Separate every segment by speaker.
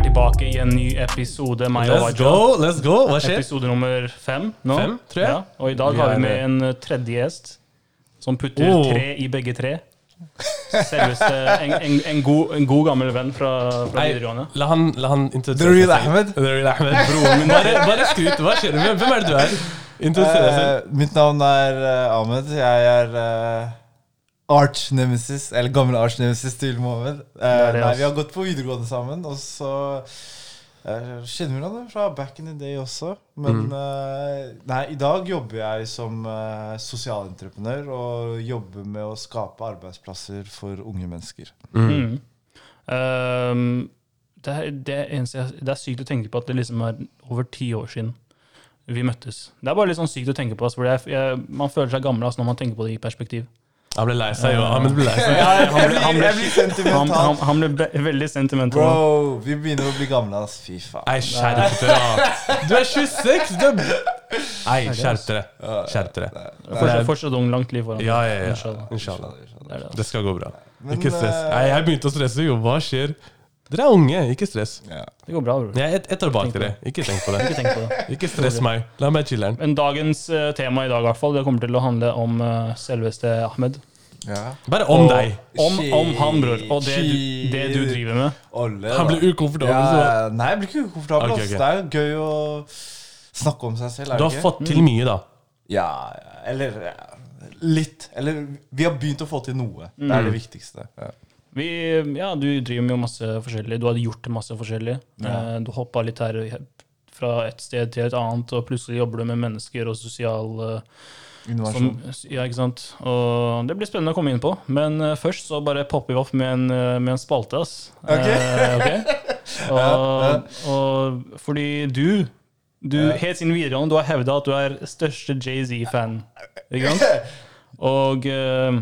Speaker 1: en ny episode meg og
Speaker 2: Let's
Speaker 1: Vaja.
Speaker 2: go! let's go Hva skjer?
Speaker 1: Episode nummer fem nå.
Speaker 2: Fem, tror jeg.
Speaker 1: Ja, og i dag
Speaker 2: Vi
Speaker 1: har
Speaker 2: er-
Speaker 1: vi med en eh, tredje gjest som putter
Speaker 2: Oh.
Speaker 1: tre i begge tre. Selveste en, en, en, god, en god gammel venn fra, fra
Speaker 2: Nei,
Speaker 1: videregående.
Speaker 2: La han, la han
Speaker 3: The
Speaker 2: introdusere
Speaker 3: real
Speaker 2: seg selv.
Speaker 3: Ahmed.
Speaker 2: The real Ahmed, broren min. Bare, bare skryt. Hva skjer? Hvem, hvem er det du er? Introdusere deg selv.
Speaker 3: Eh, mitt navn er eh, Ahmed. Jeg er eh, arch nemesis, eller gammel arch nemesis til Mohammed. Eh,
Speaker 1: er det,
Speaker 3: nei,
Speaker 1: ass.
Speaker 3: vi har gått på videregående sammen, og så eh, kjenner vi hverandre fra back in the day også. Men
Speaker 1: Mm.
Speaker 3: eh, nei, i dag jobber jeg som eh, sosialentreprenør og jobber med å skape arbeidsplasser for unge mennesker.
Speaker 1: Mm. Ehm, det, er, det, er eneste, jeg- det er sykt å tenke på at det liksom er over ti år siden vi møttes. Det er bare litt sånn sykt å tenke på. ass, for jeg, jeg, man føler seg gammel ass, når man tenker på det i perspektiv.
Speaker 2: Han ble lei seg, jo. Ahmed ble lei seg.
Speaker 1: Han ble, han
Speaker 3: Jeg blir,
Speaker 1: ble,
Speaker 3: jeg blir
Speaker 1: han, han,
Speaker 3: sentimental.
Speaker 1: han ble be- veldig sentimental.
Speaker 3: Bro, vi begynner å bli gamle, ass. Fy faen.
Speaker 2: Nei, skjerp dere. da. Du er 26! Du er... Nei, skjerp dere.
Speaker 3: Ah,
Speaker 2: Skjerp dere.
Speaker 1: Fortsatt, fortsatt ung, langt liv foran.
Speaker 2: Ja, ja, ja.
Speaker 1: Inshallah.
Speaker 2: Inshallah.
Speaker 1: Det er det, altså. ass.
Speaker 2: Det skal gå bra.
Speaker 3: Men,
Speaker 2: Ikke stress.
Speaker 3: eh,
Speaker 2: Nei, jeg begynte å stresse, jo. Hva skjer? Dere er unge. Ikke stress.
Speaker 3: Ja.
Speaker 1: Det går bra, bror.
Speaker 2: Jeg, jeg tar bak dere. Ikke tenk på det.
Speaker 1: Ikke tenk på det.
Speaker 2: Ikke stress meg. La meg chiller'n.
Speaker 1: Men dagens eh, tema i dag i hvert fall, det kommer til å handle om eh, selveste Ahmed.
Speaker 3: Ja.
Speaker 2: Bare om
Speaker 1: Og-
Speaker 2: deg.
Speaker 1: Om, om han, bror. Og det du,
Speaker 3: Shit.
Speaker 1: det du driver med.
Speaker 3: Olle,
Speaker 2: Han
Speaker 3: da.
Speaker 2: blir ukomfortabel. Så.
Speaker 3: Ja, nei, jeg blir ikke ukomfortabel.
Speaker 2: Ok, ok.
Speaker 3: ass. Det er jo gøy å snakke om seg selv. er
Speaker 2: Du
Speaker 3: det
Speaker 2: har
Speaker 3: ikke?
Speaker 2: fått til mye, da.
Speaker 3: Ja, ja, eller ja, litt. Eller vi har begynt å få til noe. Det
Speaker 1: Mm.
Speaker 3: er det viktigste. Ja.
Speaker 1: Vi, ja, du driver med jo masse forskjellig. Du hadde gjort masse forskjellig. Eh, Du hoppa litt her og her- fra et sted til et annet, og plutselig jobber du med mennesker og sosial eh,
Speaker 3: Innovasjon.
Speaker 1: som, Ja, ikke sant? Og det blir spennende å komme inn på. Men eh, først så bare popper vi opp med en, eh, med en spalte, ass. Eh, ok? Og, og fordi du du, Helt siden videregående du har hevda at du er største Jay-Z-fan. Ikke sant? Og eh,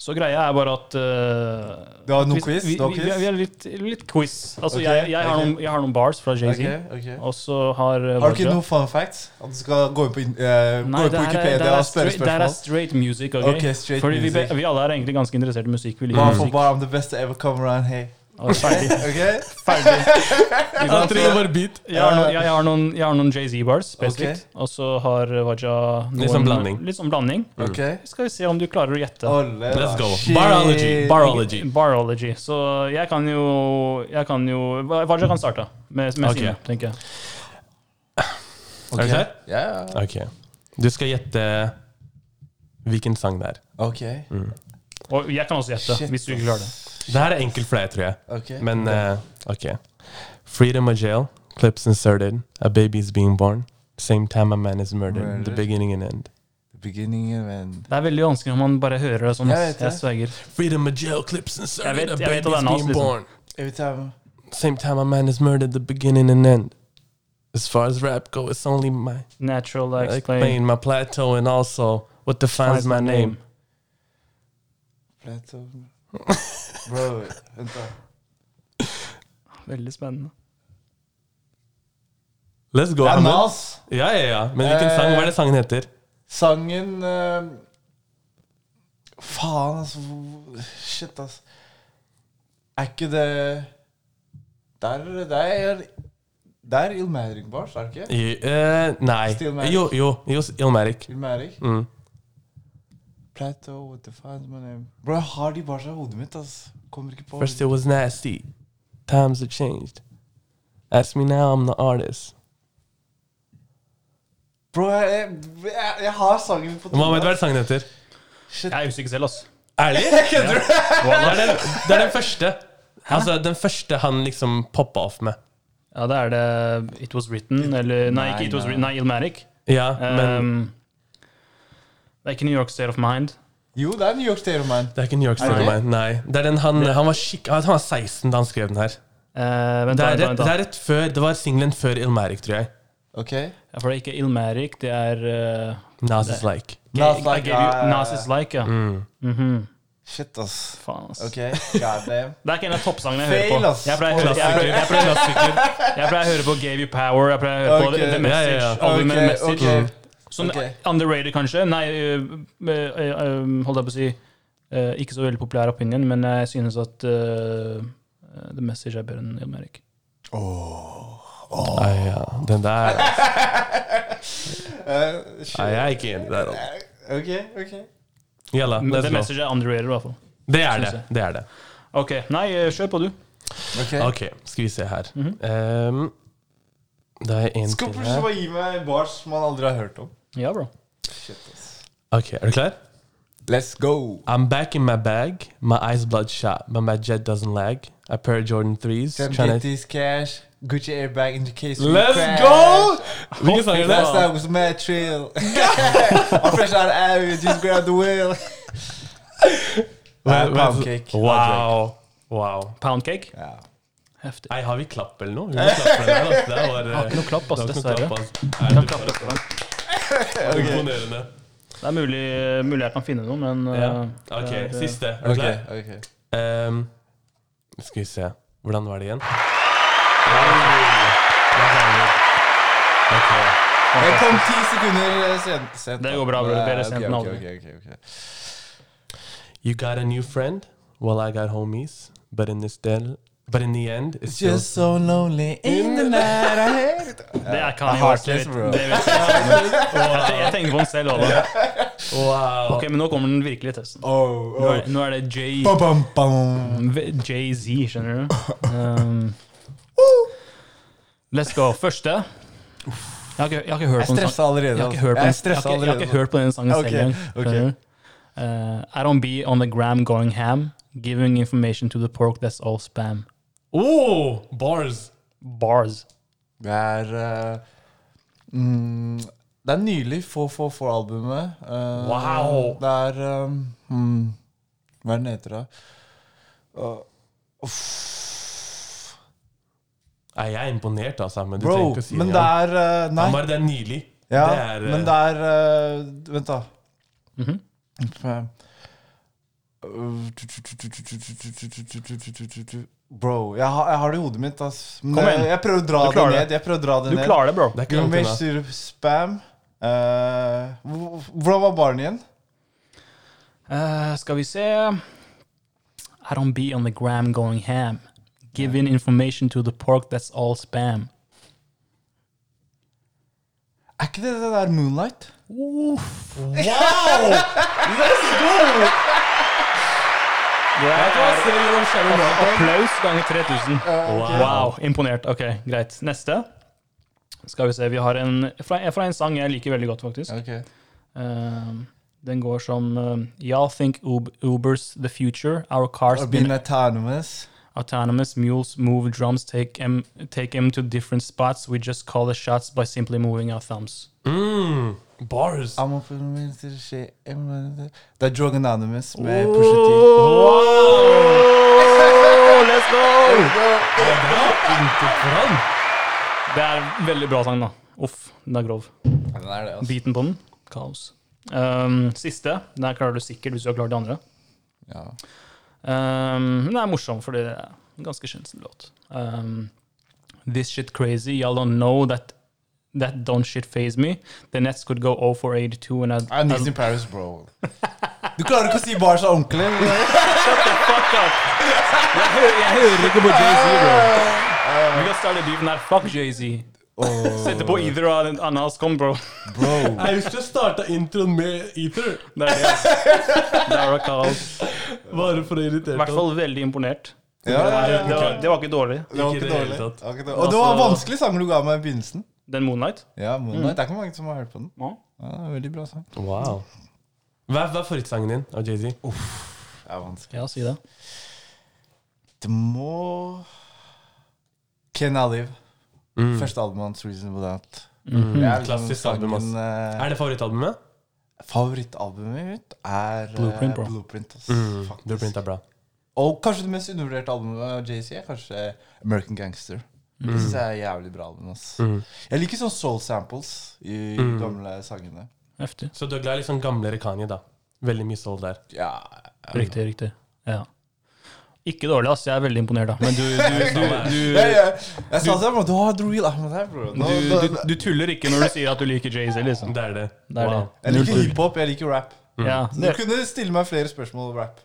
Speaker 1: så greia er bare at eh,
Speaker 3: Du har noe
Speaker 1: hvis-
Speaker 3: quiz?
Speaker 1: Vi,
Speaker 3: Du har
Speaker 1: vi, vi,
Speaker 3: quiz?
Speaker 1: vi har litt, litt quiz. Altså,
Speaker 3: Ok,
Speaker 1: jeg, jeg, har
Speaker 3: ok.
Speaker 1: noen, jeg har noen bars fra Jay-Z.
Speaker 3: Ok, ok.
Speaker 1: Og så har eh,
Speaker 3: Har du
Speaker 1: Raja-
Speaker 3: ikke noen fun facts? At du skal gå inn på, in- eh,
Speaker 1: Nei,
Speaker 3: gå inn
Speaker 1: det
Speaker 3: på
Speaker 1: her er- det her
Speaker 3: Wikipedia
Speaker 1: er
Speaker 3: og spørre
Speaker 1: straight- det her er
Speaker 3: spørsmål?
Speaker 1: straight music. ok?
Speaker 3: Ok, straight
Speaker 1: Fordi vi, be-
Speaker 3: music.
Speaker 1: vi alle er egentlig ganske interessert i musikk. Vi liker
Speaker 3: Bare for
Speaker 1: musikk.
Speaker 3: bare I'm the best to ever come around here.
Speaker 1: Og ferdig.
Speaker 3: Ok?
Speaker 1: ferdig. Ikke
Speaker 2: Han
Speaker 1: sant?
Speaker 2: trenger bare beat.
Speaker 1: Jeg har noen, jeg har noen, jeg har noen Jay-Z-bars, spesifikt.
Speaker 3: Ok.
Speaker 1: Og så har Waja noen,
Speaker 2: Litt sånn blanding.
Speaker 1: Litt sånn blanding.
Speaker 3: Ok?
Speaker 1: Skal vi se om du klarer å gjette.
Speaker 3: Olle, da.
Speaker 2: Let's go.
Speaker 3: Shit.
Speaker 2: Barology. Barology.
Speaker 1: Barology. Så jeg kan jo Jeg kan jo Waja kan starte med, med
Speaker 2: Ok.
Speaker 1: sine, tenker jeg.
Speaker 2: Er du klar?
Speaker 3: Ja, ja.
Speaker 2: Ok. Du skal gjette hvilken sang det er.
Speaker 3: Ok.
Speaker 2: Mm.
Speaker 1: Og jeg kan også gjette,
Speaker 3: Shit,
Speaker 1: hvis du ikke klarer det.
Speaker 2: Det her er enkelt for deg, tror jeg.
Speaker 3: Ok.
Speaker 2: Men eh, ok. Freedom of jail. Clips inserted. A baby is being born. Same time a man is murdered. The
Speaker 3: Murdered.
Speaker 2: beginning and end.
Speaker 3: Beginning of end.
Speaker 1: Det er veldig vanskelig når man bare hører det sånn.
Speaker 3: Jeg
Speaker 1: ass.
Speaker 3: vet
Speaker 1: Jeg
Speaker 3: det.
Speaker 1: sverger.
Speaker 2: Freedom of jail. Clips inserted.
Speaker 1: vet-
Speaker 2: a
Speaker 1: jeg vet
Speaker 2: baby
Speaker 1: at det
Speaker 2: is
Speaker 1: er Nas,
Speaker 2: being
Speaker 1: liksom.
Speaker 2: born.
Speaker 3: Every time
Speaker 2: Same time a man is murdered. The beginning and end. As far as rap go, it's only my
Speaker 1: Natural I
Speaker 2: I
Speaker 1: explain.
Speaker 2: explain my plateau and also what defines my name.
Speaker 3: Plato. um, Bro, vent da.
Speaker 1: Veldig spennende.
Speaker 2: Let's go,
Speaker 3: Det er
Speaker 2: Ahmed.
Speaker 3: Nas.
Speaker 2: Ja, ja, ja. Men hvilken sang? Hva er det sangen heter?
Speaker 3: Sangen eh, Faen, altså. hvor- Shit, altså. Er ikke det Der, der er Det er Ilmarik Bars, er det ikke?
Speaker 2: I, eh, nei.
Speaker 3: Stillmatic.
Speaker 2: Jo, jo. jo Ilmarik.
Speaker 3: Ilmarik?
Speaker 2: Mm.
Speaker 3: Plato, what the fuck my name Bro, jeg har de barsa i hodet mitt, ass. Kommer ikke på
Speaker 2: First it was nasty. Times have changed. Ask me now, I'm the artist.
Speaker 3: Bro, jeg, jeg, jeg har sangen på
Speaker 2: Mohammed, hva er det sangen heter?
Speaker 3: Shit.
Speaker 1: Jeg er usikker selv, ass.
Speaker 2: Ærlig? Kødder du? Det er den, det er den første. Altså, den første han liksom poppa off med.
Speaker 1: Ja, da er det It Was Written, eller Nei, ikke It Was Written, nei, Ilmatic.
Speaker 2: Ja, men
Speaker 1: Um, det er ikke New York State of Mind.
Speaker 3: Jo, det er New York Stereo Man.
Speaker 2: det er ikke New York Story,
Speaker 3: det?
Speaker 2: nei. nei. Det er den han, han, var skikk, han var 16 da han skrev den her.
Speaker 1: Eh, vent,
Speaker 2: Det
Speaker 1: da, vent,
Speaker 2: er rett,
Speaker 1: da.
Speaker 2: det
Speaker 1: vent da.
Speaker 2: er rett før, det var singelen før Ilmarik, tror jeg.
Speaker 3: Ok?
Speaker 1: Ja, For det er ikke Ilmatic, det er eh,
Speaker 2: Nas is like.
Speaker 3: Nas
Speaker 1: I- I
Speaker 3: Like,
Speaker 1: gave you-
Speaker 3: ja,
Speaker 1: Nas Is Like, ja. Mhm.
Speaker 3: Shit, ass.
Speaker 1: Faen, ass.
Speaker 3: Ok, god damn.
Speaker 1: Det er ikke en av toppsangene jeg hører
Speaker 3: Fail,
Speaker 1: på.
Speaker 3: ass.
Speaker 1: Jeg pleier å høre- jeg pleier- jeg pleier- jeg pleier å høre på Gave You Power, jeg pleier å høre på
Speaker 3: Ok.
Speaker 1: The- The
Speaker 3: Ja,
Speaker 2: ja,
Speaker 1: Message.
Speaker 2: ja.
Speaker 1: albumet The
Speaker 3: Ok,
Speaker 1: Message.
Speaker 3: ok.
Speaker 1: Sånn
Speaker 3: Ok.
Speaker 1: underrated, kanskje. Nei, eh, eh, eh, holdt jeg på å si eh, Ikke eh, så veldig populær opinion, men jeg synes at eh, The Message er bedre enn Ilmarik.
Speaker 2: Nei, Ah, ja. Den der altså.
Speaker 3: Eh, shit.
Speaker 2: Nei, jeg er ikke enig der. Altså.
Speaker 3: Ok, ok.
Speaker 2: Gjella,
Speaker 1: Men
Speaker 2: let's
Speaker 1: The
Speaker 2: go.
Speaker 1: Message er underrated, i hvert fall.
Speaker 2: Det er det.
Speaker 1: synes
Speaker 2: det er det.
Speaker 1: Ok, Nei, eh, kjør på, du.
Speaker 3: Ok.
Speaker 2: Ok, skal vi se her.
Speaker 1: Mhm.
Speaker 2: Ehm, da er en
Speaker 3: Skal
Speaker 2: til
Speaker 3: plutselig
Speaker 2: her.
Speaker 3: bare gi meg bars man aldri har hørt om.
Speaker 1: Ja, bro.
Speaker 3: Shit, ass.
Speaker 2: Ok, er du klar?
Speaker 3: Let's go.
Speaker 2: I'm back in my bag. My eyes bloodshot, but my jet doesn't lag. A pair of Jordan 3s.
Speaker 3: Can
Speaker 2: tryna-
Speaker 3: get this cash. Gucci airbag in the case. we
Speaker 2: Let's
Speaker 3: crash.
Speaker 2: go! Hvilken sang er det?
Speaker 3: Last night was mad trill. I'm fresh out of Abbey, just grabbed the wheel.
Speaker 2: Hva-
Speaker 3: Nei,
Speaker 2: hva-
Speaker 3: Poundcake.
Speaker 2: Wow. wow.
Speaker 1: Poundcake.
Speaker 3: Ja.
Speaker 1: Heftig.
Speaker 2: Nei, har vi klapp eller noe? Vi må klappe for den der, altså. Det var,
Speaker 1: Har ikke noe klapp, ass,
Speaker 2: det var ikke
Speaker 1: dessverre.
Speaker 2: noe klapp, ass.
Speaker 1: Kan
Speaker 2: Nei, det
Speaker 1: klappe for den.
Speaker 2: var Imponerende.
Speaker 1: Det er mulig, mulig jeg kan finne noe, men
Speaker 2: Ja.
Speaker 1: eh,
Speaker 2: Ok,
Speaker 1: det er-
Speaker 2: siste. Er du
Speaker 3: Ok,
Speaker 2: klar?
Speaker 3: ok.
Speaker 2: Ehm, skal vi se Hvordan var det igjen? Ok.
Speaker 3: Jeg kom ti sekunder sent. sent
Speaker 1: Det går bra, bror. Bedre sent enn aldri.
Speaker 3: Okay, okay, okay.
Speaker 2: You got a new friend? Well, I got homies. But in, this del- but in the end, it's
Speaker 3: It's
Speaker 2: still
Speaker 3: just so lonely in the night I hate it.
Speaker 1: Det er
Speaker 3: I
Speaker 1: Kanye
Speaker 3: heart
Speaker 1: West. Det
Speaker 3: this,
Speaker 1: vet-
Speaker 3: bro.
Speaker 1: det vet jeg. Jeg tenker- Jeg tenker på den selv også. da.
Speaker 2: Wow.
Speaker 1: Ok, men nå kommer den virkelige testen.
Speaker 3: Oh,
Speaker 1: Nå
Speaker 3: oh.
Speaker 1: er, nå er det J...
Speaker 3: Bam, bam, bam.
Speaker 1: Jay-Z, skjønner du. Um, let's go. Første. Jeg har ikke, jeg har ikke hørt
Speaker 3: Jeg
Speaker 1: på den
Speaker 3: stresset
Speaker 1: sangen.
Speaker 3: allerede. altså.
Speaker 1: Jeg har ikke hørt på
Speaker 3: Jeg
Speaker 1: den,
Speaker 3: er stresset
Speaker 1: jeg har ikke, jeg har ikke
Speaker 3: allerede.
Speaker 1: hørt på den sangen
Speaker 3: Ok,
Speaker 1: selv engang.
Speaker 3: ok.
Speaker 1: skjønner du? Uh, I don't be on the gram going ham, giving information to the pork that's all spam.
Speaker 2: Oh, bars.
Speaker 1: Bars.
Speaker 3: Det er eh, mm, Det er nylig 444-albumet.
Speaker 2: Wow.
Speaker 3: Eh, Det er eh, mm, Hva er den heter, da? Uh, uff.
Speaker 2: Nei, jeg er imponert, altså. Men du
Speaker 3: Bro,
Speaker 2: trenger ikke å si
Speaker 3: men
Speaker 2: det.
Speaker 3: det
Speaker 2: igjen.
Speaker 3: er eh, Nei.
Speaker 2: Bare det er nylig.
Speaker 3: Ja,
Speaker 2: det er, eh,
Speaker 3: men det er eh, Vent, da.
Speaker 1: Mhm.
Speaker 3: eh, Bro, jeg har, jeg har det i hodet mitt. Ass. Men
Speaker 1: Kom
Speaker 3: jeg,
Speaker 1: igjen.
Speaker 3: jeg prøver å dra
Speaker 1: Du
Speaker 3: det
Speaker 1: klarer
Speaker 3: ned. Jeg prøver å dra det
Speaker 1: Du
Speaker 3: ned
Speaker 1: klarer det, bro.
Speaker 2: Det er ikke langt
Speaker 3: Gummel,
Speaker 2: unna.
Speaker 3: syrup, spam Eh, hvor- Hvordan var barnet igjen?
Speaker 1: Eh, skal vi se I don't be on the gram going ham. Giving information to the pork that's all spam.
Speaker 3: Er ikke det det der Moonlight?
Speaker 2: Wow! Let's go! Jeg kan se gjennom skjermen bak deg.
Speaker 1: Applaus ganger 3000.
Speaker 2: ok.
Speaker 1: Wow, imponert. Ok, greit. Neste. Skal vi se, vi har en fra, fra en sang jeg liker veldig godt, faktisk.
Speaker 3: Ok
Speaker 1: Eh, den går som eh, Y'all think Ub Uber's the future. Our cars
Speaker 3: Or
Speaker 1: been
Speaker 3: Being autonomous
Speaker 1: Autonomous mules move drums, take em, take em to different spots. We just call the shots by simply moving our thumbs.
Speaker 2: Mm, bars.
Speaker 3: I'm open to me to shit. Det er Drug Anonymous med Pusha T
Speaker 1: Oh, let's go!
Speaker 2: Det var ikke foran.
Speaker 1: Det er en veldig bra sang, da. Uff, den er grov.
Speaker 3: Den er det, altså.
Speaker 1: Biten på den. Kaos. Um, siste. Den her klarer du sikkert hvis du har klart de andre.
Speaker 3: Ja.
Speaker 1: Um, den er morsom, fordi det er en ganske kjensel låt. Um, This shit crazy, y'all don't know that That don't shit phase me. The Nets could go 0 for 82 and I'd,
Speaker 3: I'm
Speaker 1: I'd-
Speaker 3: Nice in Paris, bro Du klarer ikke å si bars av ordentlig
Speaker 1: Fuck up! Ah. Jeg hører, jeg hører ikke på Jay-Z, bro. Vi kan starte beefen her. Fuck Jay-Z. Oh. Sette på either av en annen hans kom, bro.
Speaker 3: Bro
Speaker 2: Jeg husker jeg starta introen med Ether.
Speaker 1: Det er det. ass. Det er det kaos.
Speaker 2: Bare for å irritere
Speaker 1: I hvert fall veldig imponert.
Speaker 3: ja, ja,
Speaker 1: Det
Speaker 3: ja.
Speaker 1: det var, det var ikke dårlig.
Speaker 3: Det var
Speaker 2: Ikke
Speaker 3: ikke
Speaker 2: i det hele
Speaker 3: dårlig
Speaker 2: tatt.
Speaker 3: Det var ikke dårlig. Og det var
Speaker 1: Altså-
Speaker 3: vanskelig sanger du ga meg i begynnelsen
Speaker 1: Den Moonlight.
Speaker 3: Ja,
Speaker 2: Mm.
Speaker 3: Moonlight Det er ikke mange som har hørt på den
Speaker 1: Ja.
Speaker 3: ja, det er en Veldig bra sang
Speaker 2: Wow. Hva, hva er favorittsangen din av Jay-Z?
Speaker 3: Det er vanskelig
Speaker 1: Ja, si det.
Speaker 3: Det må Ken Alive. Første albumet hans, 'Reasonable Doubt'. Det er liksom
Speaker 2: Mm. Klassisk album, ass.
Speaker 3: sangen, eh,
Speaker 2: Er det favorittalbumet?
Speaker 3: Favorittalbumet mitt er eh,
Speaker 1: Blueprint, bro.
Speaker 3: Blueprint, ass, faktisk.
Speaker 2: Mm, Blueprint er bra.
Speaker 3: Og kanskje det mest undervurderte albumet av JC er kanskje 'American Gangster'.
Speaker 2: Mm.
Speaker 3: Det synes jeg er et jævlig bra album. ass Jeg liker sånn soul samples i
Speaker 2: Mm.
Speaker 3: gamle sangene.
Speaker 1: Heftig.
Speaker 2: Så du er glad i litt sånn gamle Rekani, da? Veldig mye soul der.
Speaker 3: Ja,
Speaker 1: Riktig, riktig. Ja. Ikke dårlig, ass. Jeg er veldig imponert, da. Men du, du, du,
Speaker 3: jeg,
Speaker 1: du,
Speaker 3: jeg, jeg sa til ham at du har Droil Ahmed her, bro. Nå,
Speaker 1: du,
Speaker 3: da-
Speaker 1: du, du tuller ikke når du sier at du liker Jay-Z, liksom.
Speaker 2: Det er det.
Speaker 1: Det er det.
Speaker 2: Wow.
Speaker 3: jeg liker
Speaker 1: Null tull.
Speaker 3: hiphop, jeg liker rap.
Speaker 1: Ja,
Speaker 3: Du
Speaker 1: det,
Speaker 3: kunne stille meg flere spørsmål om rap.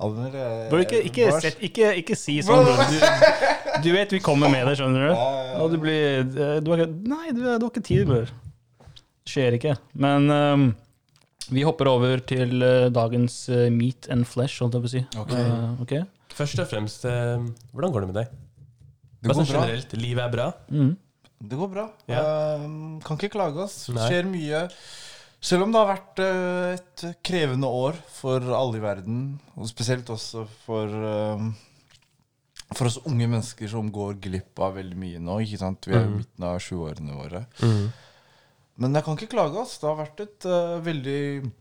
Speaker 3: Almer eh,
Speaker 1: Bro, ikke, ikke,
Speaker 3: Bars.
Speaker 1: sett, ikke, ikke si sånn, bro. Du, du vet vi kommer med det, skjønner du.
Speaker 3: Ja, ja, ja.
Speaker 1: Og du blir du har, ikke- Nei, du, du har ikke tid, bror. Skjer ikke. Men ehm, vi hopper over til eh, dagens eh, meat and flesh, holdt jeg på å si.
Speaker 3: Ok.
Speaker 1: Eh, ok?
Speaker 2: Først og fremst, eh, hvordan går det med deg?
Speaker 3: Det
Speaker 2: Hva
Speaker 3: går
Speaker 2: sånn
Speaker 3: bra.
Speaker 2: generelt? Livet er bra?
Speaker 1: Mm.
Speaker 3: Det går bra.
Speaker 2: Ja.
Speaker 3: Ehm, kan ikke klage oss.
Speaker 2: Nei.
Speaker 3: Skjer mye. Selv om det har vært eh, et krevende år for alle i verden, og spesielt også for ehm, for oss unge mennesker som går glipp av veldig mye nå. ikke sant? Vi er i midten av 20-årene våre. Men jeg kan ikke klage. ass. Det har vært et eh, veldig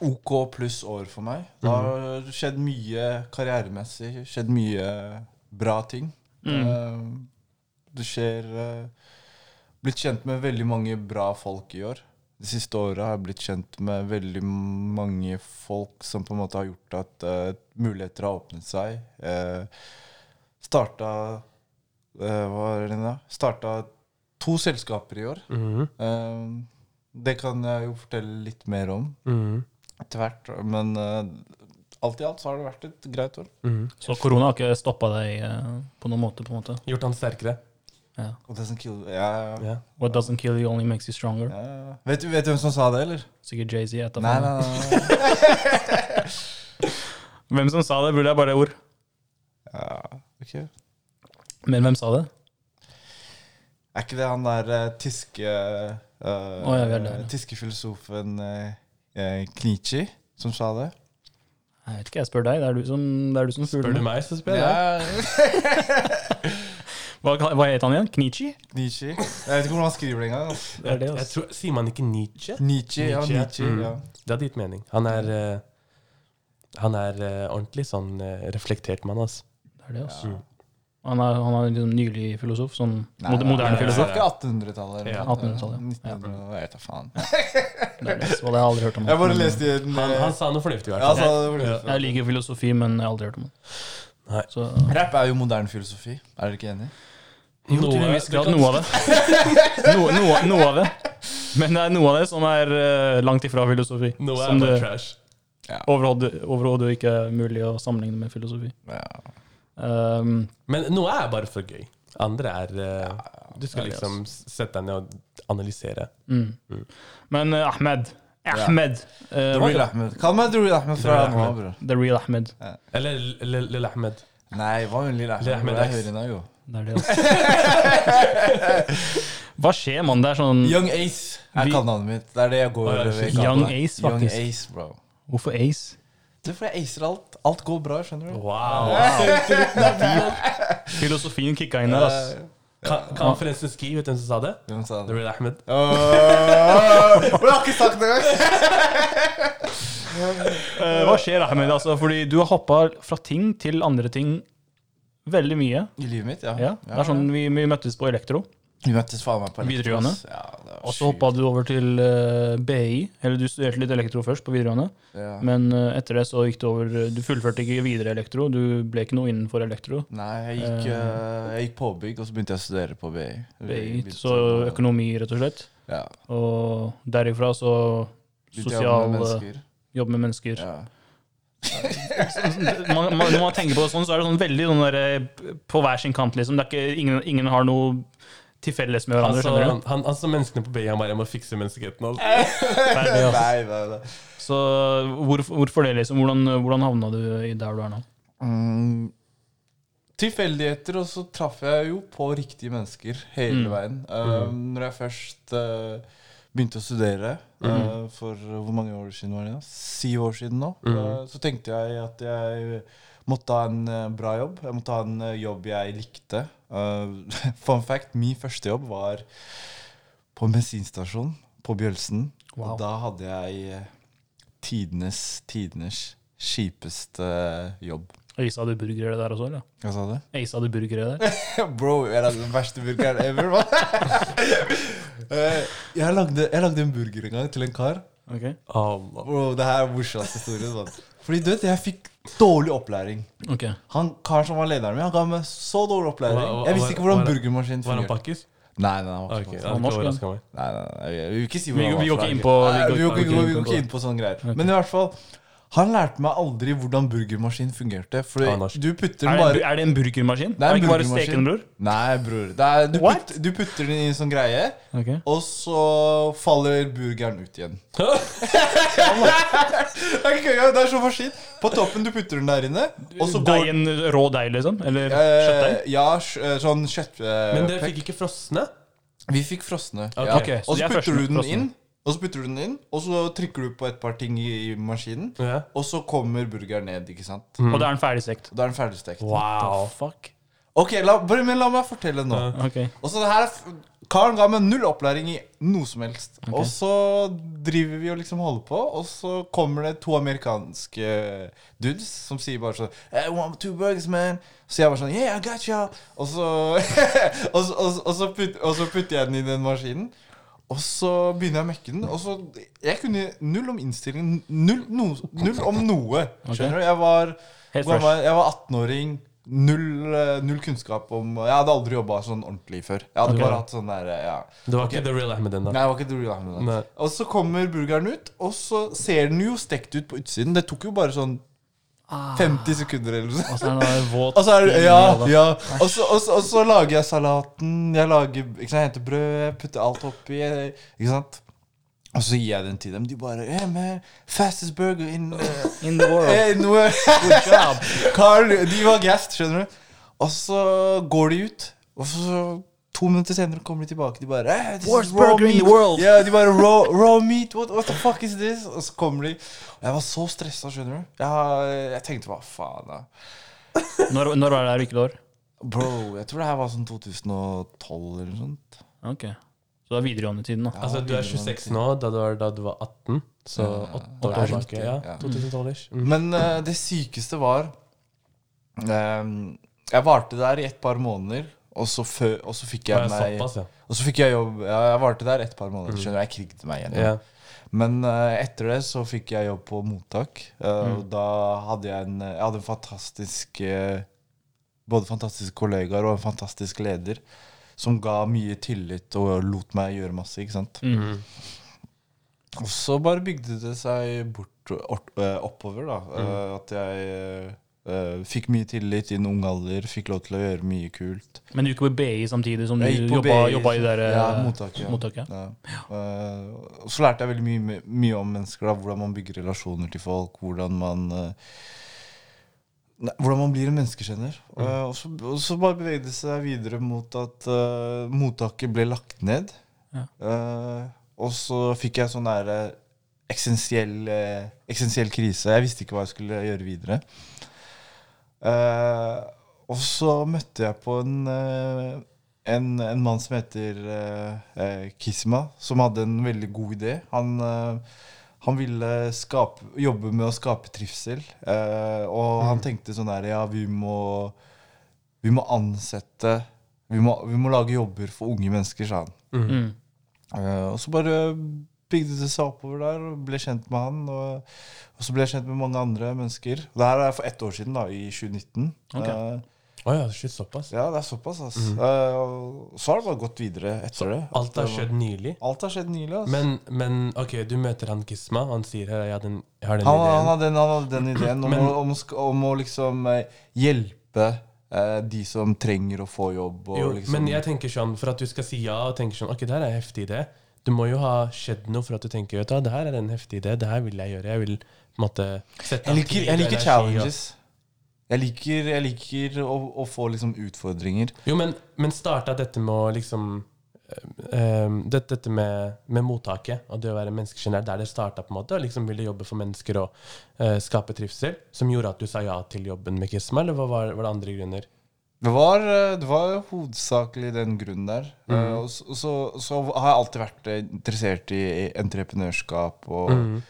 Speaker 3: OK pluss år for meg. Det har skjedd mye karrieremessig, skjedd mye bra ting. Eh, det skjer eh, Blitt kjent med veldig mange bra folk i år. De siste åra har jeg blitt kjent med veldig mange folk som på en måte har gjort at eh, muligheter har åpnet seg. Eh, starta eh, Hva er det da? Starta to selskaper i år.
Speaker 2: Mhm.
Speaker 3: Eh, det kan jeg jo fortelle litt mer om
Speaker 2: Mhm.
Speaker 3: etter hvert. Men eh, alt i alt så har det vært et greit år.
Speaker 2: Mhm.
Speaker 1: Så korona har ikke stoppa deg eh, på noen måte? på en måte.
Speaker 2: Gjort han sterkere?
Speaker 1: Ja.
Speaker 3: Og det som kill, ja, ja.
Speaker 2: Ja.
Speaker 1: What doesn't kill you only makes you stronger.
Speaker 3: ja. Vet, du- vet du hvem som sa det, eller?
Speaker 1: Sikkert Jay-Z. et av
Speaker 3: Nei,
Speaker 1: dem.
Speaker 3: nei, nei. nei.
Speaker 1: Hvem som sa det, burde jeg bare ord.
Speaker 3: ja, ok.
Speaker 1: Men hvem sa det?
Speaker 3: Er ikke det han der eh, tyske eh,
Speaker 1: Å, ja, vel, ja.
Speaker 3: Tyske filosofen eh, eh, Knichi som sa det?
Speaker 1: Jeg vet ikke, jeg spør deg. Det er du som, det er du som
Speaker 2: Spør du
Speaker 1: spør meg.
Speaker 2: meg, så spør jeg deg.
Speaker 1: Hva, hva het han igjen? Knichi?
Speaker 3: Nietzsche. Jeg vet ikke hvordan han skriver det engang. altså.
Speaker 1: Det er det,
Speaker 2: Jeg
Speaker 1: altså.
Speaker 2: tror, sier man ikke Nietzsche?
Speaker 3: Nietzsche, ja.
Speaker 2: Nietzsche.
Speaker 3: Nietzsche,
Speaker 2: Mm.
Speaker 3: ja.
Speaker 2: Det hadde gitt mening. Han er, eh, han er eh, ordentlig sånn eh, reflektert mann, altså.
Speaker 1: Det er det, altså. Han er, han er liksom nylig filosof, sånn
Speaker 3: Nei,
Speaker 1: mod-
Speaker 3: nei,
Speaker 1: moderne
Speaker 3: nei,
Speaker 1: filosof.
Speaker 2: nei.
Speaker 3: Snakker 1800-tallet. eller
Speaker 2: Ja,
Speaker 3: noe sånt.
Speaker 1: 1800-tallet, ja.
Speaker 3: 1900, jeg vet da faen.
Speaker 1: Det er det, altså. det har jeg aldri hørt om.
Speaker 3: Jeg bare leste den.
Speaker 2: Han,
Speaker 3: eh,
Speaker 2: han sa noe fornuftig, i
Speaker 3: ja,
Speaker 2: hvert fall.
Speaker 3: så det var det.
Speaker 1: Jeg liker filosofi, men jeg har aldri hørt om det.
Speaker 2: Nei.
Speaker 1: Så,
Speaker 3: Rap er jo moderne filosofi. Er dere ikke enig?
Speaker 1: jo, til en viss grad noe av det. Noe, noe, noe av det. Men det er noe av det som er eh, langt ifra filosofi.
Speaker 2: Noe er
Speaker 1: som
Speaker 2: bare
Speaker 1: det
Speaker 2: trash.
Speaker 1: overhodet overhodet ikke er mulig å sammenligne med filosofi.
Speaker 3: Ja.
Speaker 1: Um,
Speaker 2: Men noe er bare for gøy. Andre er eh, Du
Speaker 1: det er det,
Speaker 2: skal liksom s- sette deg ned og analysere.
Speaker 1: mm. Men eh, Ahmed Ahmed. eh,
Speaker 3: Drul
Speaker 1: real,
Speaker 3: Ahmed. Kall meg Drul Ahmed fra
Speaker 2: Drul
Speaker 3: nå,
Speaker 2: Ahmed.
Speaker 3: bror.
Speaker 1: the real Ahmed.
Speaker 2: Eller Lille Ahmed.
Speaker 3: Nei, hva med Lille
Speaker 2: Lille
Speaker 3: Ahmed?
Speaker 2: Ahmed
Speaker 3: Hvor er
Speaker 2: X.
Speaker 3: Høyre nå, jo?
Speaker 1: Det er det, altså. Hva skjer, mann? Det er sånn
Speaker 3: Young Ace er
Speaker 1: Vi-
Speaker 3: kallenavnet mitt. Det er det jeg
Speaker 2: Å,
Speaker 3: går
Speaker 2: ja,
Speaker 3: over.
Speaker 2: shit.
Speaker 3: kallenavnet.
Speaker 1: Young Ace, faktisk.
Speaker 3: Young Ace, bro.
Speaker 1: Hvorfor Ace?
Speaker 3: Det er fordi jeg acer alt. Alt går bra, skjønner du.
Speaker 2: Wow!
Speaker 1: Filosofien kicka inn der, ass.
Speaker 3: Eh,
Speaker 2: Kan, kan forresten ski, vet du hvem som sa det?
Speaker 3: Hvem sa det?
Speaker 2: Lille Ahmed.
Speaker 3: Åh, åh, åh, Jeg har ikke sagt det engang!
Speaker 1: Eh, hva skjer Ahmed? Altså, fordi du har hoppa fra ting til andre ting veldig mye.
Speaker 3: I livet mitt, ja.
Speaker 1: Ja, det er sånn Vi, vi møttes på Elektro,
Speaker 3: Vi møttes faen meg på Elektros.
Speaker 1: Videregående.
Speaker 3: Ja, det var
Speaker 1: og så hoppa du over til eh, BI. Eller du studerte litt elektro først på videregående,
Speaker 3: sjukt. ja.
Speaker 1: men eh, etter det så gikk du over Du fullførte ikke videre elektro, du ble ikke noe innenfor elektro.
Speaker 3: Nei, jeg gikk, eh, jeg gikk påbygg, og så begynte jeg å studere på BI.
Speaker 1: BI,
Speaker 3: Begynte
Speaker 1: så
Speaker 3: å-
Speaker 1: økonomi, rett og slett.
Speaker 3: Ja.
Speaker 1: Og derifra så
Speaker 3: begynte jeg å jobbe
Speaker 1: sosial
Speaker 3: med
Speaker 1: eh,
Speaker 3: mennesker.
Speaker 1: jobb med mennesker.
Speaker 3: Ja.
Speaker 1: man, man, når man tenker på det sånn, så er det sånn veldig sånn der, eh, på hver sin kant, liksom. Det er ikke, ingen, ingen har noe til felles med hverandre.
Speaker 2: Altså,
Speaker 1: skjønner
Speaker 2: han, han, altså menneskene på BI han bare 'Jeg må fikse menneskeheten'. Altså.
Speaker 1: du? Det er det, altså.
Speaker 3: Nei, nei, nei.
Speaker 1: Så hvorfor, hvorfor det, liksom? Hvordan, hvordan havna du i der du er nå?
Speaker 3: Mm, tilfeldigheter, og så traff jeg jo på riktige mennesker hele veien. Um, Når jeg først eh, begynte å studere, eh, for hvor mange år siden var det? nå? Syv år siden nå. eh, så tenkte jeg at jeg måtte ha en eh, bra jobb. Jeg måtte ha en eh, jobb jeg likte. Eh, fun fact, min første jobb var på en bensinstasjon på Bjølsen.
Speaker 1: Wow.
Speaker 3: Og da hadde jeg eh, tidenes, tidenes kjipeste uh, jobb.
Speaker 1: Isa du burgere der også, eller?
Speaker 3: Hva sa du?
Speaker 1: Isa du burgere der?
Speaker 3: Bro, jeg lagde den verste burgeren ever. hva? Eh, jeg, lagde, jeg lagde en burger en gang til en kar.
Speaker 1: Ok.
Speaker 2: Allah.
Speaker 3: Bro, det her er morsomste historien. mann. Fordi du vet, jeg fikk dårlig opplæring.
Speaker 1: Ok.
Speaker 3: Han karen som var lederen min, han ga meg så dårlig opplæring.
Speaker 2: Hva- hva-
Speaker 3: Jeg visste ikke
Speaker 2: var-
Speaker 3: hvordan
Speaker 2: var-
Speaker 3: burgermaskinen
Speaker 2: Var han
Speaker 3: fungerte.
Speaker 2: pakkis?
Speaker 3: Nei, nei, han var
Speaker 2: Ok,
Speaker 3: ikke
Speaker 2: det
Speaker 3: faktisk-
Speaker 2: hadde
Speaker 1: Han
Speaker 2: ikke
Speaker 1: norsk,
Speaker 2: overraska meg.
Speaker 3: nei, nei, nei, jeg vil ikke si
Speaker 1: Vi,
Speaker 3: hvordan han
Speaker 1: vi
Speaker 3: var
Speaker 1: går
Speaker 3: fra
Speaker 1: ikke inn
Speaker 3: Norge.
Speaker 1: på
Speaker 3: Nei, Vi går ikke- vi
Speaker 1: inn
Speaker 3: går
Speaker 1: på-
Speaker 3: ikke inn på sånne greier. Men i hvert fall, Han lærte meg aldri hvordan burgermaskin fungerte. For
Speaker 1: Ah,
Speaker 2: Han er norsk.
Speaker 3: du putter
Speaker 1: Er det,
Speaker 3: den
Speaker 1: en bu-
Speaker 3: bare
Speaker 1: er det en burgermaskin?
Speaker 3: Det er en
Speaker 1: ikke bare
Speaker 3: burgermaskin.
Speaker 1: steken, bror?
Speaker 3: Nei, bror. Det er, du,
Speaker 1: What?
Speaker 3: putter, du putter den i en sånn greie,
Speaker 1: Ok.
Speaker 3: og så faller burgeren ut igjen. Det er ikke engang- det er så maskin. På toppen du putter den der inne, og så går
Speaker 1: Deigen, rå deig, liksom? Eller kjøttdeig?
Speaker 3: Eh, ja, sj- eh, sånn kjøtt... eh,
Speaker 2: Men dere fikk ikke frosne?
Speaker 3: Vi fikk frosne.
Speaker 2: Ok.
Speaker 3: Ja.
Speaker 1: Ok, så
Speaker 3: og
Speaker 1: de
Speaker 3: så
Speaker 1: er
Speaker 3: putter
Speaker 1: frosne-
Speaker 3: du den
Speaker 1: frosne.
Speaker 3: inn, og så putter du den inn, og så trykker du på et par ting i, i maskinen,
Speaker 2: Ja.
Speaker 3: og så kommer burgeren ned, ikke sant?
Speaker 1: Og det er en ferdig stekt?
Speaker 3: Og da er den ferdigstekt.
Speaker 1: Wow. Fuck.
Speaker 3: Ok, la, bare, men la meg fortelle nå.
Speaker 1: Ok.
Speaker 3: Og så det her, er f- Karen ga meg null opplæring i noe som helst. Og så driver vi og liksom holder på, og så kommer det to amerikanske dudes som sier bare sånn I want two burgers, man. Så jeg bare sånn Yeah, I got you. Og så, og, så- og, så- og, så putt, og så putter jeg den i den maskinen. Og så begynner jeg å mekke den. Og så, Jeg kunne null om innstillingen. Null, no, null om noe. Skjønner du? Jeg var,
Speaker 1: Helt
Speaker 3: hvor
Speaker 1: fresh.
Speaker 3: gammel- jeg var 18-åring. Null, eh, null kunnskap om Jeg hadde aldri jobba sånn ordentlig før. Jeg hadde
Speaker 1: Ok.
Speaker 3: bare hatt sånn der eh, ja.
Speaker 2: Det var ikke The Real Ahmed ennå.
Speaker 3: Nei, jeg var ikke Drew Lahmland.
Speaker 2: Nei.
Speaker 3: Og så kommer burgeren ut, og så ser den jo stekt ut på utsiden. Det tok jo bare sånn
Speaker 1: Ah.
Speaker 3: 50 sekunder eller noe sånt.
Speaker 1: Og så er den der våt
Speaker 3: Og så, er, det-
Speaker 1: inni
Speaker 3: ja,
Speaker 1: alle.
Speaker 3: ja. Og, så, og, så, og så lager jeg salaten. Jeg lager, ikke sant, jeg henter brød, jeg putter alt oppi. jeg- Ikke sant? Og så gir jeg den til dem. De bare yeah, man, 'Fastest burger in, eh,
Speaker 1: In the world.
Speaker 3: in the world."
Speaker 1: Good job.
Speaker 3: Carl, de var gassed, skjønner du. Og så går de ut, og så to minutter senere kommer de tilbake. De bare eh, this is
Speaker 1: Worst
Speaker 3: raw
Speaker 1: burger in the
Speaker 3: meat.
Speaker 1: world.
Speaker 3: Ja, de bare raw, raw meat, what, what the fuck is this? Og så kommer de. Og jeg var så stressa, skjønner du. Jeg, jeg tenkte hva faen, da.
Speaker 1: Når, når var det her? Hvilket år?
Speaker 3: Bro, jeg tror det her var sånn 2012 eller noe sånt.
Speaker 1: Ok. Så det er videregående-tiden, da.
Speaker 2: Altså, du er 26 nå, da du var, da du var 18. Så åtte år
Speaker 3: det er
Speaker 2: tilbake.
Speaker 3: riktig,
Speaker 2: Ja,
Speaker 3: ja.
Speaker 2: 2012-ish. Mm.
Speaker 3: Men eh, det sykeste var ehm, Jeg varte der i et par måneder, og så, fø, og så fikk
Speaker 2: Ja,
Speaker 3: jeg meg
Speaker 2: såpass, ja.
Speaker 3: Og så fikk jeg jobb. Ja, jeg varte der et par
Speaker 1: Mm.
Speaker 3: måneder. Skjønner du, Jeg kriget meg igjen.
Speaker 2: ja.
Speaker 3: Men eh, etter det så fikk jeg jobb på mottak. eh,
Speaker 1: Mm.
Speaker 3: Og da hadde jeg en, jeg hadde en fantastisk eh, Både fantastiske kollegaer og en fantastisk leder som ga mye tillit og lot meg gjøre masse. ikke sant?
Speaker 1: Mm.
Speaker 3: Og så bare bygde det seg bort, ort- eh, oppover, da.
Speaker 1: Mm.
Speaker 3: eh, At jeg eh, fikk mye tillit i en ung alder, fikk lov til å gjøre mye kult.
Speaker 1: Men du gikk på BI samtidig som du
Speaker 3: Jeg gikk på
Speaker 1: jobba,
Speaker 3: BI,
Speaker 1: jobba i det der eh,
Speaker 3: ja, mottaket, ja.
Speaker 1: mottaket.
Speaker 3: Ja. Eh, og så lærte jeg veldig mye, mye om mennesker. Da, hvordan man bygger relasjoner til folk. Hvordan man eh, nei, Hvordan man blir en menneskekjenner. Eh, og, så, og så bare bevegde det seg videre mot at eh, mottaket ble lagt ned.
Speaker 1: Ja.
Speaker 3: Eh, og så fikk jeg sånn derre eksistensiell, eh, eksistensiell krise. Jeg visste ikke hva jeg skulle gjøre videre. Eh, og så møtte jeg på en, eh, en, en mann som heter eh, eh, Kisma, som hadde en veldig god idé. Han, eh, han ville skape, jobbe med å skape trivsel, eh, og han tenkte sånn her Ja, vi må, vi må ansette vi må, vi må lage jobber for unge mennesker, sa han.
Speaker 1: Mm.
Speaker 3: Eh, og så bare bygde det seg oppover der, og ble kjent med han. Og, og så ble jeg kjent med mange andre mennesker. Det her er for ett år siden, da, i 2019.
Speaker 1: Ok.
Speaker 3: Eh,
Speaker 2: Å ja, shit, såpass.
Speaker 3: ja, det er såpass, ass. Eh, og så har det bare gått videre etter det.
Speaker 2: Mhm. Alt har skjedd nylig.
Speaker 3: Alt har skjedd nylig, ass.
Speaker 2: Men, men OK, du møter han Kisma, og han sier her, jeg har den, jeg har den
Speaker 3: han, han,
Speaker 2: ideen.
Speaker 3: hadde den, han hadde den ideen om,
Speaker 2: Men-
Speaker 3: å, om, å sk- om å liksom eh, hjelpe eh, de som trenger å få jobb. Og
Speaker 2: Jo,
Speaker 3: liksom,
Speaker 2: men jeg tenker sånn, for at du skal si ja, og tenker sånn OK, det her er en heftig idé. Du må jo ha skjedd noe for at du tenker vet du, hva, det her er en heftig idé, det her vil jeg gjøre. Jeg vil på en måte sette
Speaker 3: jeg
Speaker 2: av
Speaker 3: liker,
Speaker 2: tid og
Speaker 3: jeg
Speaker 2: energi
Speaker 3: liker
Speaker 2: og-
Speaker 3: challenges. Jeg liker, jeg liker å, å få liksom utfordringer.
Speaker 2: Jo, men, men starta dette med å liksom eh, eh, det, Dette med, med mottaket og det å være menneskekjenner, der det starta, på en måte, og liksom ville jobbe for mennesker og eh, skape trivsel, som gjorde at du sa ja til jobben med Kisma, eller hva var, var det andre grunner?
Speaker 3: Det var, eh, det var hovedsakelig den grunnen der.
Speaker 2: Mhm.
Speaker 3: Eh, Og så, og så, så har jeg alltid vært eh, interessert i i entreprenørskap
Speaker 2: Mhm.
Speaker 3: og,
Speaker 2: Mm.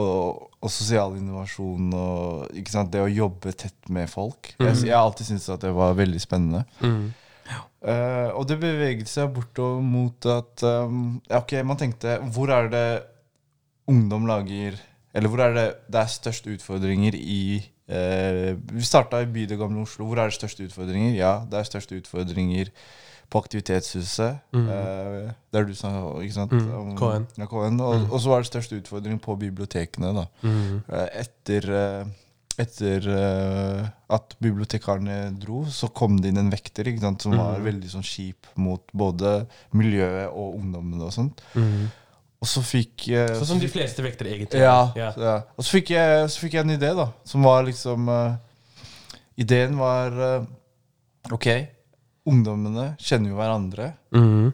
Speaker 3: og, og sosial innovasjon og ikke sant, det å jobbe tett med folk. Jeg, jeg har alltid syntes at det var veldig spennende.
Speaker 2: Mm.
Speaker 3: Eh, og det beveget seg bortover mot at um, ja, Ok, man tenkte Hvor er det ungdom lager Eller hvor er det det er størst utfordringer i eh, Vi starta i by det gamle Oslo. Hvor er det størst utfordringer? Ja, det er størst utfordringer på Aktivitetshuset. eh, der du sa ikke sant,
Speaker 2: Mm,
Speaker 3: om-
Speaker 2: KN.
Speaker 3: Ja, KN. Og, og så var det største utfordring på bibliotekene. da.
Speaker 2: Mm.
Speaker 3: Eh, Etter, eh, etter eh, at bibliotekarene dro, så kom det inn en vekter ikke sant, som
Speaker 2: Mm.
Speaker 3: var veldig sånn kjip mot både miljøet og ungdommene. og sånt.
Speaker 2: Mm.
Speaker 3: Og så fikk eh,
Speaker 2: Sånn som de fleste vektere egentlig
Speaker 3: ja,
Speaker 2: Ja.
Speaker 3: ja. Og så fikk, jeg, så fikk jeg en idé, da. Som var liksom eh, Ideen var eh, OK, ungdommene kjenner jo hverandre.
Speaker 2: Mm.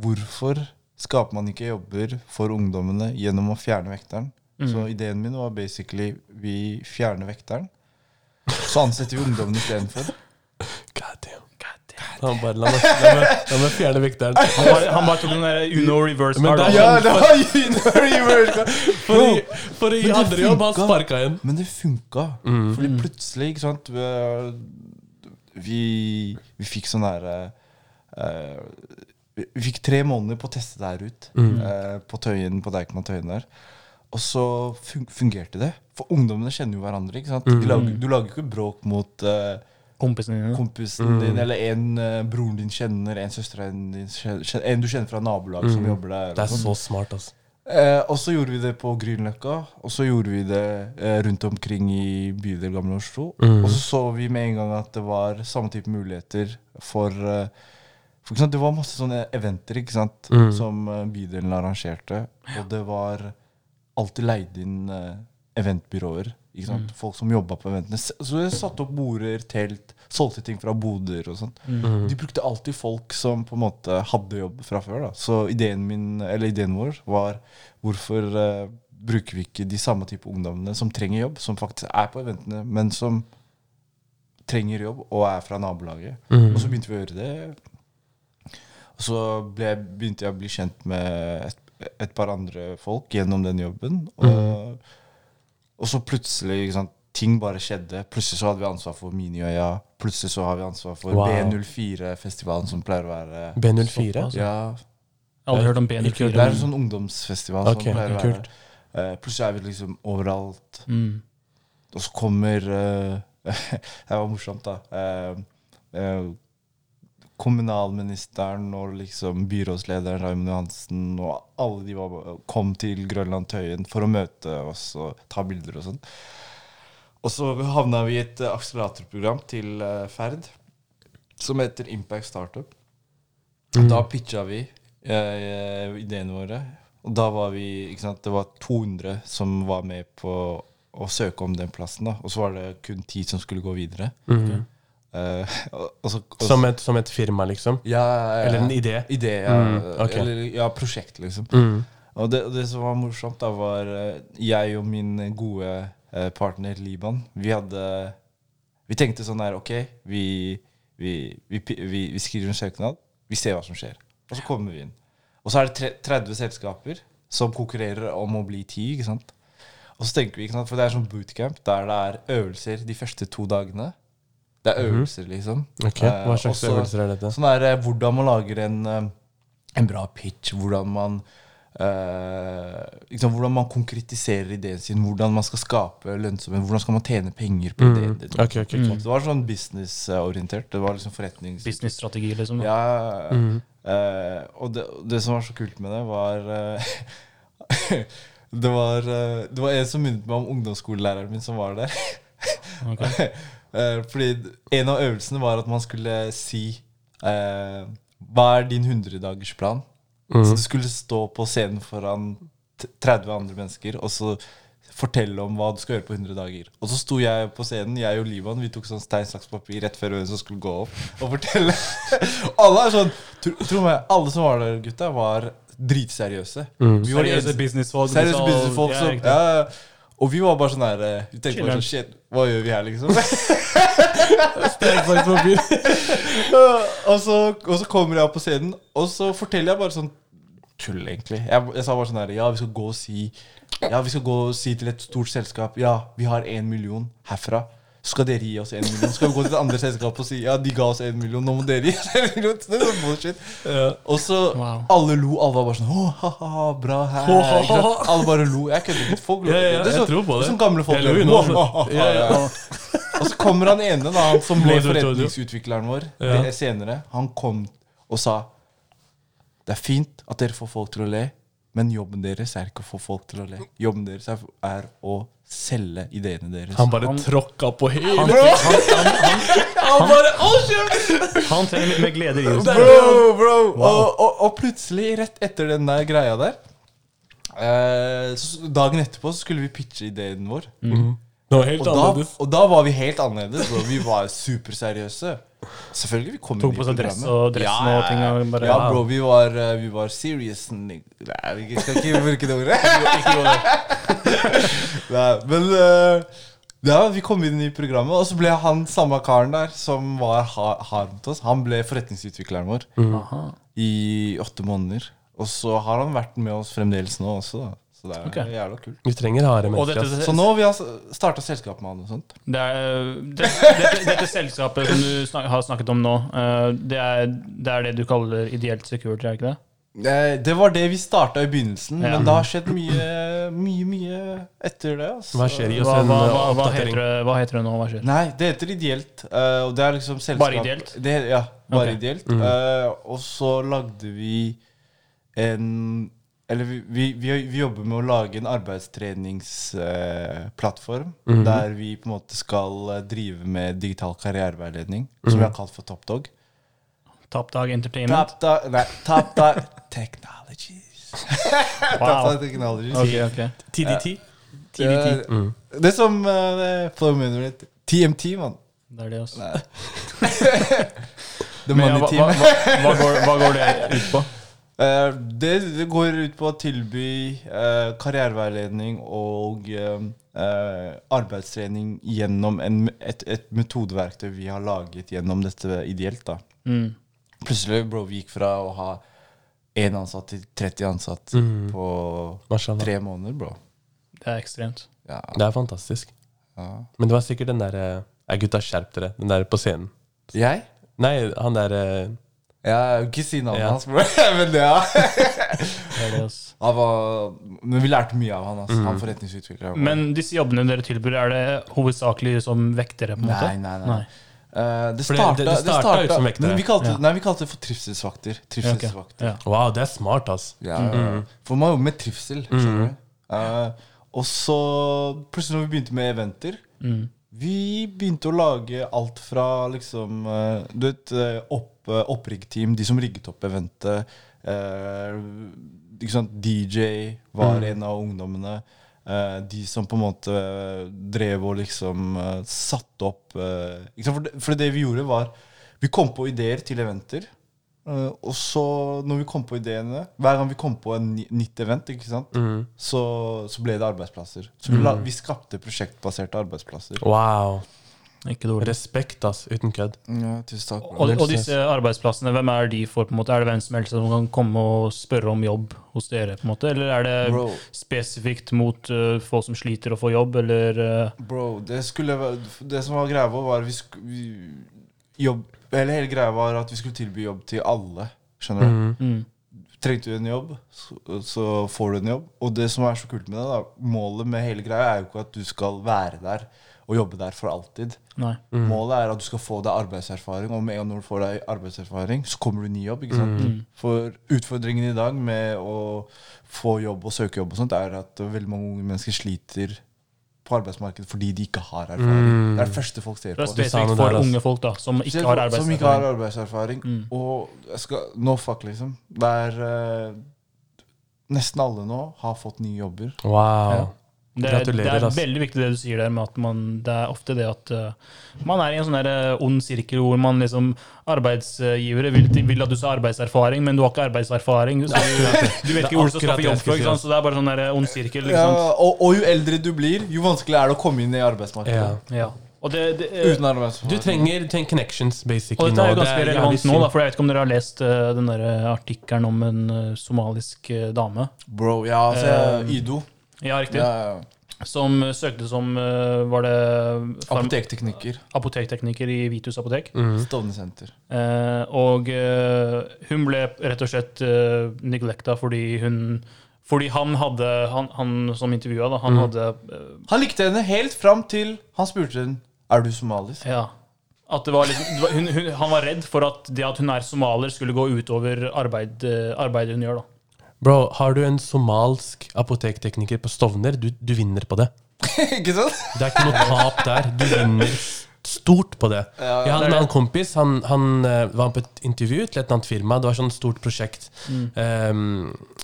Speaker 3: Hvorfor skaper man ikke jobber for ungdommene gjennom å fjerne vekteren?
Speaker 1: Mm.
Speaker 3: Så ideen min var basically vi fjerner vekteren. Så ansetter vi ungdommen istedenfor.
Speaker 2: God damn. Han bare, la meg, la meg, la meg fjerne vekteren.
Speaker 1: Han bare, han bare tok den der Uno reverse
Speaker 2: Men
Speaker 1: card.
Speaker 2: det er-
Speaker 1: altså.
Speaker 2: Ja, det
Speaker 3: var universe.
Speaker 2: For å gi- For å gi
Speaker 3: Men det
Speaker 2: andre jobb, han
Speaker 3: funka.
Speaker 2: sparka en.
Speaker 3: Men det funka. Fordi plutselig, ikke sant Vi, vi fikk sånn derre vi, vi fikk tre måneder på å teste det her ut.
Speaker 2: Mm.
Speaker 3: eh, på Tøyen, på Deichman Tøyen der. Og så fun fungerte det. For ungdommene kjenner jo hverandre. ikke sant? De lager, du lager jo ikke bråk mot eh,
Speaker 1: Kompisene
Speaker 2: Mm.
Speaker 1: dine.
Speaker 3: kompisen din, eller en eh, broren din kjenner, en søsteren din kjen- kjen- En du kjenner fra nabolaget som jobber der.
Speaker 2: Mm. Det
Speaker 3: og
Speaker 2: er
Speaker 3: sånn.
Speaker 2: så smart, altså.
Speaker 3: Eh, og så gjorde vi det på Grünerløkka, og så gjorde vi det eh, rundt omkring i bydel Gamle Oslo.
Speaker 2: Mm.
Speaker 3: Og så så vi med en gang at det var samme type muligheter for eh, for ikke sant, Det var masse sånne eventer ikke sant, som eh, bydelen arrangerte, og det var alltid leid inn eh, eventbyråer. Ikke sant? Folk som jobba på eventene. S- Så de satte opp border, telt, solgte ting fra boder og sånn. sånt.
Speaker 1: Mm.
Speaker 2: Mm. Mhm.
Speaker 3: De brukte alltid folk som på en måte hadde jobb fra før. Da. Så ideen min, eller ideen vår, var hvorfor eh, bruker vi ikke de samme type ungdommene som trenger jobb, som faktisk er på eventene, men som trenger jobb og er fra nabolaget.
Speaker 2: Mm.
Speaker 3: Og så begynte vi å gjøre det. Og så ble, begynte jeg å bli kjent med et, et par andre folk gjennom den jobben. Og,
Speaker 2: Mm.
Speaker 3: og så plutselig ikke sant, Ting bare skjedde. Plutselig så hadde vi ansvar for Miniøya. Plutselig så har vi ansvar for
Speaker 2: Wow.
Speaker 3: B04-festivalen, som pleier å være sånn-
Speaker 2: B04.
Speaker 1: Såpass,
Speaker 3: Ja,
Speaker 1: Jeg har Aldri hørt om
Speaker 2: Ikke
Speaker 1: B04.
Speaker 3: Det er en sånn ungdomsfestival
Speaker 2: Ok,
Speaker 3: som pleier å være.
Speaker 2: kult.
Speaker 3: Eh, plutselig er vi liksom overalt.
Speaker 1: Mm.
Speaker 3: Og så kommer eh, Det var morsomt, da. Eh, eh, kommunalministeren og liksom byrådslederen Raymond Johansen og alle de var, kom til Grønland Tøyen for å møte oss og ta bilder og sånn. Og så havna vi i et eh, akseleratorprogram til eh, Ferd som heter Impact Startup.
Speaker 2: Mm.
Speaker 3: Da pitcha vi eh, ideene våre. Og da var vi ikke sant, Det var 200 som var med på å søke om den plassen. da Og så var det kun 10 som skulle gå videre. Eh, og, og så, og,
Speaker 2: Mm. Som et, som et firma, liksom.
Speaker 3: ja, ja, ja.
Speaker 2: Eller en idé.
Speaker 3: Idé, ja.
Speaker 2: Mm, ok.
Speaker 3: Eller ja, prosjekt, liksom.
Speaker 2: mm.
Speaker 3: Og det, og det som var morsomt, da var eh, jeg og min gode eh, partner Liban Vi hadde Vi tenkte sånn her Ok, vi, vi, vi, pi- vi, vi skriver en søknad, vi ser hva som skjer. Og så kommer vi inn. Og så er det tre- 30 selskaper som konkurrerer om å bli 10, ikke sant. Og så tenker vi, ikke sant, for det er sånn bootcamp der det er øvelser de første to dagene. Det er øvelser, liksom.
Speaker 2: Ok,
Speaker 3: Eh,
Speaker 2: Hva slags
Speaker 3: og så-
Speaker 2: øvelser er dette?
Speaker 3: Sånn er eh, hvordan man lager en, eh, en bra pitch, hvordan man eh, ikke sant, Hvordan man konkretiserer ideen sin, hvordan man skal skape lønnsomhet, hvordan skal man tjene penger på ideen din.
Speaker 2: Mm. Ok, ok, ok.
Speaker 3: Det var sånn businessorientert. Det var liksom forretnings...
Speaker 1: Businessstrategi, liksom.
Speaker 3: Ja,
Speaker 2: Mm.
Speaker 3: eh, og det, og det som var så kult med det, var eh, det, var eh, det var en som minnet meg om ungdomsskolelæreren min som var der.
Speaker 1: Ok.
Speaker 3: Eh, Fordi en av øvelsene var at man skulle si eh, Hva er din 100-dagersplan?
Speaker 2: Mhm. Mm.
Speaker 3: Så du skulle stå på scenen foran t- 30 andre mennesker og så fortelle om hva du skal gjøre på 100 dager. Og så sto jeg på scenen, jeg og Livan, vi tok sånn stein, saks, papir rett før hvem som skulle gå opp og fortelle. alle er sånn tro, tro meg, alle som var der, gutta, var dritseriøse. Vi var de
Speaker 1: Seriøse
Speaker 3: eneste-
Speaker 1: businessfolk.
Speaker 3: Seriøse
Speaker 1: som-
Speaker 3: businessfolk
Speaker 1: Ja,
Speaker 3: som
Speaker 1: riktig.
Speaker 3: ja, ja. Og vi var bare sånn her eh, Vi tenkte bare sånn Shit, hva gjør vi her, liksom? og, så, og så kommer jeg opp på scenen, og så forteller jeg bare sånn Tull, egentlig. Jeg, jeg sa bare sånn her Ja, vi skal gå og si Ja, vi skal gå og si til et stort selskap Ja, vi har en million herfra. Så skal dere gi oss en million. Så skal vi gå til et andre selskap og si Ja, de ga oss en million, nå må dere gi oss en million. Så Det er sånn bullshit. Og så
Speaker 1: Wow.
Speaker 3: alle lo. Alle var bare sånn Å, ha-ha, bra her.
Speaker 2: Å, ha,
Speaker 3: Ikke
Speaker 2: ha,
Speaker 3: sant?
Speaker 2: ha.
Speaker 3: Alle bare lo. Jeg kødder ikke. Folk lo.
Speaker 2: Ja, ja,
Speaker 3: er
Speaker 2: jeg
Speaker 3: så-
Speaker 2: tror på
Speaker 3: er
Speaker 2: det.
Speaker 3: sånn gamle folk
Speaker 2: Jeg lo jo
Speaker 3: gjør.
Speaker 2: nå.
Speaker 3: Å, å, å, å,
Speaker 2: Ja, ja.
Speaker 3: ja. Og så kommer han ene, da, han som ble
Speaker 2: Mojo Jojo.
Speaker 3: forretningsutvikleren vår
Speaker 2: Ja.
Speaker 3: det- senere. Han kom og sa det er fint at dere får folk til å le, men jobben deres er ikke å få folk til å le. Jobben deres er, er å selge ideene deres.
Speaker 2: Han bare
Speaker 1: Han-
Speaker 2: tråkka på hele
Speaker 1: Han,
Speaker 2: Bro,
Speaker 1: han, han, han,
Speaker 2: han bare Å, shit!
Speaker 1: han trenger litt mer glede i livet.
Speaker 3: Bro, bro! Og, og, og plutselig, rett etter den der greia der eh, så, Dagen etterpå så skulle vi pitche ideen vår.
Speaker 2: Noe helt
Speaker 3: Og da,
Speaker 2: annerledes.
Speaker 3: og da var vi helt annerledes. Og vi var superseriøse. Selvfølgelig, vi kom
Speaker 1: Tok
Speaker 3: inn
Speaker 1: på
Speaker 3: i
Speaker 1: seg dress
Speaker 3: programmet.
Speaker 1: og dressen og ting og bare-
Speaker 3: ja, bro, vi var, eh, vi var serious and- Nei, vi skal ikke bruke det ordet. Nei, men eh, ja, vi kom inn i programmet, og så ble han samme karen der som var ha- hard mot oss, han ble forretningsutvikleren vår
Speaker 1: Aha.
Speaker 3: i åtte måneder. Og så har han vært med oss fremdeles nå også, da. Så det er jævla kult.
Speaker 2: Vi trenger harde
Speaker 1: Og
Speaker 2: mennesker.
Speaker 1: dette,
Speaker 2: ass.
Speaker 3: Så nå vi har starta selskap med han og sånt.
Speaker 1: det er, dette, dette, dette selskapet som du snak, har snakket om nå, eh, det er, det er det du kaller ideelt security, er ikke det?
Speaker 3: Eh, Det var det vi starta i begynnelsen,
Speaker 1: Ja.
Speaker 3: men det har skjedd mye, mye, mye etter det. altså.
Speaker 2: Hva skjer? Gi oss
Speaker 1: Hva,
Speaker 2: en
Speaker 1: hva, hva,
Speaker 2: uh,
Speaker 1: hva, heter,
Speaker 2: oppdatering.
Speaker 1: det, hva heter det nå? Hva skjer?
Speaker 3: Nei, det heter Ideelt. eh, og det er liksom selskap
Speaker 1: Bare ideelt?
Speaker 3: Det, ja, bare
Speaker 1: Ok. Mm.
Speaker 3: ideelt. Eh, og så lagde vi en Eller vi, vi, vi, vi jobber med å lage en arbeidstreningsplattform
Speaker 1: Mhm.
Speaker 3: der vi på en måte skal eh, drive med digital karriereveiledning, som
Speaker 1: Mhm.
Speaker 3: vi har kalt for TopDog.
Speaker 1: Top Dog Entertainment?
Speaker 3: TopDog Nei, TopDog Technologies.
Speaker 1: Wow.
Speaker 3: TopDog Technologies. eh,
Speaker 1: Ok, ok.
Speaker 2: TDT.
Speaker 1: TDT.
Speaker 2: Mm.
Speaker 3: Det, det er som eh, det- Flow Moon TMT, mann.
Speaker 1: Det er det også.
Speaker 3: The
Speaker 1: Men ja,
Speaker 3: Money
Speaker 1: hva,
Speaker 3: Team.
Speaker 1: hva, hva, hva, går, hva går det ut på?
Speaker 3: Eh, det, det går ut på å tilby eh, karriereveiledning og eh, eh, arbeidstrening gjennom en, et, et metodeverktøy vi har laget gjennom dette ideelt. da.
Speaker 1: Mm.
Speaker 3: Plutselig bro, vi gikk fra å ha én ansatt til 30 ansatt
Speaker 1: Mm.
Speaker 3: på
Speaker 2: Mashallah.
Speaker 3: tre måneder, bro.
Speaker 1: Det er ekstremt.
Speaker 3: Ja,
Speaker 2: Det er fantastisk.
Speaker 3: ja.
Speaker 2: Men det var sikkert den der eh, Nei, gutta, skjerp dere. Den der på scenen.
Speaker 3: Jeg?
Speaker 2: Nei, han der eh,
Speaker 3: Ja, ikke si navnet
Speaker 2: Ja.
Speaker 3: hans, bro. Men det, ja.
Speaker 1: Det er det også.
Speaker 3: Han var, men vi lærte mye av han. Altså. Han forretningsutvikler.
Speaker 1: Mm. Men disse jobbene dere tilbyr, er det hovedsakelig som vektere? på en måte?
Speaker 3: Nei, nei, nei. Eh, det
Speaker 2: For det-
Speaker 3: starta,
Speaker 2: det-
Speaker 3: det,
Speaker 2: det starta
Speaker 3: starta,
Speaker 2: ut som vektere.
Speaker 3: men vi kalte,
Speaker 1: Ja.
Speaker 3: Nei, vi kalte det for trivselsvakter.
Speaker 1: Ja, ok.
Speaker 3: Trivselsvakter.
Speaker 1: Ja.
Speaker 2: Wow, det er smart, ass.
Speaker 3: Ja,
Speaker 2: Mm-hmm.
Speaker 3: For man jobber med trivsel. skjønner du. Eh, og så plutselig når vi begynte med eventer
Speaker 1: Mm,
Speaker 3: Vi begynte å lage alt fra liksom eh, Du vet, eh, opp, eh, oppriggteam, de som rigget opp eventet. eh, ikke sant, DJ var en av ungdommene. eh, de som på en måte drev og liksom eh, satte opp eh, ikke sant? For, det, for det vi gjorde, var Vi kom på ideer til eventer. Eh, og så, når vi kom på ideene Hver gang vi kom på en ny- nytt event, ikke sant?
Speaker 2: Mm.
Speaker 3: Så, så ble det arbeidsplasser. Så vi, la, vi skapte prosjektbaserte arbeidsplasser.
Speaker 2: Wow.
Speaker 1: Ikke dårlig.
Speaker 2: Respekt, ass. Uten kødd.
Speaker 3: Ja, tusen takk. bro.
Speaker 1: Og, og disse arbeidsplassene, hvem er de for? på en måte? Er det hvem som helst som kan komme og spørre om jobb hos dere? på en måte? Eller er det
Speaker 3: Bro.
Speaker 1: spesifikt mot eh, folk som sliter å få jobb, eller eh,
Speaker 3: Bro, det, skulle, være- det som var greia vår, var vi, sku- vi jobb, Eller hele greia var at vi skulle tilby jobb til alle. Skjønner du?
Speaker 1: mm.
Speaker 3: Trengte du en jobb, så, så får du en jobb. Og det som er så kult med det, da, målet med hele greia er jo ikke at du skal være der og jobbe der for alltid.
Speaker 1: Nei.
Speaker 3: Målet er at du skal få deg arbeidserfaring, og med en gang når du får deg arbeidserfaring, så kommer du i ny jobb. ikke sant?
Speaker 1: Mm.
Speaker 3: For utfordringen i dag med å få jobb og søke jobb og sånt, er at veldig mange unge mennesker sliter på arbeidsmarkedet fordi de ikke har erfaring.
Speaker 1: Mm.
Speaker 3: Det er det første folk ser
Speaker 1: Det
Speaker 3: på.
Speaker 1: er
Speaker 2: sa noe
Speaker 1: spesifikt for
Speaker 2: der, ass.
Speaker 1: unge folk da, som ikke
Speaker 3: Spesielt
Speaker 1: har Mm.
Speaker 3: folk Som ikke har
Speaker 1: arbeidserfaring.
Speaker 3: arbeidserfaring. Og jeg skal, no fuck, liksom. Det er eh, Nesten alle nå har fått nye jobber.
Speaker 2: Wow.
Speaker 1: Det er, det
Speaker 2: Gratulerer,
Speaker 1: er
Speaker 2: ass.
Speaker 1: veldig viktig det du sier der, med at man, det er ofte det at eh, man er i en sånn der, eh, ond sirkel hvor man liksom Arbeidsgivere vil, vil at du skal ha arbeidserfaring, men du har ikke arbeidserfaring. Så du, du vet
Speaker 2: Det er
Speaker 1: ikke hvor du skal
Speaker 2: akkurat
Speaker 1: skaffe
Speaker 2: det jeg
Speaker 1: jobb
Speaker 2: skulle
Speaker 1: for,
Speaker 2: si,
Speaker 1: ikke sant? så det er bare sånn der eh, ond sirkel. Ikke
Speaker 3: Ja,
Speaker 1: sant?
Speaker 3: og, og jo eldre du blir, jo vanskeligere er det å komme inn i
Speaker 2: Ja.
Speaker 3: arbeidsmarkedet.
Speaker 1: Ja. Og det, det, eh,
Speaker 3: Uten
Speaker 2: Du
Speaker 3: arbeidserfaring.
Speaker 2: trenger, du trenger connections, basically.
Speaker 1: Og dette er jo
Speaker 2: nå.
Speaker 1: ganske
Speaker 2: Det er
Speaker 1: relevant
Speaker 2: jævlig
Speaker 1: nå, da,
Speaker 2: synd.
Speaker 1: for jeg vet ikke om dere har lest eh, den der artikkelen om en eh, somalisk eh, dame.
Speaker 3: Bro, ja, altså,
Speaker 1: Eh,
Speaker 3: jeg- Ido.
Speaker 1: Ja, riktig.
Speaker 3: Ja, ja.
Speaker 1: Som eh, søkte som eh, Var det farm-
Speaker 3: Apotekteknikker.
Speaker 1: apotektekniker i Vitus apotek.
Speaker 2: Mm.
Speaker 3: Stovnesenter.
Speaker 1: Eh, og eh, hun ble rett og slett eh, neglecta fordi hun fordi han hadde Han, han som intervjua, da, han hadde eh,
Speaker 3: Han likte henne helt fram til han spurte henne Er du somalisk.
Speaker 1: Ja. At det var litt, det var- hun, hun, han var redd for at det at hun er somalier, skulle gå utover arbeid, eh, arbeidet hun gjør. da.
Speaker 2: Bro, har du en somalsk apotektekniker på Stovner, du, du vinner på det.
Speaker 3: ikke sant?
Speaker 2: Det er ikke noe tap der. Du vinner stort på det. Jeg hadde en annen kompis. Han, han eh, var på et intervju til et eller annet firma. Det var sånn stort prosjekt. Um,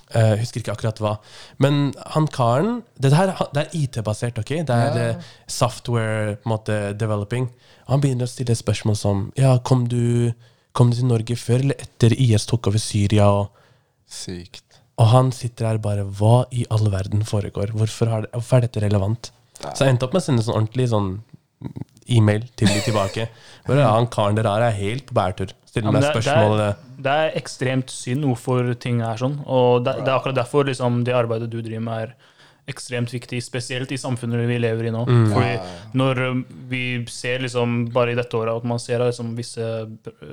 Speaker 2: eh, husker ikke akkurat hva. Men han karen Det, her, det er IT-basert, ok? Det er eh, software på en måte, developing. Han begynner å stille spørsmål som Ja, kom du, kom du til Norge før eller etter IS tok over Syria? og
Speaker 3: Sykt.
Speaker 2: og han sitter her bare Hva i all verden foregår? Hvorfor, har det, hvorfor er dette relevant? Så jeg endte opp med å sende sånn ordentlig sånn e-mail til de tilbake. Hvor ja, han karen dere har, er helt på bærtur. Stiller
Speaker 1: Ja, men
Speaker 2: meg
Speaker 1: det- det er-
Speaker 2: spørsmål eh,
Speaker 1: Det er ekstremt synd hvorfor ting er sånn. Og det, det er akkurat derfor liksom, det arbeidet du driver med, er ekstremt viktig, spesielt i samfunnet vi lever i nå.
Speaker 3: Mm.
Speaker 1: Fordi når um, vi ser liksom, bare i dette året at man ser at liksom, visse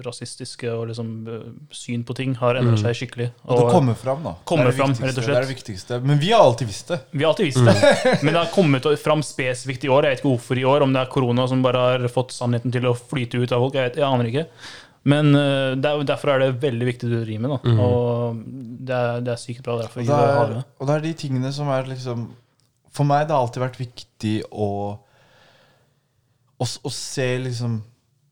Speaker 1: rasistiske og liksom, uh, syn på ting har endret seg skikkelig.
Speaker 3: Mm. Og det
Speaker 1: Og
Speaker 3: kommer fram, da.
Speaker 1: Kommer
Speaker 3: det er det
Speaker 1: fram,
Speaker 3: viktigste,
Speaker 1: rett og slett.
Speaker 3: Det er det viktigste. Men vi har alltid visst det.
Speaker 1: vi har alltid visst det,
Speaker 3: Mm.
Speaker 1: men det har kommet fram spesifikt i år. Jeg vet ikke hvorfor i år, om det er korona som bare har fått sannheten til å flyte ut av folk. Jeg, vet, jeg aner ikke. Men uh, det er, jo- derfor er det veldig viktig det du driver med. Da. Og det er, det er sykt bra derfor. vi
Speaker 3: Mm. Og det,
Speaker 1: har
Speaker 3: er,
Speaker 1: det.
Speaker 3: og det er de tingene som er liksom For meg det har alltid vært viktig å å, s- å se liksom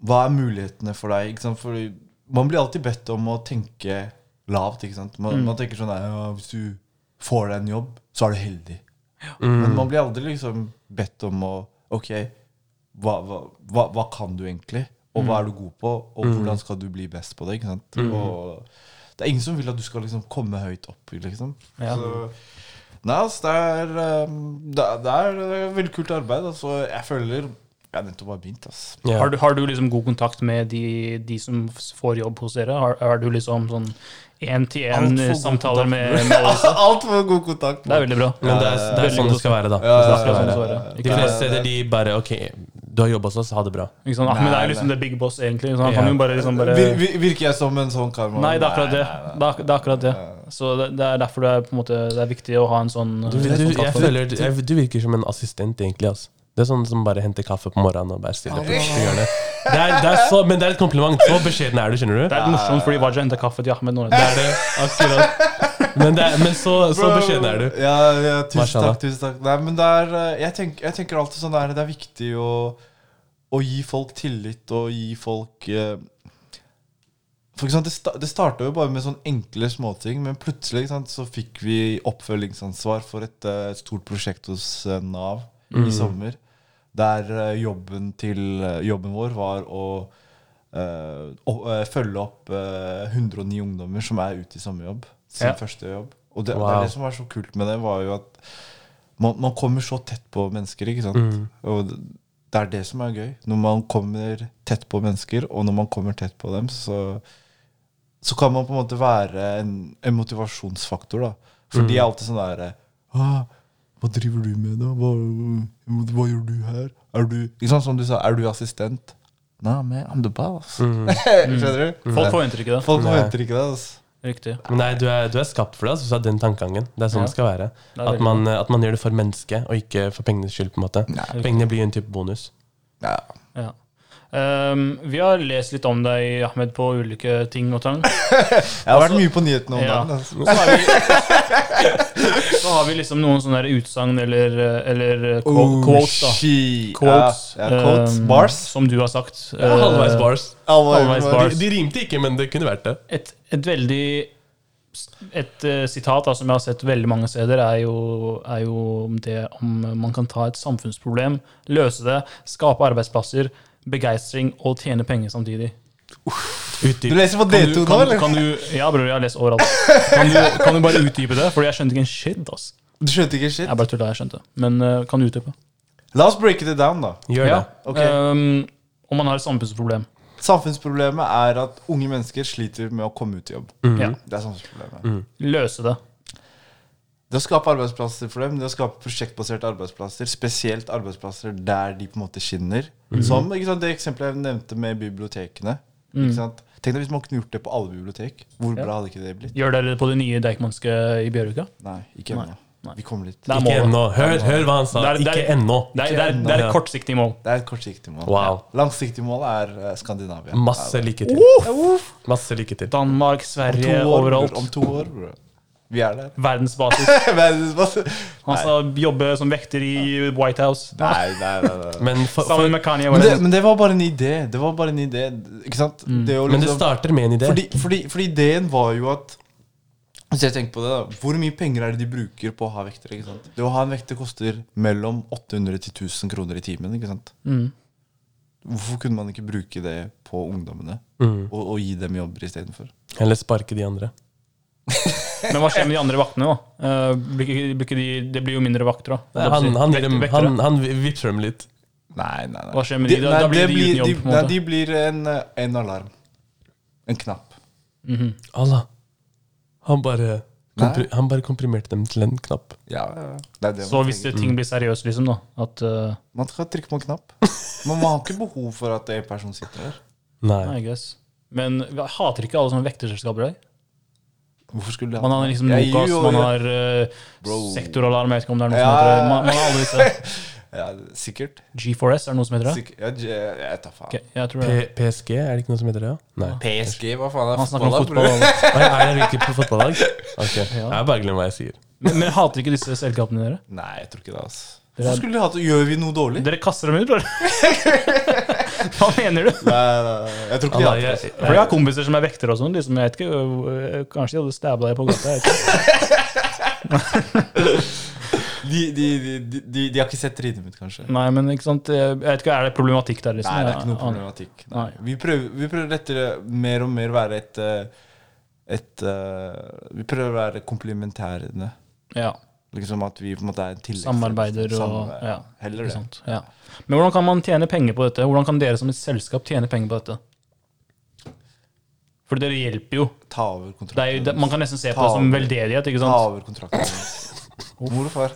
Speaker 3: Hva er mulighetene for deg? Ikke sant? Fordi man blir alltid bedt om å tenke lavt. Ikke sant?
Speaker 1: Mm.
Speaker 3: Man, man tenker sånn nei, ja, Hvis du får deg en jobb, så er du heldig. Men man blir aldri liksom bedt om å Ok, hva, hva, hva, hva kan du egentlig? Og hva er du god på? Og hvordan skal du bli best på det? Ikke sant? Og det er ingen som vil at du skal liksom komme høyt opp. Liksom.
Speaker 1: Ja.
Speaker 3: Så, nei, altså, det er, um, det, er- det er eh, veldig kult arbeid. Altså. Jeg føler jeg nettopp har begynt. Altså.
Speaker 2: ja.
Speaker 1: Har, du, har du liksom god kontakt med de, de som f- får jobb hos dere? Har, har du liksom sånn
Speaker 3: Alt for god
Speaker 1: én-til-én-samtaler
Speaker 3: kontakt.
Speaker 1: med, med alle?
Speaker 3: Altfor god kontakt.
Speaker 1: Det er veldig bra.
Speaker 2: Men det er, det er sånn det skal være, da.
Speaker 3: Ja,
Speaker 2: Det
Speaker 1: Det er
Speaker 2: skal
Speaker 1: sånn
Speaker 2: være.
Speaker 1: det skal være.
Speaker 2: De
Speaker 1: Ikke,
Speaker 2: fleste steder de bare Ok, du har jobba hos oss, ha det bra.
Speaker 1: ikke sånn, Ahmed
Speaker 3: Nei,
Speaker 1: er liksom
Speaker 3: nei.
Speaker 1: the big boss, egentlig. Så han kan jo bare liksom bare
Speaker 3: Vir, vir, virker jeg som en sånn kar? man?
Speaker 1: Nei, det er akkurat det.
Speaker 3: nei, nei.
Speaker 1: Det er, ak- det er akkurat det. Så det, det er derfor det er på en måte Det er viktig å ha en sånn
Speaker 2: Du,
Speaker 1: eh,
Speaker 2: du, jeg
Speaker 1: kontakt.
Speaker 2: føler, jeg, du virker som en assistent, egentlig. Altså. Det er sånn som bare henter kaffe på morgenen og bare stiller opp. og gjør Det. Det er, det er så, men det er et kompliment. Så beskjeden er du, skjønner
Speaker 1: Det
Speaker 2: du.
Speaker 1: er litt morsomt, fordi Waja henter kaffe til Ahmed nå. Det er det.
Speaker 2: Akkurat. Men, det er, men så, så beskjeden er du.
Speaker 3: Ja, ja tusen
Speaker 2: Mashallah.
Speaker 3: takk, tusen takk. Nei, men det er, eh, jeg, tenk, jeg tenker alltid sånn der, det er viktig å, å gi folk tillit og gi folk eh, for ikke sant, Det, sta- det starta jo bare med sånn enkle småting, men plutselig ikke sant, så fikk vi oppfølgingsansvar for et eh, stort prosjekt hos eh, Nav
Speaker 2: Mm.
Speaker 3: i sommer. Der eh, jobben, til, eh, jobben vår var å eh, å- eh, følge opp eh, 109 ungdommer som er ute i sommerjobb. Sin
Speaker 1: Ja.
Speaker 3: første jobb. Og det, det,
Speaker 2: Wow.
Speaker 3: er det som var så kult med det, var jo at man, man kommer så tett på mennesker, ikke sant? Og det- det er det som er gøy. Når man kommer tett på mennesker, og når man kommer tett på dem, så, så kan man på en måte være en, en motivasjonsfaktor, da. For
Speaker 1: Mm.
Speaker 3: de er alltid sånn derre «Åh, Hva driver du med, da? Hva, hva gjør du her? Er du Ikke sant, som du sa, er du assistent? Nei, men I'm the boss. Skjønner
Speaker 2: Eh.
Speaker 3: du?
Speaker 1: Mm. Folk forventer ikke det.
Speaker 3: Folk
Speaker 2: Nei.
Speaker 3: forventer ikke det, altså.
Speaker 1: Riktig.
Speaker 2: Men Nei, du er, du er skapt for det. Altså, hvis du har den tankegangen. Det er sånn
Speaker 1: Ja.
Speaker 2: det skal være.
Speaker 1: er
Speaker 2: At
Speaker 1: veldig
Speaker 2: man, at man gjør det for mennesket, og ikke for pengenes skyld. på en måte Pengene blir en type bonus.
Speaker 3: Ja.
Speaker 1: Ja. Ehm, vi har lest litt om deg, Ahmed, på ulike ting og tang.
Speaker 3: Jeg har vært mye på nyhetene om
Speaker 1: Altså- Ja.
Speaker 3: dagen. Altså.
Speaker 1: Så har vi, så har vi liksom noen sånne der utsagn eller, eh, eller quo-
Speaker 3: Oh,
Speaker 1: quotes, da.
Speaker 3: shit.
Speaker 1: Quotes,
Speaker 3: Ja, ja, quotes.
Speaker 1: ehm,
Speaker 3: Bars.
Speaker 1: Som du har sagt.
Speaker 2: Ja, halvveis
Speaker 1: Eh,
Speaker 2: bars.
Speaker 1: halvveis
Speaker 2: De,
Speaker 1: bars.
Speaker 2: de rimte ikke, men det kunne vært det.
Speaker 1: Et, et veldig et eh, sitat da, som jeg har sett veldig mange steder, er jo, er jo om det om man kan ta et samfunnsproblem, løse det, skape arbeidsplasser, begeistring og tjene penger samtidig.
Speaker 3: Du
Speaker 2: Utdyp.
Speaker 3: leser på
Speaker 1: Kan du,
Speaker 3: D2 nå,
Speaker 1: kan,
Speaker 3: eller?
Speaker 1: kan du, ja, bror, jeg har lest overalt. Kan du, kan du bare utdype det? Fordi jeg skjønte ikke en shit. ass.
Speaker 3: Du skjønte ikke shit?
Speaker 1: Jeg bare tulla, jeg skjønte. Men eh, kan du utdype?
Speaker 3: La oss breake det down, da.
Speaker 2: Gjør det.
Speaker 3: ok.
Speaker 1: ehm, om man har et samfunnsproblem.
Speaker 3: Samfunnsproblemet er at unge mennesker sliter med å komme ut i jobb.
Speaker 2: Mhm.
Speaker 1: Ja.
Speaker 3: Det er samfunnsproblemet.
Speaker 1: Løse det.
Speaker 3: Det å skape arbeidsplasser for dem, det å skape prosjektbaserte arbeidsplasser, spesielt arbeidsplasser der de på en måte skinner. Som ikke sant, det eksempelet jeg nevnte med bibliotekene. Ikke sant? Tenk deg hvis man kunne gjort det på alle bibliotek. Hvor bra hadde ikke det blitt?
Speaker 1: Gjør dere det på det nye Deichmanske i Bjørvika?
Speaker 3: Nei, ikke ennå.
Speaker 1: Nei.
Speaker 3: Vi kommer dit.
Speaker 1: Det er
Speaker 2: Ikke
Speaker 1: målet.
Speaker 2: ennå. Hør, hør hva han sa.
Speaker 1: Det er- det er-
Speaker 2: Ikke ennå.
Speaker 1: Det er, det er, det er et kortsiktig mål.
Speaker 3: Det er et kortsiktig mål.
Speaker 2: Wow.
Speaker 3: Langsiktig mål er eh, Skandinavia.
Speaker 2: Masse lykke til. Masse lykke til.
Speaker 1: Danmark,
Speaker 3: Om to
Speaker 1: Sverige,
Speaker 3: år,
Speaker 1: overalt.
Speaker 3: bror. Om to år, bror. Vi er der.
Speaker 1: Verdensbasis.
Speaker 3: Verdensmasse.
Speaker 1: Han
Speaker 3: Nei.
Speaker 1: skal jobbe som vekter i White House.
Speaker 3: Nei, nei, nei, nei.
Speaker 2: Men, for, for,
Speaker 1: Sammen med Kanye
Speaker 3: Men det,
Speaker 1: West.
Speaker 3: men det var bare en idé. Det var bare en idé, ikke sant? Det å
Speaker 2: men det
Speaker 3: liksom-
Speaker 2: starter med en idé.
Speaker 3: Fordi, fordi, fordi ideen var jo at Hvis jeg tenker på det da Hvor mye penger er det de bruker på å ha vekter? ikke sant? Det å ha en vekter koster mellom 800 til 1000 kroner i timen. ikke sant?
Speaker 1: Mm.
Speaker 3: Hvorfor kunne man ikke bruke det på ungdommene?
Speaker 2: Mm.
Speaker 3: Og, og gi dem jobber istedenfor?
Speaker 2: Eller sparke de andre.
Speaker 1: Men hva skjer med de andre vaktene, da? Eh, blir ikke- blir ikke de, det blir jo mindre vakter, da.
Speaker 2: Nei, Han, han, gir
Speaker 1: Vekter-
Speaker 2: dem,
Speaker 1: vektere.
Speaker 2: han, han vipser dem litt.
Speaker 3: Nei, nei, nei.
Speaker 1: Hva skjer med de? Da- da blir
Speaker 3: det
Speaker 1: de uten jobb, på en
Speaker 3: nei,
Speaker 1: måte.
Speaker 3: de blir en, eh, en alarm. En knapp.
Speaker 1: Mhm.
Speaker 2: Allah. Han bare, kompri,
Speaker 3: Nei.
Speaker 2: han bare komprimerte dem til en knapp.
Speaker 3: Ja, ja, ja. det er det
Speaker 1: Så
Speaker 3: man
Speaker 1: hvis det,
Speaker 3: trenger.
Speaker 1: ting blir seriøst, liksom, da At eh,
Speaker 3: Man skal trykke på en knapp. Men man har ikke behov for at en person sitter der.
Speaker 2: Nei.
Speaker 1: I guess. Men jeg hater ikke alle sånne vekterselskaper der.
Speaker 3: Hvorfor skulle det
Speaker 1: Man har liksom
Speaker 3: Jeg gir
Speaker 1: Nokas,
Speaker 3: jo-
Speaker 1: man har eh,
Speaker 3: Bro.
Speaker 1: sektoralarm, jeg vet ikke om det er noe som
Speaker 3: Ja,
Speaker 1: heter
Speaker 3: ja,
Speaker 1: det.
Speaker 3: ja.
Speaker 1: Man, man har alle disse.
Speaker 3: ja, Sikkert.
Speaker 1: G4S er det noe som heter det?
Speaker 3: Sikk- ja, j- jeg tar faen.
Speaker 1: Ok, jeg tror det.
Speaker 2: P PSG, er det ikke noe som heter det? Ja? Nei.
Speaker 3: PSG, hva faen er
Speaker 1: Han snakker om fotball.
Speaker 3: bror?
Speaker 1: alle.
Speaker 2: Oi, er det hvilket på fotballag? Ok,
Speaker 1: Ja.
Speaker 2: Jeg bare glem hva jeg sier.
Speaker 1: Men, men jeg hater ikke disse selskapene dere?
Speaker 3: Nei, jeg tror ikke det, altså.
Speaker 1: Dere er-
Speaker 3: Hvorfor skulle de hatt det? Gjør vi noe dårlig?
Speaker 1: Dere kaster dem ut, bare. Hva mener du?
Speaker 3: Nei, nei, nei, jeg tror ikke de
Speaker 2: Allah,
Speaker 3: hatt det.
Speaker 2: jeg,
Speaker 3: altså.
Speaker 1: For jeg har kompiser som er vektere og sånn. Liksom, jeg vet ikke, øh, Kanskje de hadde stabba deg på gata. jeg vet ikke.
Speaker 3: De, de, de, de, de, de har ikke sett trynet mitt, kanskje.
Speaker 1: Nei, men ikke sant, jeg vet ikke, Er Mm. det problematikk der? liksom?
Speaker 3: Nei, det er ikke noe
Speaker 1: Jeg aner-
Speaker 3: problematikk. Nei.
Speaker 1: Nei.
Speaker 3: Vi prøver, vi prøver etter mer og mer å være et, eh, et eh, Vi prøver å være komplementærende.
Speaker 1: Ja,
Speaker 3: Liksom at vi på en måte er en tillegg.
Speaker 1: Samarbeider og
Speaker 3: Samarbeid.
Speaker 1: ja,
Speaker 3: Heller
Speaker 1: ikke
Speaker 3: det.
Speaker 1: sant. Ja. Men hvordan kan man tjene penger på dette? Hvordan kan dere som et selskap tjene penger på dette? For dere hjelper jo.
Speaker 3: Ta over
Speaker 1: Det er jo
Speaker 3: kontrakten.
Speaker 1: det, man kan nesten se på det som veldedighet. ikke
Speaker 3: Ta
Speaker 1: sant?
Speaker 3: over kontrakten. Mor og far.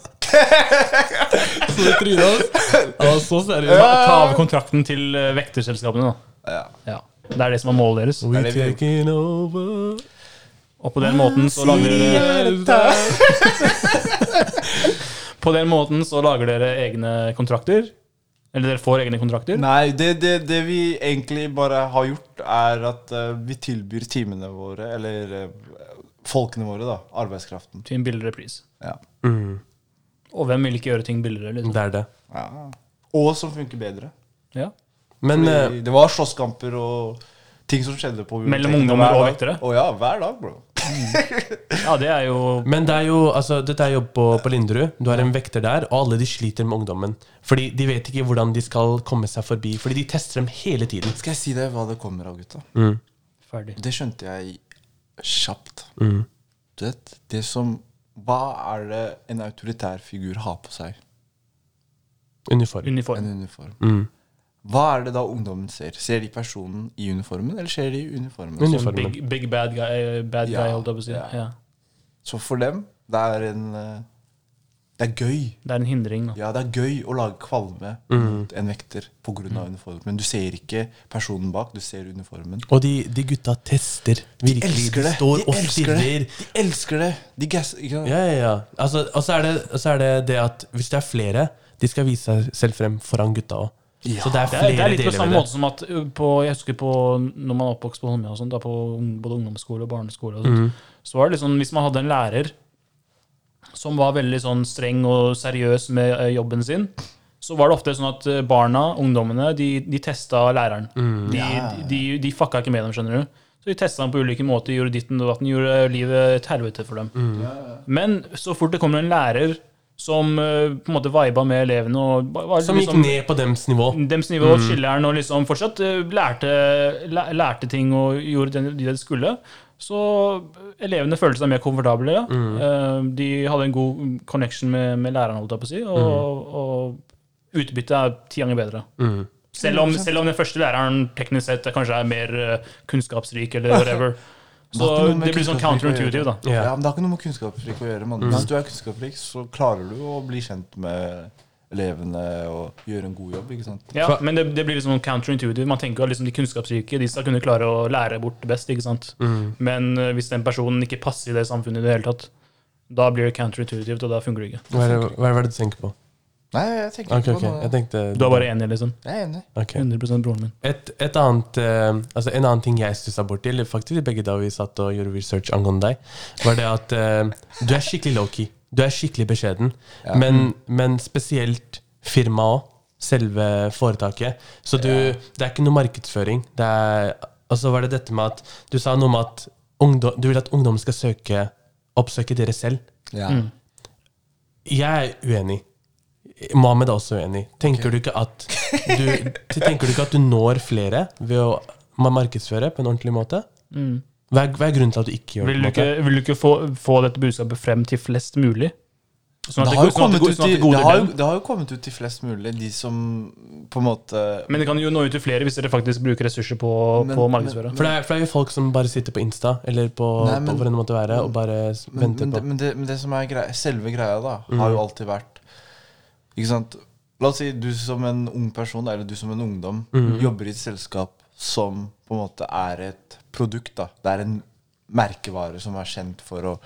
Speaker 2: Så trynet hans. Han var så seriøs.
Speaker 1: Ta over kontrakten til eh, vekterselskapene. da.
Speaker 3: Ja.
Speaker 1: Ja. Det er det som er målet deres.
Speaker 2: We
Speaker 3: Er det vi-
Speaker 2: taking over.
Speaker 1: Og på den måten så lager dere, på den måten så lager dere egne kontrakter. Eller dere får egne kontrakter.
Speaker 3: Nei, det, det, det vi egentlig bare har gjort, er at eh, vi tilbyr timene våre, eller eh, folkene våre, da, arbeidskraften.
Speaker 1: Til en billigere pris.
Speaker 3: Ja.
Speaker 2: Mm,
Speaker 1: Og hvem vil ikke gjøre ting billigere? Liksom?
Speaker 2: det er det.
Speaker 3: Ja. Og som funker bedre.
Speaker 1: Ja.
Speaker 2: Men eh,
Speaker 3: Fordi det var slåsskamper og ting som skjedde på
Speaker 1: Mellom
Speaker 3: biblioteket
Speaker 1: ungdommer
Speaker 3: hver
Speaker 1: og
Speaker 3: dag.
Speaker 1: vektere?
Speaker 3: Å ja, hver dag, bro.
Speaker 1: ja, det er jo
Speaker 2: Men det er jo, altså, dette er jobb på, på Linderud. Du har en vekter der, og alle de sliter med ungdommen. Fordi de vet ikke hvordan de skal komme seg forbi. Fordi de tester dem hele tiden.
Speaker 3: Skal jeg si deg hva det kommer av, gutta?
Speaker 1: Mm. ferdig.
Speaker 3: Det skjønte jeg kjapt.
Speaker 1: Mm.
Speaker 3: Du vet, det som Hva er det en autoritær figur har på seg?
Speaker 2: Uniform.
Speaker 1: Uniform.
Speaker 3: En uniform.
Speaker 2: Mm.
Speaker 3: Hva er det da ungdommen ser? Ser de personen i uniformen, eller ser de uniformen?
Speaker 1: Sånn
Speaker 2: Uniform.
Speaker 1: big, big bad guy, bad
Speaker 3: Ja,
Speaker 1: guy holdt jeg på å si.
Speaker 3: ja.
Speaker 1: Ja.
Speaker 3: Så for dem, det er en eh, Det er gøy.
Speaker 1: Det er en hindring. Da.
Speaker 3: Ja, det er gøy å lage kvalme
Speaker 2: Mm.
Speaker 3: mot en vekter pga. av uniformen. Du ser ikke personen bak, du ser uniformen.
Speaker 2: Og de, de gutta tester. Virkelig.
Speaker 3: Elsker det!
Speaker 2: De står
Speaker 3: De
Speaker 2: og
Speaker 3: elsker det!
Speaker 2: stirrer.
Speaker 3: De elsker det! De gass... Ikke sant?
Speaker 2: Ja, ja, ja. Altså, og så er, det, og så er det det at hvis det er flere, de skal vise seg selv frem foran gutta òg.
Speaker 3: Ja,
Speaker 2: så det er
Speaker 1: Det er,
Speaker 2: flere
Speaker 1: det er litt på
Speaker 2: deler
Speaker 1: samme
Speaker 2: ved det.
Speaker 1: måte som at ø, på, jeg husker på når man er oppvokst på Holmlia, og sånt, da på ung- både ungdomsskole og barneskole, og
Speaker 2: Mm.
Speaker 1: sånt, så var det liksom, hvis man hadde en lærer som var veldig sånn streng og seriøs med ø, jobben sin, så var det ofte sånn at ø, barna, ungdommene, de, de testa læreren.
Speaker 2: Mm.
Speaker 1: De, de, de fucka ikke med dem, skjønner du. Så de testa ham på ulike måter, gjorde ditten og datten, gjorde livet et helvete for dem.
Speaker 2: Mm.
Speaker 1: Men så fort det kommer en lærer som ø, på en måte viba med elevene og ba- var
Speaker 2: Som gikk
Speaker 1: liksom-
Speaker 2: ned på dems nivå.
Speaker 1: dems nivå og chiller'n og liksom fortsatt eh, lærte, læ- lærte ting og gjorde den- det de skulle. Så eh, elevene følte seg mer komfortable. Ja. Eh, De hadde en god connection med, med læreren, holdt jeg på å si, og, og utbyttet er ti ganger bedre. Selv, om, selv om den første læreren teknisk sett er kanskje er mer eh, kunnskapsrik eller whatever. Så
Speaker 3: har ikke noe med
Speaker 1: det blir sånn
Speaker 3: kunnskapsrik å gjøre.
Speaker 1: counterintuitive, da.
Speaker 2: Ja. Mm.
Speaker 3: Ja, men det har ikke noe med kunnskapsrik å gjøre. Man. Hvis du er kunnskapsrik, så klarer du å bli kjent med elevene og gjøre en god jobb. ikke sant?
Speaker 1: Ja,
Speaker 2: For-
Speaker 1: men det, det blir liksom sånn counterintuitive. Man tenker at liksom de kunnskapsrike de skal kunne klare
Speaker 2: Mm,
Speaker 1: å lære bort best. ikke sant? Men eh, hvis den personen ikke passer i det samfunnet i det hele tatt, Da blir det counterintuitivt, og da funker det ikke.
Speaker 2: Hva er, det, hva er det du tenker på?
Speaker 3: Nei, jeg tenker
Speaker 2: Ok,
Speaker 3: ikke
Speaker 2: ok,
Speaker 3: på noe.
Speaker 2: jeg tenkte
Speaker 1: Du er bare enig, liksom.
Speaker 3: Jeg er enig.
Speaker 2: Ok.
Speaker 1: 100 broren min.
Speaker 2: Et, et annet, eh, altså en annen ting jeg stussa borti, eller faktisk begge da vi satt og gjorde research angående deg, var det at eh, du er skikkelig lowkey. Du er skikkelig beskjeden. Men, men spesielt firmaet òg. Selve foretaket. Så du, det er ikke noe markedsføring. Det er, altså var det dette med at Du sa noe om at ungdom, du vil at ungdom skal søke, oppsøke dere selv.
Speaker 3: Ja.
Speaker 1: Mm.
Speaker 2: Jeg er uenig. Mohammed er også uenig. Tenker, du ikke at du, tenker du ikke at du når flere ved å ma- markedsføre på en ordentlig måte?
Speaker 1: Mm.
Speaker 2: Hva, er, hva er grunnen til at du ikke gjør det?
Speaker 1: Vil du
Speaker 2: på en
Speaker 1: ikke, vil du ikke få, få dette budskapet frem til flest mulig? Sånn at
Speaker 3: Det
Speaker 1: det går-
Speaker 3: har, jo
Speaker 1: sånn at det
Speaker 3: kommet
Speaker 1: går-
Speaker 3: ut
Speaker 1: sånn at
Speaker 3: til,
Speaker 1: det
Speaker 3: det, har,
Speaker 1: goder
Speaker 3: jo-
Speaker 1: dem.
Speaker 3: det har jo kommet ut til flest mulig, de som på en måte
Speaker 1: Men det kan jo nå ut til flere hvis dere faktisk bruker ressurser på,
Speaker 3: Men-
Speaker 1: på å
Speaker 3: men-
Speaker 1: markedsføre.
Speaker 2: måte? For det er, for det er jo folk som bare sitter på Insta eller på,
Speaker 3: Nei, men-
Speaker 2: på hvor det måtte være, og bare s-
Speaker 3: Men,
Speaker 2: venter
Speaker 3: men, det,
Speaker 2: på Mm.
Speaker 3: men, det, men det som er greia, selve greia, da, har jo alltid vært Ikke sant? La oss si du som en ung person, eller du som en ungdom,
Speaker 2: Mm.
Speaker 3: jobber i et selskap som på en måte er et produkt. da Det er en merkevare som er kjent for å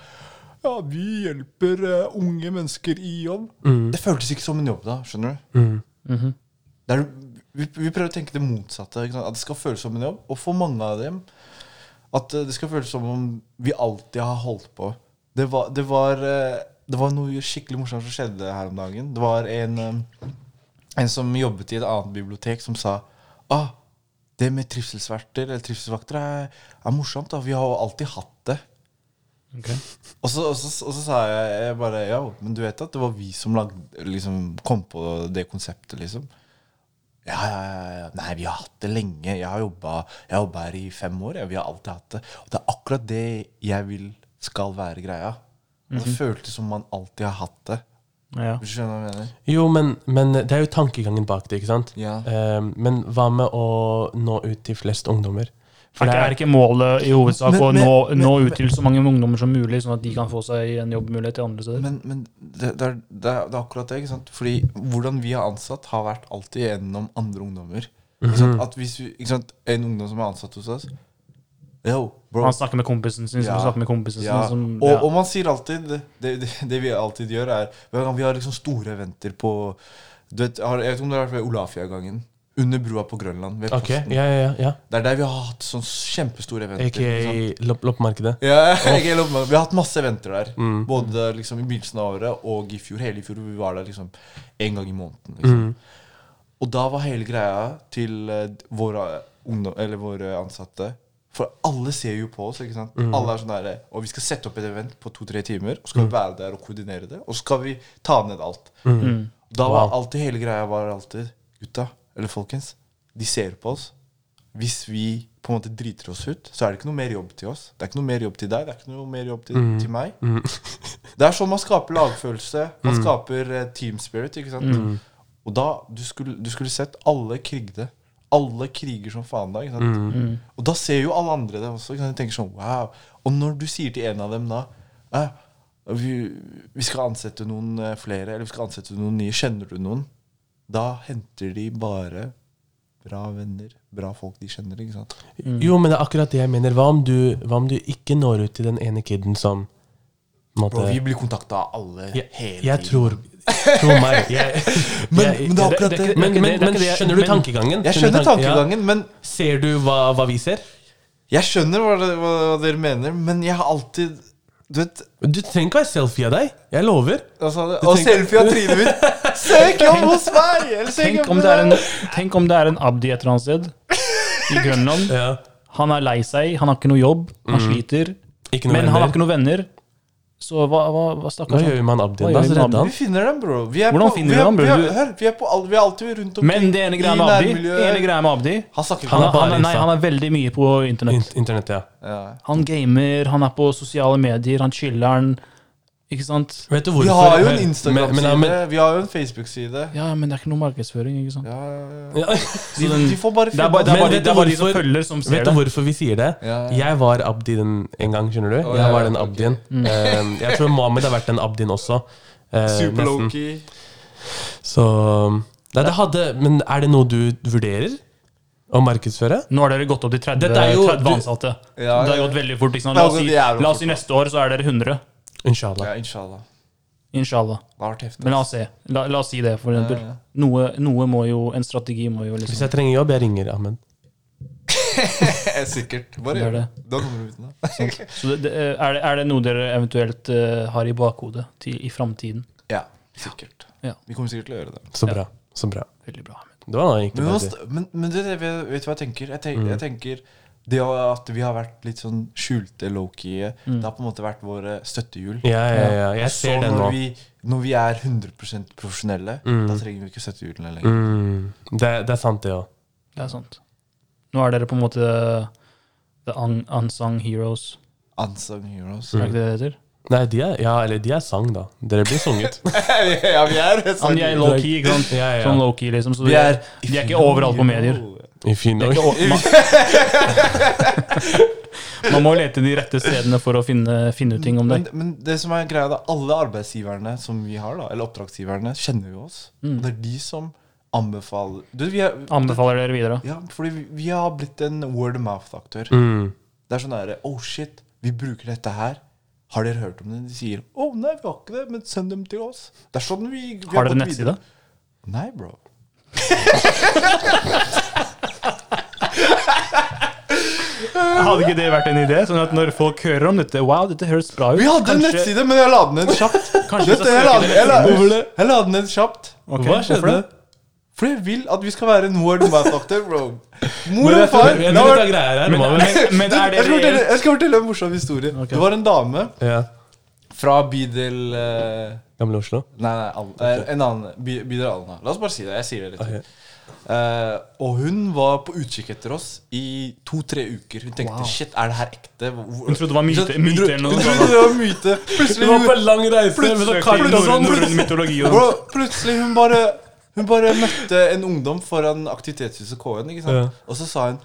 Speaker 3: Ja, vi hjelper eh, unge mennesker i jobb.
Speaker 2: Mm.
Speaker 3: Det føltes ikke som en jobb da, skjønner du? det er, vi, vi prøver å tenke det motsatte. Ikke sant? At det skal føles som en jobb. Og for mange av dem at eh, det skal føles som om vi alltid har holdt på. Det var, det var, eh, det var noe skikkelig morsomt som skjedde her om dagen. Det var en, eh, en som jobbet i et annet bibliotek, som sa ah, det med trivselsverter eller trivselsvakter er, er morsomt. da, Vi har jo alltid hatt det.
Speaker 1: Ok.
Speaker 3: Og så, og, så, og så sa jeg, jeg bare Ja, men du vet at det var vi som lagde, liksom, kom på det konseptet, liksom. Ja, ja, ja, ja. Nei, vi har hatt det lenge. Jeg har jobba jeg har jobbet her i fem år. Ja. Vi har alltid hatt det. Og det er akkurat det jeg vil skal være greia. Og Det føltes som man alltid har hatt det.
Speaker 1: Ja.
Speaker 3: Hvis du skjønner hva jeg mener?
Speaker 2: Jo, men, men det er jo tankegangen bak det, ikke sant?
Speaker 3: Ja.
Speaker 2: Eh, men hva med å nå ut til flest ungdommer? For
Speaker 1: Er
Speaker 2: det
Speaker 1: ikke,
Speaker 2: er-
Speaker 1: er ikke målet i hovedsak
Speaker 3: Men-
Speaker 1: å
Speaker 3: men-
Speaker 1: nå,
Speaker 3: men-
Speaker 1: nå ut til så mange ungdommer som mulig, sånn at de kan få seg en jobbmulighet til andre steder?
Speaker 3: Men, men det, det, er, det, er, det er akkurat det. ikke sant? Fordi hvordan vi har ansatt, har vært alltid gjennom andre ungdommer. Ikke
Speaker 2: Mhm.
Speaker 3: sant? At hvis vi, ikke sant? En ungdom som er ansatt hos oss Yo, bro.
Speaker 1: Han snakker med kompisen sin, som
Speaker 3: Ja.
Speaker 1: snakker med kompisen sin.
Speaker 3: Ja.
Speaker 1: Som, ja.
Speaker 3: Og, og man sier alltid det, det, det vi alltid gjør, er hver gang Vi har liksom store eventer på du vet, har, Jeg vet ikke om du har vært ved Olafia-gangen. Under brua på Grønland. Ved
Speaker 2: Ok,
Speaker 3: posten.
Speaker 2: ja, ja, ja.
Speaker 3: Det er der vi har hatt sånn kjempestore eventer. ikke sant?
Speaker 2: Ikke lopp, loppemarkedet.
Speaker 3: Ja, jeg er enig med- Vi har hatt masse eventer der. Både liksom i begynnelsen av året og i fjor. Hele i fjor vi var der liksom en gang i måneden.
Speaker 2: Mm.
Speaker 3: Liksom. Og da var hele greia til eh, våre, ungdom, eller våre ansatte For alle ser jo på oss. ikke sant? Alle er sånn der, Og vi skal sette opp et event på to-tre timer, og skal vi være der og koordinere det. Og så skal vi ta ned alt.
Speaker 1: Mm.
Speaker 3: Da var
Speaker 2: Wow.
Speaker 3: alltid hele greia var alltid Gutta, eller folkens, de ser på oss. Hvis vi på en måte driter oss ut, så er det ikke noe mer jobb til oss. Det er ikke noe mer jobb til deg, det er ikke noe mer jobb til, til meg. det er sånn man skaper lagfølelse. Man skaper eh, team spirit, ikke sant. Og da du skulle, du skulle sett alle krigde. Alle kriger som faen da, ikke sant.
Speaker 2: Mm.
Speaker 3: Og da ser jo alle andre det også. Ikke sant? De tenker sånn wow. Og når du sier til en av dem da «Eh, vi, vi skal ansette noen eh, flere, eller vi skal ansette noen nye, kjenner du noen? Da henter de bare bra venner, bra folk de kjenner, ikke sant?
Speaker 2: Jo, men det er akkurat det jeg mener. Hva om du, hva om du ikke når ut til den ene kiden som på en måte-
Speaker 3: Bro, vi blir kontakta av alle
Speaker 2: jeg,
Speaker 3: hele
Speaker 2: jeg
Speaker 3: tiden.
Speaker 2: tror Tro meg. Jeg,
Speaker 3: Men-
Speaker 2: jeg,
Speaker 3: men det er akkurat
Speaker 2: det-
Speaker 1: det-
Speaker 2: Men,
Speaker 1: det er ikke det-
Speaker 2: men,
Speaker 1: det er
Speaker 2: men
Speaker 1: ikke det-
Speaker 2: skjønner du
Speaker 1: men-
Speaker 2: tankegangen?
Speaker 3: Jeg
Speaker 2: Skjønner
Speaker 3: skjønner
Speaker 2: du tanke- ja.
Speaker 3: tankegangen, men
Speaker 2: Ser du hva, hva vi ser?
Speaker 3: jeg skjønner hva, det, hva, hva dere mener, men jeg har alltid Du vet
Speaker 2: Du trenger ikke å være selfie av deg. Jeg lover.
Speaker 3: altså, Og
Speaker 2: tenker-
Speaker 3: selfie av trynet mitt! Søk jobb hos meg! Eller søk
Speaker 1: Tenk
Speaker 3: jobb
Speaker 1: om,
Speaker 3: hos
Speaker 1: det er en,
Speaker 3: meg.
Speaker 1: tenk om det er en Abdi et eller annet sted i Grønland.
Speaker 2: Ja.
Speaker 1: Han er lei seg, han har ikke noe jobb, han sliter.
Speaker 2: Mm. Ikke noe
Speaker 1: Men han har
Speaker 2: venner.
Speaker 1: ikke noen venner. Så hva, hva, hva
Speaker 2: Hva
Speaker 1: stakkars
Speaker 2: gjør vi med han
Speaker 1: Hva
Speaker 2: Abdi?
Speaker 1: gjør
Speaker 2: Da
Speaker 1: vi med
Speaker 2: redder
Speaker 1: Abdi?
Speaker 2: han.
Speaker 3: Vi finner dem, bro. Vi er
Speaker 1: Hvordan
Speaker 3: på,
Speaker 1: finner
Speaker 3: vi
Speaker 1: du
Speaker 3: er,
Speaker 1: dem, bro?
Speaker 3: Vi er,
Speaker 1: Du-
Speaker 3: hør, vi er, på all, vi er alltid rundt omkring
Speaker 1: Men det ene greia
Speaker 3: i
Speaker 1: med Abdi, det
Speaker 3: nærmiljøer.
Speaker 1: ene greia med Abdi
Speaker 3: Han snakker ikke
Speaker 1: han
Speaker 2: Han
Speaker 1: er,
Speaker 2: er bare
Speaker 1: han, er, nei,
Speaker 2: Insta.
Speaker 1: han er veldig mye på internett.
Speaker 2: Int- Internett, ja.
Speaker 3: ja.
Speaker 1: Han gamer, han er på sosiale medier, han chiller'n. Ikke sant?
Speaker 2: Vet du
Speaker 3: Vi
Speaker 2: hvorfor?
Speaker 3: har jo
Speaker 2: Men-
Speaker 3: en
Speaker 2: men-
Speaker 3: Instagram-side,
Speaker 2: men-
Speaker 3: vi har jo en Facebook-side.
Speaker 1: Ja, men det er ikke noe markedsføring. ikke sant?
Speaker 3: Ja.
Speaker 2: Ja.
Speaker 1: Så den,
Speaker 3: De får bare
Speaker 1: det er bare, det
Speaker 2: Men
Speaker 1: er bare,
Speaker 2: vet du
Speaker 1: det er bare de som
Speaker 2: hvorfor-
Speaker 1: følger, som ser
Speaker 2: Vet du
Speaker 1: det.
Speaker 2: hvorfor vi sier det?
Speaker 3: Ja, ja.
Speaker 2: Jeg var Abdi den en gang, skjønner du.
Speaker 3: Å, ja,
Speaker 2: Jeg var
Speaker 3: ja,
Speaker 2: den
Speaker 3: ok. Mm.
Speaker 2: Abdien. Um, jeg tror Mohammed har vært den Abdien også. eh, nesten.
Speaker 3: Super-lowkey.
Speaker 2: Så um, Nei, det hadde Men er det noe du vurderer å markedsføre?
Speaker 1: Nå har dere gått opp til 30,
Speaker 2: Dette er jo-
Speaker 1: 30
Speaker 2: du-
Speaker 1: ansatte.
Speaker 3: Ja, ja.
Speaker 1: Det har gått veldig fort. ikke sant? La oss, si,
Speaker 3: Det har gått jævlig
Speaker 1: la oss si neste år så er dere 100.
Speaker 2: Inshallah.
Speaker 3: Ja, inshallah.
Speaker 1: Inshallah.
Speaker 3: Det har vært heftig.
Speaker 1: Men altså- la oss se. La, la oss si det, for eksempel.
Speaker 3: Ja, ja.
Speaker 1: Noe, noe må jo En strategi må jo
Speaker 2: Hvis
Speaker 1: liksom
Speaker 2: jeg trenger jobb, jeg ringer Ahmed.
Speaker 3: Sikkert. Bare
Speaker 1: Det er
Speaker 3: gjør det. Da kommer du uten det.
Speaker 1: Så det, det, er, det, er det noe dere eventuelt eh, har i bakhodet til, i framtiden?
Speaker 3: Ja, sikkert.
Speaker 1: Ja.
Speaker 3: Vi kommer sikkert til å gjøre det.
Speaker 2: Så bra. Så bra.
Speaker 1: Veldig bra. Ahmed.
Speaker 2: Det var da egentlig
Speaker 3: Men,
Speaker 2: bare
Speaker 3: hva
Speaker 2: det.
Speaker 3: st- men, men du, vet vet du hva jeg tenker? Jeg
Speaker 1: Mm.
Speaker 3: tenker, jeg tenker det at vi har vært litt sånn skjulte, low-key eh,
Speaker 1: Mm.
Speaker 3: Det har på en måte vært våre støttehjul.
Speaker 2: Ja, ja, ja. Jeg
Speaker 3: Så
Speaker 2: ser den
Speaker 3: når
Speaker 2: nå.
Speaker 3: vi, når vi er 100 profesjonelle,
Speaker 1: Mm.
Speaker 3: da trenger vi ikke støttehjulene lenger.
Speaker 2: Mm, det, det er sant, det òg.
Speaker 1: Det er sant. Nå er dere på en måte the un unsung heroes,
Speaker 3: Unsung heroes.
Speaker 1: er det ikke det det heter?
Speaker 2: Nei, de er, ja, eller de er sang, da. Dere blir sunget.
Speaker 3: ja, vi er
Speaker 1: Ja, men de er low-key, ikke sant?
Speaker 2: Ja, ja.
Speaker 1: Sånn low-key, liksom. Så
Speaker 3: Vi
Speaker 1: de Altså, er,
Speaker 3: er-
Speaker 1: de er ikke overalt på medier.
Speaker 2: If you
Speaker 1: Det
Speaker 2: know.
Speaker 1: er ikke o- man, man må lete de rette stedene for å finne, finne ut ting om
Speaker 3: Men,
Speaker 1: deg.
Speaker 3: men det som er greia, da, alle arbeidsgiverne som vi har, da, eller oppdragsgiverne, kjenner jo oss. Det er de som anbefaler du, vi er,
Speaker 1: Mm. Anbefaler dere videre.
Speaker 3: Ja, fordi vi, vi har blitt en word of mouth-aktør.
Speaker 2: Mm.
Speaker 3: Det er sånn derre Oh shit, vi bruker dette her. Har dere hørt om det? De sier Oh nei, vi har ikke det, men send dem til oss. Det er sånn vi, vi
Speaker 1: Har dere
Speaker 3: gått
Speaker 1: nettside?
Speaker 3: videre. Nei, bro.
Speaker 1: Hadde ikke det vært en idé? Sånn at når folk hører om dette Wow, dette høres bra ut.
Speaker 3: Vi hadde en
Speaker 1: Kanskje-
Speaker 3: nettside, men jeg la den ned kjapt.
Speaker 1: Kanskje vi
Speaker 3: Dette,
Speaker 1: skal
Speaker 3: jeg, la
Speaker 1: søke
Speaker 3: den,
Speaker 1: dere
Speaker 3: jeg, la,
Speaker 1: litt mer.
Speaker 3: jeg la den ned kjapt.
Speaker 1: Ok,
Speaker 2: Hva
Speaker 1: hvorfor
Speaker 2: skjedde?
Speaker 1: det?
Speaker 3: For jeg vil at vi skal være en word of mouth-aktør, bro.
Speaker 2: Men
Speaker 3: Mor og
Speaker 2: jeg tror-
Speaker 3: far
Speaker 2: jeg tror
Speaker 3: la meg-
Speaker 2: det er greier her.
Speaker 1: Men,
Speaker 2: nå,
Speaker 1: men,
Speaker 2: vel?
Speaker 1: men
Speaker 3: Du,
Speaker 1: er det
Speaker 3: jeg, skal fortelle,
Speaker 1: reelt?
Speaker 3: jeg skal fortelle en morsom historie.
Speaker 1: Ok.
Speaker 3: Det var en dame
Speaker 2: Ja.
Speaker 3: fra bydel eh,
Speaker 2: Gamle Oslo?
Speaker 3: Nei, nei, Al eh, en annen by, bydel Alna. La oss bare si det. Jeg sier det rett ut.
Speaker 2: Ok.
Speaker 3: Eh, og hun var på utkikk etter oss i to-tre uker. Hun tenkte shit, er det her ekte? Hvor-
Speaker 1: Hun trodde det var myte-
Speaker 3: Hun trodde-
Speaker 1: myte eller noe
Speaker 3: Hun
Speaker 1: sånt.
Speaker 3: trodde det var myte.
Speaker 2: Vi
Speaker 3: Plutselig,
Speaker 2: var på
Speaker 3: hun,
Speaker 2: en lang reise med
Speaker 3: Plutselig-
Speaker 2: sånn kart og
Speaker 1: Norrøn
Speaker 2: sånn.
Speaker 1: norrøn mytologi. og
Speaker 3: bro, plutselig hun bare Hun bare møtte en ungdom foran aktivitetshuset KN, ikke sant?
Speaker 2: Ja.
Speaker 3: Og så sa hun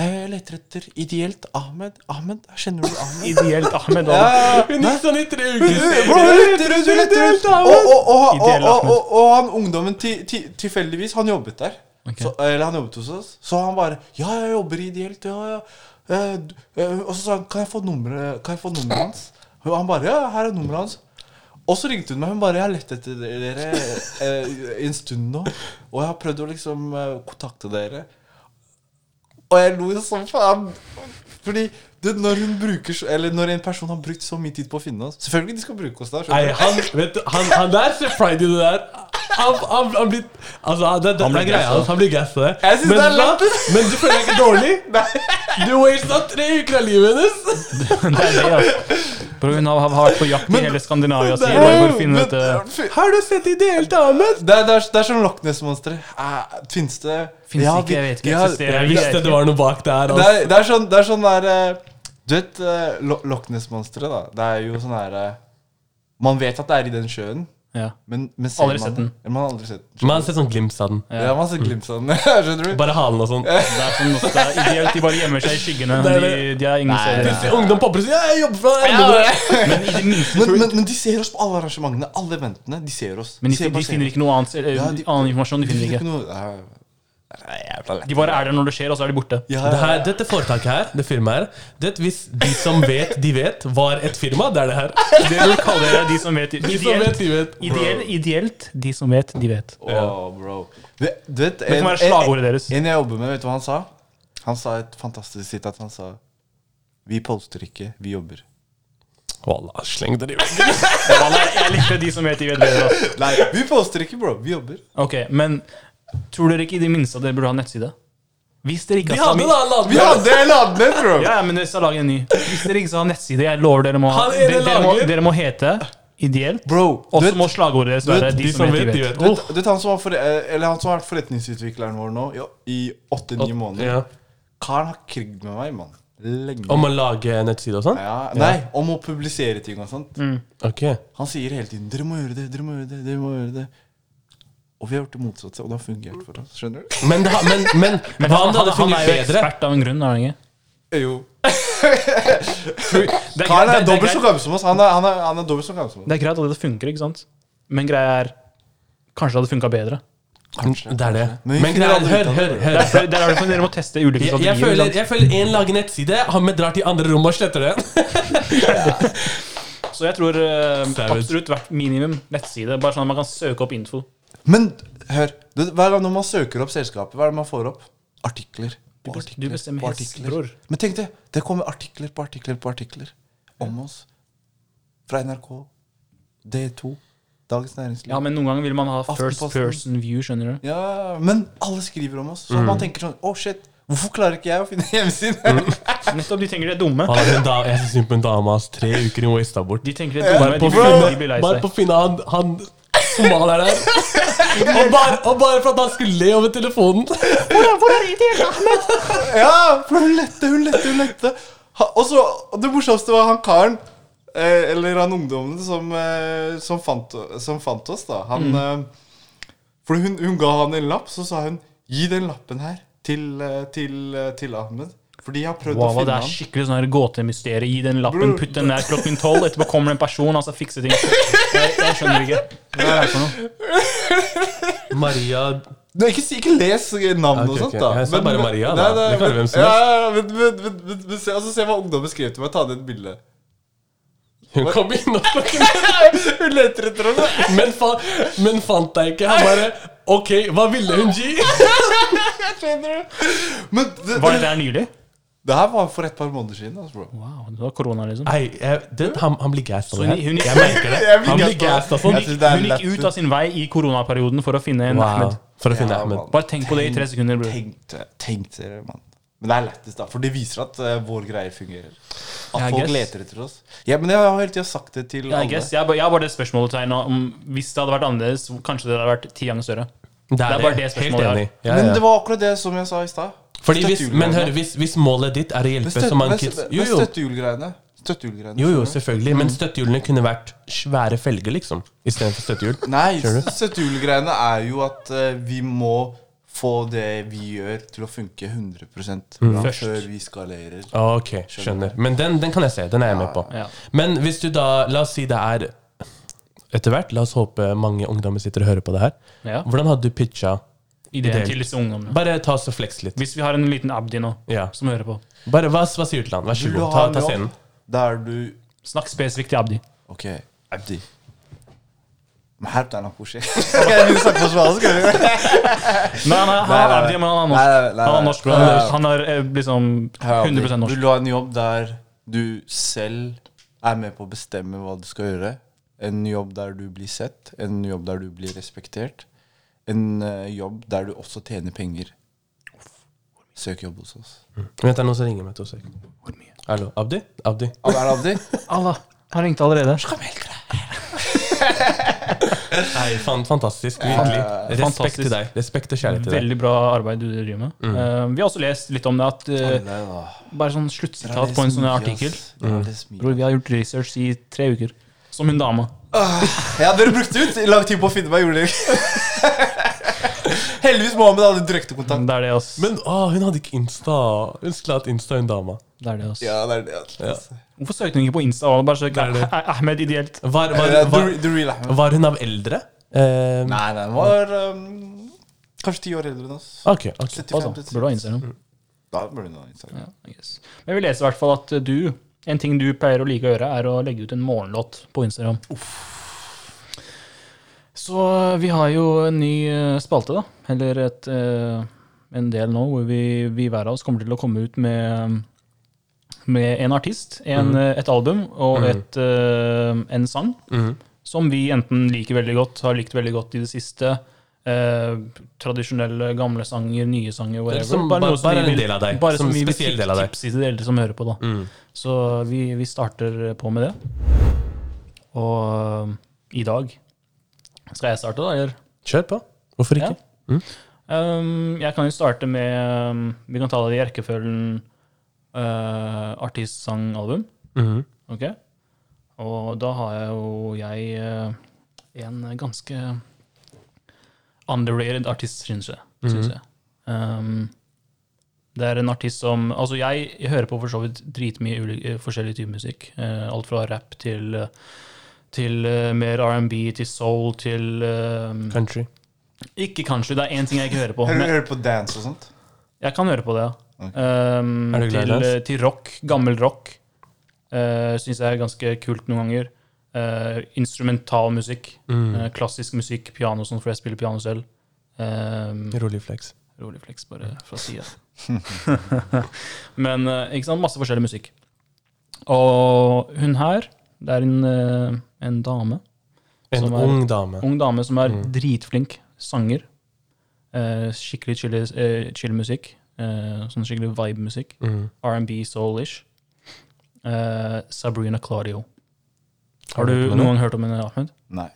Speaker 3: «Eh, jeg leter etter ideelt Ahmed. Ahmed, kjenner du
Speaker 1: sånn.
Speaker 3: Ahmed?
Speaker 1: Ideelt Ahmed.
Speaker 3: Ja,
Speaker 1: da.
Speaker 3: ja, ja.
Speaker 2: Hun gikk sånn i tre
Speaker 3: Bro,
Speaker 2: uker.
Speaker 3: hun lytter ut, hun lytter ut! Og, og, og, og,
Speaker 1: Ideell
Speaker 3: og,
Speaker 1: Ahmed.
Speaker 3: og, og han ungdommen til- til- tilfeldigvis, han jobbet der.
Speaker 1: Ok.
Speaker 3: Så, eller han jobbet hos oss. Så han bare Ja, jeg jobber ideelt, ja, ja. Eh, du- eh, Og så sa han Kan jeg få nummeret Kan jeg få nummeret hans? Og han bare Ja, her er nummeret hans. Og så ringte hun meg. Hun bare Jeg har lett etter dere eh, i en stund nå. Og jeg har prøvd å liksom eh, kontakte dere. Og jeg lo som faen. Fordi du, når hun bruker så- Eller når en person har brukt så mye tid på å finne oss Selvfølgelig de skal bruke oss der. skjønner
Speaker 2: Nei,
Speaker 3: du?
Speaker 2: han, vet du, han, han der ser pride i det der. Han, han, han blir Altså, det, det, det
Speaker 1: blir
Speaker 2: er greia
Speaker 1: gasset.
Speaker 2: hans. Han blir gasset der.
Speaker 3: Jeg synes
Speaker 2: men,
Speaker 3: det er
Speaker 2: da-
Speaker 3: lett.
Speaker 2: men du føler deg ikke dårlig? Du wasta tre uker av livet hennes!
Speaker 1: Det er det, altså. Bro, hun har, har vært på jakt i hele Skandinavia
Speaker 3: Det
Speaker 1: sier
Speaker 3: er-
Speaker 1: bare for å finne eh,
Speaker 3: men-
Speaker 1: dette.
Speaker 3: fy-
Speaker 2: Har du sett ideelt annet?
Speaker 3: Det er, det, er, det er som Loch Ness-monsteret. Eh, Fins det
Speaker 1: Fins
Speaker 3: Ja,
Speaker 1: ikke, jeg
Speaker 3: vi-
Speaker 1: vet ikke.
Speaker 3: ja,
Speaker 1: Eksisterer
Speaker 2: Jeg visste det var noe bak der.
Speaker 3: det,
Speaker 2: Altså.
Speaker 3: er, det er sånn Det er sånn der eh, Du vet eh, Lo- Loch Ness-monsteret, da. Det er jo sånn her eh, Man vet at det er i den sjøen,
Speaker 1: Ja.
Speaker 3: men, men ser
Speaker 1: Aldri
Speaker 3: man,
Speaker 1: sett
Speaker 3: det?
Speaker 1: den.
Speaker 3: Ja, Man har aldri sett den.
Speaker 2: Man har sett sånn glimt av den.
Speaker 1: Ja.
Speaker 3: Ja, man har sett glimt av den. Skjønner du?
Speaker 2: Bare halen og sånn.
Speaker 1: Det er sånn det er ideelt, de bare gjemmer seg i skyggene.
Speaker 2: Det er
Speaker 1: De, de er ingen
Speaker 3: Nei,
Speaker 1: serier.
Speaker 2: Plutselig ungdom popper og sier 'Jeg jobber for deg'. enda bra».
Speaker 1: Men i det minste
Speaker 3: Men, men, men de ser oss på alle arrangementene. Alle eventene. De ser oss.
Speaker 1: Men de,
Speaker 3: ser,
Speaker 1: de finner ikke noe annet, eller,
Speaker 3: Ja, de-
Speaker 1: annen informasjon. De
Speaker 3: De
Speaker 1: finner
Speaker 3: finner
Speaker 1: ikke.
Speaker 3: ikke noe eh, det er jævla lett.
Speaker 1: De bare er der når det skjer, og så er de borte.
Speaker 3: Ja,
Speaker 2: Det her, dette foretaket her, det firmaet her det, Hvis de som vet, de vet, var et firma, det er det her.
Speaker 1: Det du kaller det, de som vet.
Speaker 2: De som
Speaker 1: Ideelt,
Speaker 2: vet, de vet.
Speaker 1: ideelt, ideelt de som vet, de vet.
Speaker 3: Åh, bro. Du, du vet,
Speaker 1: Det kan være slagordet deres.
Speaker 3: En jeg jobber med, vet du hva han sa? Han sa et fantastisk sitat. Han sa Vi poster ikke, vi jobber.
Speaker 2: Wallah, sleng dere i veggen.
Speaker 1: Ja, nei, Jeg likte de som vet, de vet bedre. ass.
Speaker 3: Nei, vi poster ikke, bro. Vi jobber.
Speaker 1: Ok, Men tror dere ikke i det minste at dere burde ha en nettside? Hvis dere ikke
Speaker 2: De hadde da, han
Speaker 3: Vi hadde en laden, bro.
Speaker 1: Ja, ja, men dere skal lage en ny. Hvis dere ikke skal ha nettside, jeg lover dere må ha
Speaker 2: Han er det
Speaker 1: dere, dere, må,
Speaker 2: lager.
Speaker 1: dere må hete ideelt.
Speaker 3: Bro,
Speaker 1: Og så
Speaker 3: du vet,
Speaker 1: må slagordet deres være
Speaker 3: vet,
Speaker 1: de som vet, de vet. Oh.
Speaker 3: du vet- du vet han som har for, eh, eller han som har vært forretningsutvikleren vår nå i- i åtte-ni måneder?
Speaker 2: Ja.
Speaker 3: Karen har krigd med meg, mann. Lenge.
Speaker 2: Om å lage nettside og sånn?
Speaker 3: ja, Mm. nei, om å publisere ting og sånt.
Speaker 2: Ok.
Speaker 3: Han sier hele tiden 'dere må gjøre det, dere må gjøre det'. dere må gjøre det Og vi har gjort det motsatte, og det har fungert for oss. Skjønner du?
Speaker 2: Men, det, ha- men, men,
Speaker 1: Men
Speaker 2: hva
Speaker 1: han,
Speaker 2: om
Speaker 1: han,
Speaker 2: det hadde
Speaker 1: han er
Speaker 2: funnet
Speaker 1: jo
Speaker 2: bedre?
Speaker 1: ekspert av en grunn. Er han ikke?
Speaker 3: Jo.
Speaker 1: Det er
Speaker 3: Karen
Speaker 1: greit-
Speaker 3: er
Speaker 1: det- det er
Speaker 3: dobbelt så
Speaker 1: greit-
Speaker 3: gammel som oss. Han er, han er, han er dobbelt så gammel som oss.
Speaker 1: Det er greit at det funker, ikke sant? Men greia er Kanskje det hadde funka bedre.
Speaker 2: Det er det.
Speaker 3: Men vi
Speaker 2: Men
Speaker 3: finner
Speaker 2: greier,
Speaker 3: aldri ut
Speaker 2: hør,
Speaker 3: av
Speaker 2: hør,
Speaker 3: det.
Speaker 1: Det
Speaker 2: hør.
Speaker 1: er for- det er sånn derfor dere må teste ulike
Speaker 2: Jeg,
Speaker 1: strategier.
Speaker 2: jeg,
Speaker 1: ikke
Speaker 2: føler,
Speaker 1: sant?
Speaker 2: jeg føler en lager nettside, han med drar til andre rom og sletter det.
Speaker 1: Så jeg tror eh,
Speaker 2: Flaut.
Speaker 1: absolutt hvert minimum nettside. Bare sånn at man kan søke opp info.
Speaker 3: Men hør, du, hver gang når man søker opp selskapet, hva er det man får opp? Artikler.
Speaker 1: Du
Speaker 3: på
Speaker 1: bes-
Speaker 3: artikler
Speaker 1: du bestemmer
Speaker 3: på
Speaker 1: helst,
Speaker 3: artikler.
Speaker 1: bror.
Speaker 3: Men tenk det, det kommer artikler på artikler på artikler om oss. Fra NRK, D2, Dagens Næringsliv.
Speaker 1: Ja, men noen ganger vil man ha first
Speaker 3: Aftenposten.
Speaker 1: person view, skjønner du.
Speaker 3: Ja, men alle skriver om oss. Så man tenker sånn Å, shit. Hvorfor klarer ikke jeg å finne hjemmesiden?
Speaker 1: Nettopp, de tenker det er dumme.
Speaker 2: Han er en da, jeg syns synd på en dame hans. Tre uker hun wasta bort.
Speaker 1: De tenker det er dumme, de, blir- de blir lei
Speaker 2: Bare
Speaker 1: seg.
Speaker 2: på finne han, han somalier der. Og bare, og bare for at han skulle le over telefonen.
Speaker 3: ja, for hun lette, hun lette, hun lette. Ha, og så, og det morsomste var han karen, eh, eller han ungdommen, som, eh, som, fant, som fant oss, da. Han,
Speaker 2: Mm.
Speaker 3: eh, for hun, hun ga han en lapp, så sa hun Gi den lappen her til, eh, til, eh, til Ahmed. For de har prøvd å
Speaker 1: Wow, det
Speaker 3: finne
Speaker 1: er
Speaker 3: ham.
Speaker 1: skikkelig sånn her gåtemysterium. Gi den lappen,
Speaker 3: Bror.
Speaker 1: putt den der klokken tolv. Etterpå kommer det en person, altså fikse ting. Jeg, jeg skjønner ikke. Hva er det for noe?
Speaker 2: Maria
Speaker 3: Nei, ikke, si- ikke les navn
Speaker 2: Ok,
Speaker 3: og
Speaker 2: ok.
Speaker 3: sånt, da.
Speaker 2: Jeg sa bare Maria, da.
Speaker 3: Nei, nei,
Speaker 2: Det kan være hvem som
Speaker 3: ja, ja, men, men, men, men, men se, altså, se hva ungdommen skrev til meg. Ta ned et bilde.
Speaker 2: Hun kom inn og
Speaker 3: Hun leter etter ham.
Speaker 2: men, fa men fant deg ikke. Han bare OK, hva ville hun gi?
Speaker 3: Skjønner du? Men det,
Speaker 1: Var det der nylig?
Speaker 3: Det her var for et par måneder siden. Altså, bro.
Speaker 1: Wow, det var korona, liksom.
Speaker 2: Nei, jeg, det, han, han blir gassed
Speaker 1: Så
Speaker 2: av det
Speaker 1: hun,
Speaker 2: her.
Speaker 1: hun,
Speaker 2: Jeg merker det.
Speaker 3: Jeg blir
Speaker 2: Han blir
Speaker 3: gassed av det.
Speaker 2: gassed av sånn.
Speaker 3: Jeg synes det er
Speaker 1: hun gikk
Speaker 3: lett.
Speaker 1: ut av sin vei i koronaperioden for å finne en
Speaker 2: Wow.
Speaker 1: Ahmed.
Speaker 2: For å finne
Speaker 3: Ja,
Speaker 2: Ahmed.
Speaker 3: mann.
Speaker 1: Bare tenk på det i tre sekunder, bror.
Speaker 3: Tenk det- tenk dere, mann. Men det er lettest, da. For det viser at eh, vår greie fungerer. At
Speaker 1: Ja, I
Speaker 3: folk
Speaker 1: guess.
Speaker 3: leter etter oss. Ja, men jeg har hele tida sagt det til
Speaker 1: Ja, I
Speaker 3: alle.
Speaker 1: guess. Jeg har bare- jeg har bare det spørsmålstegnet om hvis det hadde vært annerledes, kanskje det hadde vært ti ganger større.
Speaker 2: Det
Speaker 1: er bare det spørsmålet jeg har.
Speaker 2: Helt enig. Ja,
Speaker 3: Men
Speaker 2: ja.
Speaker 3: det var akkurat det som jeg sa i stad.
Speaker 2: Fordi hvis, men
Speaker 3: Støttehjulgreiene.
Speaker 2: hør, hvis, hvis målet ditt er å
Speaker 3: Men
Speaker 2: hjelpe
Speaker 3: støtte-
Speaker 2: så mange
Speaker 3: men
Speaker 2: kids
Speaker 3: støtte-
Speaker 2: Jo,
Speaker 3: men
Speaker 2: jo.
Speaker 3: Støttehjulgreiene. Støttehjulgreiene.
Speaker 2: Jo, jo,
Speaker 3: skjønner du?
Speaker 2: selvfølgelig. Men støttehjulene kunne vært svære felger, liksom. Istedenfor støttehjul.
Speaker 3: Nei,
Speaker 2: Skjønner du?
Speaker 3: støttehjulgreiene er jo at eh, vi må få det vi gjør, til å funke 100
Speaker 2: Mm.
Speaker 3: bra,
Speaker 1: Først.
Speaker 3: før vi skalerer.
Speaker 2: Ah, Ok, skjønner. Men den, den kan jeg se. Den er jeg med på.
Speaker 1: Ja.
Speaker 2: Men hvis du da La oss si det er Etter hvert, la oss håpe mange ungdommer sitter og hører på det her.
Speaker 1: Ja.
Speaker 2: Hvordan hadde du pitcha
Speaker 1: Ideen
Speaker 2: Ideelt.
Speaker 1: til disse ungdommene.
Speaker 2: Bare ta oss og flex litt.
Speaker 1: Hvis vi har en liten Abdi nå,
Speaker 2: Ja.
Speaker 1: som hører på,
Speaker 2: Bare, hva, hva sier du til han? Vær så
Speaker 3: Vil du
Speaker 2: god, ta,
Speaker 3: ha en
Speaker 2: ta
Speaker 3: jobb
Speaker 2: scenen.
Speaker 3: Der du
Speaker 1: snakk spesifikt til Abdi.
Speaker 3: Ok, Abdi. Men her er nok koselig. Skal jeg begynne å snakke på spansk? eller?
Speaker 1: Nei, nei, han,
Speaker 3: Nei, nei,
Speaker 1: Abdi, men han er
Speaker 3: nei,
Speaker 1: norsk. Han er
Speaker 3: nei, nei, nei.
Speaker 1: norsk, bro. Han er- Han er eh, liksom
Speaker 3: Her, Abdi.
Speaker 1: 100 norsk.
Speaker 3: Vil du ha en jobb der du selv er med på å bestemme hva du skal gjøre? En jobb der du blir sett, en jobb der du blir respektert. En eh, jobb der du også tjener penger. Søk jobb hos oss.
Speaker 2: Vent, det er noen som ringer meg. To sekunder. Hallo. Abdi? Abdi?
Speaker 3: Ab- Er det Abdi?
Speaker 1: Allah, han ringte allerede.
Speaker 2: Nei, fan, fantastisk. Virkelig. Respekt
Speaker 1: fantastisk.
Speaker 2: til deg. Respekt og kjærlighet til deg.
Speaker 1: Veldig bra arbeid du driver med. Eh, vi har også lest litt om det. At, eh, bare sånn sluttsitat på en sånn artikkel. Bror, vi har gjort research i tre uker. Som hun dama.
Speaker 3: Ja, dere brukte ut lang tid på å finne meg, gjorde dere? Heldigvis Mohammed hadde direkte kontakt.
Speaker 1: Det er det, ass.
Speaker 2: Men å, hun hadde ikke Insta. Hun skulle hatt Insta, hun dama.
Speaker 1: Det er det, ass.
Speaker 3: Ja, det er det. altså.
Speaker 2: Ja.
Speaker 1: Hvorfor søkte hun ikke på Insta? og Bare søk
Speaker 2: Det er det.
Speaker 1: Ah- Ahmed ideelt.
Speaker 2: Var, var,
Speaker 3: Eh,
Speaker 2: var,
Speaker 3: the- the real Ahmed.
Speaker 2: var hun av eldre? Eh,
Speaker 3: Nei, nei, han var ehm, kanskje ti år eldre enn oss.
Speaker 2: ok, ok.
Speaker 3: 75
Speaker 1: Altså,
Speaker 3: plutselig.
Speaker 1: burde ha Instagram.
Speaker 3: Da burde du ha Instagram.
Speaker 1: Ja, I guess. Men vi leser i hvert fall at eh, du En ting du pleier å like å gjøre, er å legge ut en morgenlåt på Instagram. Så eh, vi har jo en ny eh, spalte, da. Eller et, eh, en del nå hvor vi, vi hver av oss kommer til å komme ut med med en artist, en, eh, et album og et, eh, en sang
Speaker 2: Mhm.
Speaker 1: som vi enten liker veldig godt, har likt veldig godt i det siste. eh, tradisjonelle gamle sanger, nye sanger, whatever.
Speaker 2: Som liksom ba-
Speaker 1: noe som
Speaker 2: bare
Speaker 1: vi
Speaker 2: en
Speaker 1: vil-
Speaker 2: del av deg,
Speaker 1: Bare
Speaker 2: som
Speaker 1: som, vi vil
Speaker 2: spesiell
Speaker 1: tip-
Speaker 2: del av deg.
Speaker 1: tipse til dere som hører på, da.
Speaker 2: mhm.
Speaker 1: Så vi, vi starter på med det. Og eh, i dag Skal jeg starte, da, eller?
Speaker 2: Kjør på. Hvorfor ikke?
Speaker 1: Um, jeg kan jo starte med um, Vi kan ta det i rekkefølgen uh, artist, sang, album.
Speaker 2: Mhm.
Speaker 1: Ok? Og da har jeg jo jeg eh, en ganske underrated artist, syns jeg. Synes jeg. Um, det er en artist som Altså, jeg hører på for så vidt dritmye ulik- eh, forskjellig type musikk. Eh, alt fra rap til eh, til eh, mer R&B, til soul, til eh,
Speaker 2: Country.
Speaker 1: Ikke kanskje, det er én ting jeg ikke hører på.
Speaker 3: Hører
Speaker 1: Men
Speaker 3: hører du på dance og sånt?
Speaker 1: jeg kan høre på det, ja.
Speaker 3: Ok.
Speaker 1: Ehm,
Speaker 2: Er du glad i
Speaker 1: til,
Speaker 2: dans?
Speaker 1: eh, til rock. Gammel rock. Uh, Syns jeg er ganske kult noen ganger. eh, instrumental musikk.
Speaker 2: Mm.
Speaker 1: Eh, klassisk musikk, piano og sånn, for jeg spiller piano selv. Um,
Speaker 2: Rolig flex.
Speaker 1: rolig flex, bare fra sida. Men eh, ikke sant, masse forskjellig musikk. Og hun her, det er en, eh, en dame.
Speaker 2: En
Speaker 1: Som er-
Speaker 2: ung dame.
Speaker 1: Ung dame som er
Speaker 2: Mm.
Speaker 1: dritflink sanger. Eh, skikkelig chill, eh, chill musikk. Eh, sånn skikkelig vibe-musikk.
Speaker 2: Mm.
Speaker 1: R&B, soul-ish. Eh, Sabrina Claudio. Har
Speaker 2: Har du hørt
Speaker 1: du
Speaker 2: om henne?
Speaker 1: noen hørt om henne, Ahmed?
Speaker 3: Nei.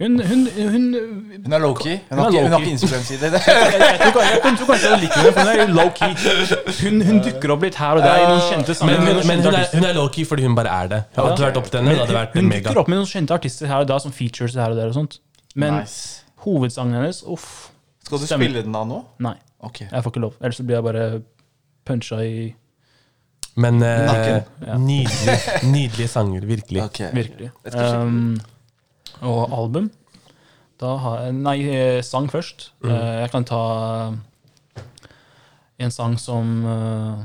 Speaker 1: Hun, hun, hun
Speaker 3: Hun er lowkey.
Speaker 1: Hun
Speaker 3: Hun, har
Speaker 1: er
Speaker 3: ikke- hun har
Speaker 1: low-key.
Speaker 3: ikke Instagram-side.
Speaker 1: jeg, jeg, tror, kanskje- jeg tror kanskje du liker henne, for hun er jo low-key. Hun, hun dukker opp litt her og der i noen kjente
Speaker 2: Eh, Men,
Speaker 1: sanger.
Speaker 2: men,
Speaker 1: noen
Speaker 2: men
Speaker 1: kjente
Speaker 2: hun er,
Speaker 1: artister.
Speaker 2: hun er low-key fordi hun bare er det. Hadde du vært opp til henne, det hadde vært
Speaker 1: hun
Speaker 2: mega.
Speaker 1: dukker opp med noen kjente artister her og der, som features her og der og sånt. Men
Speaker 3: Nice.
Speaker 1: hovedsangen hennes, uff,
Speaker 3: Skal du
Speaker 1: Stemmer.
Speaker 3: spille den av nå?
Speaker 1: nei.
Speaker 3: Ok.
Speaker 1: Jeg får ikke lov. Ellers så blir jeg bare puncha i
Speaker 2: Men eh,
Speaker 3: Nakken.
Speaker 1: Ja.
Speaker 2: nydelige, nydelige sanger, virkelig.
Speaker 3: Ok.
Speaker 1: Virkelig.
Speaker 3: Jeg skal sjekke.
Speaker 1: Um, og album da har jeg, Nei, eh, sang først. Eh, jeg kan ta eh, en sang som eh,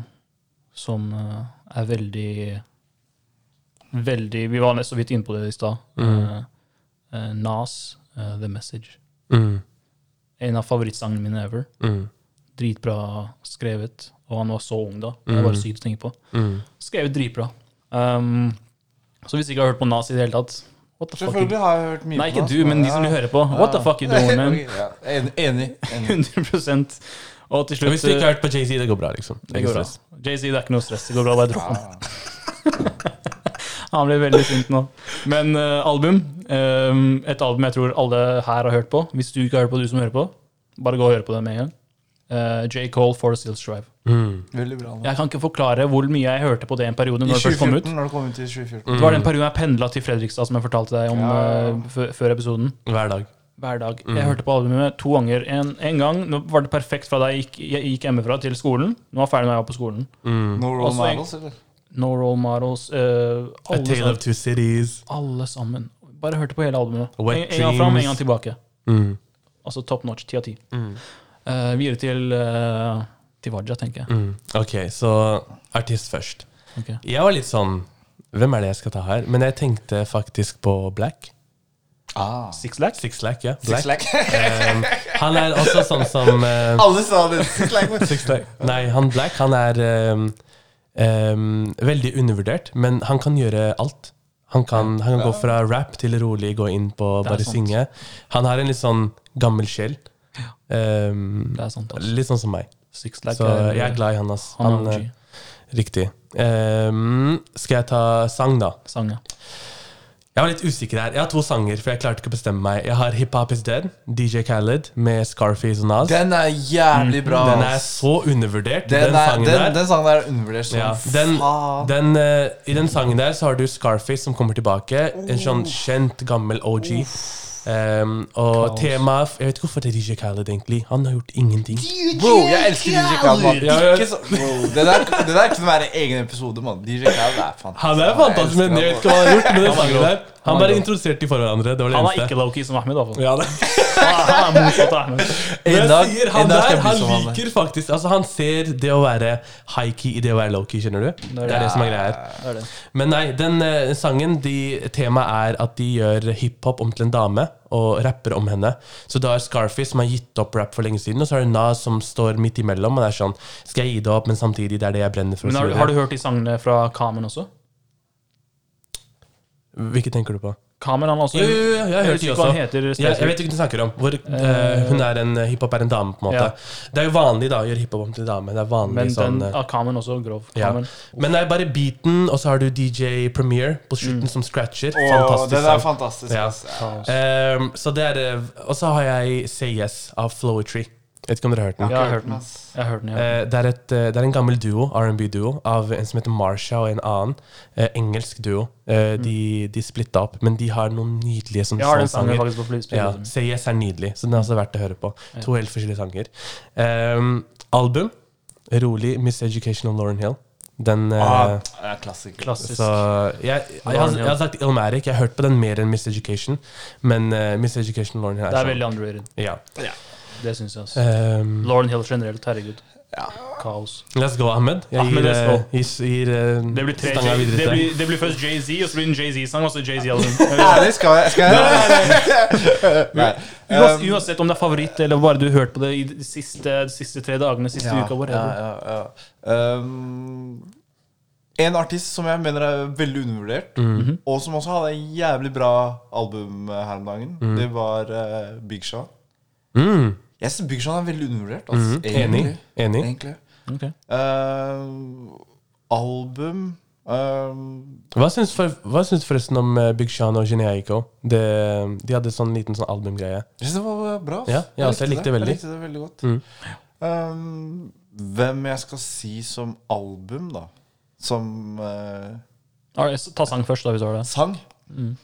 Speaker 1: Som eh, er veldig Veldig Vi var nest så vidt inne på det i stad. Eh, eh, Nas, eh, 'The Message'.
Speaker 2: Mm,
Speaker 1: En av favorittsangene mine ever.
Speaker 2: mm,
Speaker 1: Dritbra skrevet. Og han var så ung da. Det er bare sykt å tenke på.
Speaker 2: mm.
Speaker 1: Skrevet dritbra. Um, så hvis ikke har hørt på Nas i det hele tatt What the fuck?
Speaker 3: Selvfølgelig har jeg hørt mye
Speaker 1: Nei, ikke
Speaker 3: på
Speaker 1: du,
Speaker 3: det.
Speaker 1: men de som du hører på. What the fuck you doing, man?
Speaker 3: Ok, ja. En- Enig. enig.
Speaker 1: 100 Og til
Speaker 2: Og
Speaker 1: slutt eh,
Speaker 2: hvis du ikke har hørt på Jay-Z, det går bra, liksom. Det
Speaker 1: Det
Speaker 2: er ikke
Speaker 1: går bra.
Speaker 2: stress.
Speaker 1: Jay-Z, det er ikke noe stress. Det går bra. Bare dropp han. Han blir veldig sint nå. Men eh, album. eh, et album jeg tror alle her har hørt på. Hvis du ikke har hørt på, du som hører på, bare gå og høre på det med en gang. Eh, J. Cole, Forest Hills Drive.
Speaker 2: Mm.
Speaker 3: Veldig bra. nå.
Speaker 1: Jeg kan ikke forklare hvor mye jeg hørte på det en periode.
Speaker 3: I
Speaker 1: når det først kom ut.
Speaker 3: 2014, når det kom ut i 2014.
Speaker 2: Mm.
Speaker 1: Det var den perioden jeg pendla til Fredrikstad, som jeg fortalte deg om
Speaker 3: Ja.
Speaker 1: eh, fø- før episoden.
Speaker 2: Hver dag.
Speaker 1: Hver dag.
Speaker 2: Mm.
Speaker 1: Jeg hørte på albumet to ganger. En, en gang nå var det perfekt fra da jeg gikk, jeg gikk hjemmefra til skolen. Nå var jeg ferdig når jeg var på skolen.
Speaker 2: Mm.
Speaker 3: No role
Speaker 1: Også en-
Speaker 3: models, eller?
Speaker 1: No Role Models. eh,
Speaker 2: A
Speaker 1: alle,
Speaker 2: Tale
Speaker 1: sammen,
Speaker 2: of Two Cities.
Speaker 1: alle sammen. Bare hørte på hele albumet. En,
Speaker 2: Wet
Speaker 1: en gang fram,
Speaker 2: Dreams.
Speaker 1: en gang tilbake.
Speaker 2: Mm.
Speaker 1: Altså top notch. Ti av ti. Eh, videre til uh, Tiwaja, tenker jeg.
Speaker 2: Mm. Ok, så artist først.
Speaker 1: Ok.
Speaker 2: Jeg var litt sånn Hvem er det jeg skal ta her? Men jeg tenkte faktisk på Black.
Speaker 3: Ah.
Speaker 1: Six Lack?
Speaker 2: Six Lack, ja. Black.
Speaker 3: Six Lack.
Speaker 2: Um, han er også sånn som eh,
Speaker 3: Alle sa det. Six Lack. men-
Speaker 2: Six Lack. Nei, han Black, han er um, um, veldig undervurdert, men han kan gjøre alt. Han kan, han kan gå fra rap til rolig, gå inn på
Speaker 1: Det er
Speaker 2: bare
Speaker 1: sant.
Speaker 2: synge. Han har en litt sånn gammel sjel. Um,
Speaker 1: Det er sant, altså.
Speaker 2: litt sånn som meg.
Speaker 1: Six Lack
Speaker 2: Så
Speaker 1: er,
Speaker 2: jeg er glad i han, ass.
Speaker 1: han
Speaker 2: Han,
Speaker 1: er
Speaker 2: eh,
Speaker 1: OG.
Speaker 2: riktig. Um, skal jeg ta sang, da?
Speaker 1: Sang, ja.
Speaker 2: Jeg var litt usikker her. Jeg har to sanger, for jeg klarte ikke å bestemme meg. Jeg har Hip Hop Is Dead, DJ Khaled med Scarface og Nas.
Speaker 3: Den er
Speaker 1: Mm.
Speaker 3: jævlig bra.
Speaker 2: Den er
Speaker 3: ass.
Speaker 2: så undervurdert, den,
Speaker 3: den, er,
Speaker 2: sangen
Speaker 3: den,
Speaker 2: der.
Speaker 3: den sangen der er undervurdert som
Speaker 2: ja. den,
Speaker 3: faen.
Speaker 2: den, eh, I den sangen der så har du Scarface som kommer tilbake. En sånn kjent, gammel OG. Um, og temaet Jeg vet ikke hvorfor det er DJ Khaled, egentlig. Han har gjort ingenting.
Speaker 3: Bro, jeg elsker DJ Khaled, mann.
Speaker 2: Ja, ja.
Speaker 3: Ikke så- bro, Det der det der kunne være egen episode, mann. DJ Khaled er fantastisk.
Speaker 2: Han er fantastisk, men jeg vet ikke hva han har gjort med den sangen der. Han bare introduserte de for hverandre. Det var det
Speaker 1: Han er
Speaker 2: eneste.
Speaker 1: ikke lowkey som Ahmed, iallfall.
Speaker 2: Ja, det.
Speaker 1: Han er motsatt av Ahmed.
Speaker 2: Men
Speaker 3: En
Speaker 2: jeg
Speaker 3: dag-
Speaker 2: sier,
Speaker 3: en
Speaker 2: han
Speaker 3: dag skal
Speaker 2: der,
Speaker 3: jeg bli
Speaker 2: han
Speaker 3: som han der.
Speaker 2: liker faktisk Altså, han ser det å være high-key i det å være low-key, skjønner du? Det er det som er greia her.
Speaker 1: Det er det.
Speaker 2: Men nei, den eh, sangen, de, temaet er at de gjør hiphop om til en dame og rapper om henne. Så da er Scarface, som har gitt opp rap for lenge siden, og så er det Nas som står midt imellom. Og det er sånn Skal jeg gi det opp, men samtidig, det er det jeg brenner for.
Speaker 1: Men
Speaker 2: og så
Speaker 1: har,
Speaker 2: videre.
Speaker 1: har du hørt de sangene fra Kamen også?
Speaker 2: Hvilke tenker du på?
Speaker 1: Kamen, han er også
Speaker 2: Jo, jo, jo, jeg har hørt de
Speaker 1: husker ikke
Speaker 2: også.
Speaker 1: hva han heter
Speaker 2: Ja, jeg
Speaker 1: spesifikt.
Speaker 2: vet ikke hva du snakker om. Hvor, eh, hun er en Hiphop er en dame, på en måte.
Speaker 1: Ja.
Speaker 2: Det er jo vanlig da å gjøre hiphop om til en dame. Det er vanlig
Speaker 1: Men
Speaker 2: sånn
Speaker 1: den
Speaker 2: eh,
Speaker 1: av Kamen også, grov.
Speaker 2: Ja.
Speaker 1: Kamen.
Speaker 2: Men det er bare beaten, og så har du DJ Premiere på
Speaker 1: Mm.
Speaker 2: slutten som scratcher.
Speaker 3: Åh,
Speaker 2: Fantastisk.
Speaker 3: Den er
Speaker 2: sang.
Speaker 3: fantastisk.
Speaker 2: Ja.
Speaker 3: ass.
Speaker 2: Ehm, så det er eh, Og så har jeg Say Yes av Floetry. Vet ikke om dere har hørt den.
Speaker 1: Jeg har hørt
Speaker 3: den,
Speaker 1: den.
Speaker 3: ass.
Speaker 1: Jeg har hørt den, ja.
Speaker 2: Eh, det, er et, eh, det er en gammel duo, R&B-duo, av en som heter Marsha og en annen. eh, engelsk duo. Eh, de de splitta opp, men de har noen nydelige sånne
Speaker 1: Jeg Mm. har den sangen
Speaker 2: sanger.
Speaker 1: faktisk på flyspillet.
Speaker 2: Ja, Say Yes er nydelig, så den er også verdt å høre på. To helt forskjellige sanger. Ehm, album. Rolig Miss Educational Lauren Hill. Den eh,
Speaker 3: Ah, det er klassiker.
Speaker 1: Klassisk.
Speaker 2: Så jeg, jeg, har, jeg har sagt Illmatic. Jeg har hørt på den mer enn Miss Education. Men eh, Miss Education Lauren Hill
Speaker 1: det
Speaker 2: er
Speaker 1: er
Speaker 2: sånn.
Speaker 1: veldig underrated.
Speaker 2: Ja.
Speaker 1: Det syns jeg. altså.
Speaker 2: Ehm,
Speaker 1: Lauren Hill generelt, herregud. Kaos.
Speaker 2: Let's go, Ahmed. Jeg
Speaker 1: Ahmed,
Speaker 2: gir,
Speaker 1: let's go.
Speaker 2: eh, gis- gir, eh,
Speaker 1: Det blir, tre,
Speaker 2: stanga videre
Speaker 1: det
Speaker 2: til deg.
Speaker 1: blir, det blir først Jay-Z, og så blir det en Jay-Z-sang, og så Jay-Z-album.
Speaker 3: Ærlig, skal jeg, skal jeg? Nei.
Speaker 1: Uansett, uansett om det er favoritt, eller bare du har hørt på det i de siste, de siste tre dagene, siste
Speaker 3: Ja,
Speaker 1: uka,
Speaker 3: ja,
Speaker 1: whatever.
Speaker 3: ja, ja. Um, en artist som jeg mener er veldig undervurdert,
Speaker 2: Mhm.
Speaker 3: og som også hadde en jævlig bra album eh, her om dagen,
Speaker 2: Mhm.
Speaker 3: det var eh, Big Sean.
Speaker 2: Mm,
Speaker 3: Jeg synes Big Sean er veldig undervurdert.
Speaker 2: Mhm.
Speaker 3: Altså,
Speaker 2: enig.
Speaker 3: egentlig.
Speaker 2: enig.
Speaker 3: egentlig.
Speaker 1: Ok.
Speaker 3: Um, album um,
Speaker 2: Hva syns, for, hva syns forresten om eh, Big Sean og Genea Aiko? Det, de hadde sånn liten sånn albumgreie.
Speaker 3: Jeg synes det var bra. ass.
Speaker 2: Ja, ja, altså, jeg likte det veldig. Mm.
Speaker 3: Jeg likte det veldig godt. Um, hvem jeg skal si som album, da? Som eh,
Speaker 1: Alright, Ta sang først, da, hvis du har det.
Speaker 3: sang.
Speaker 2: Mm.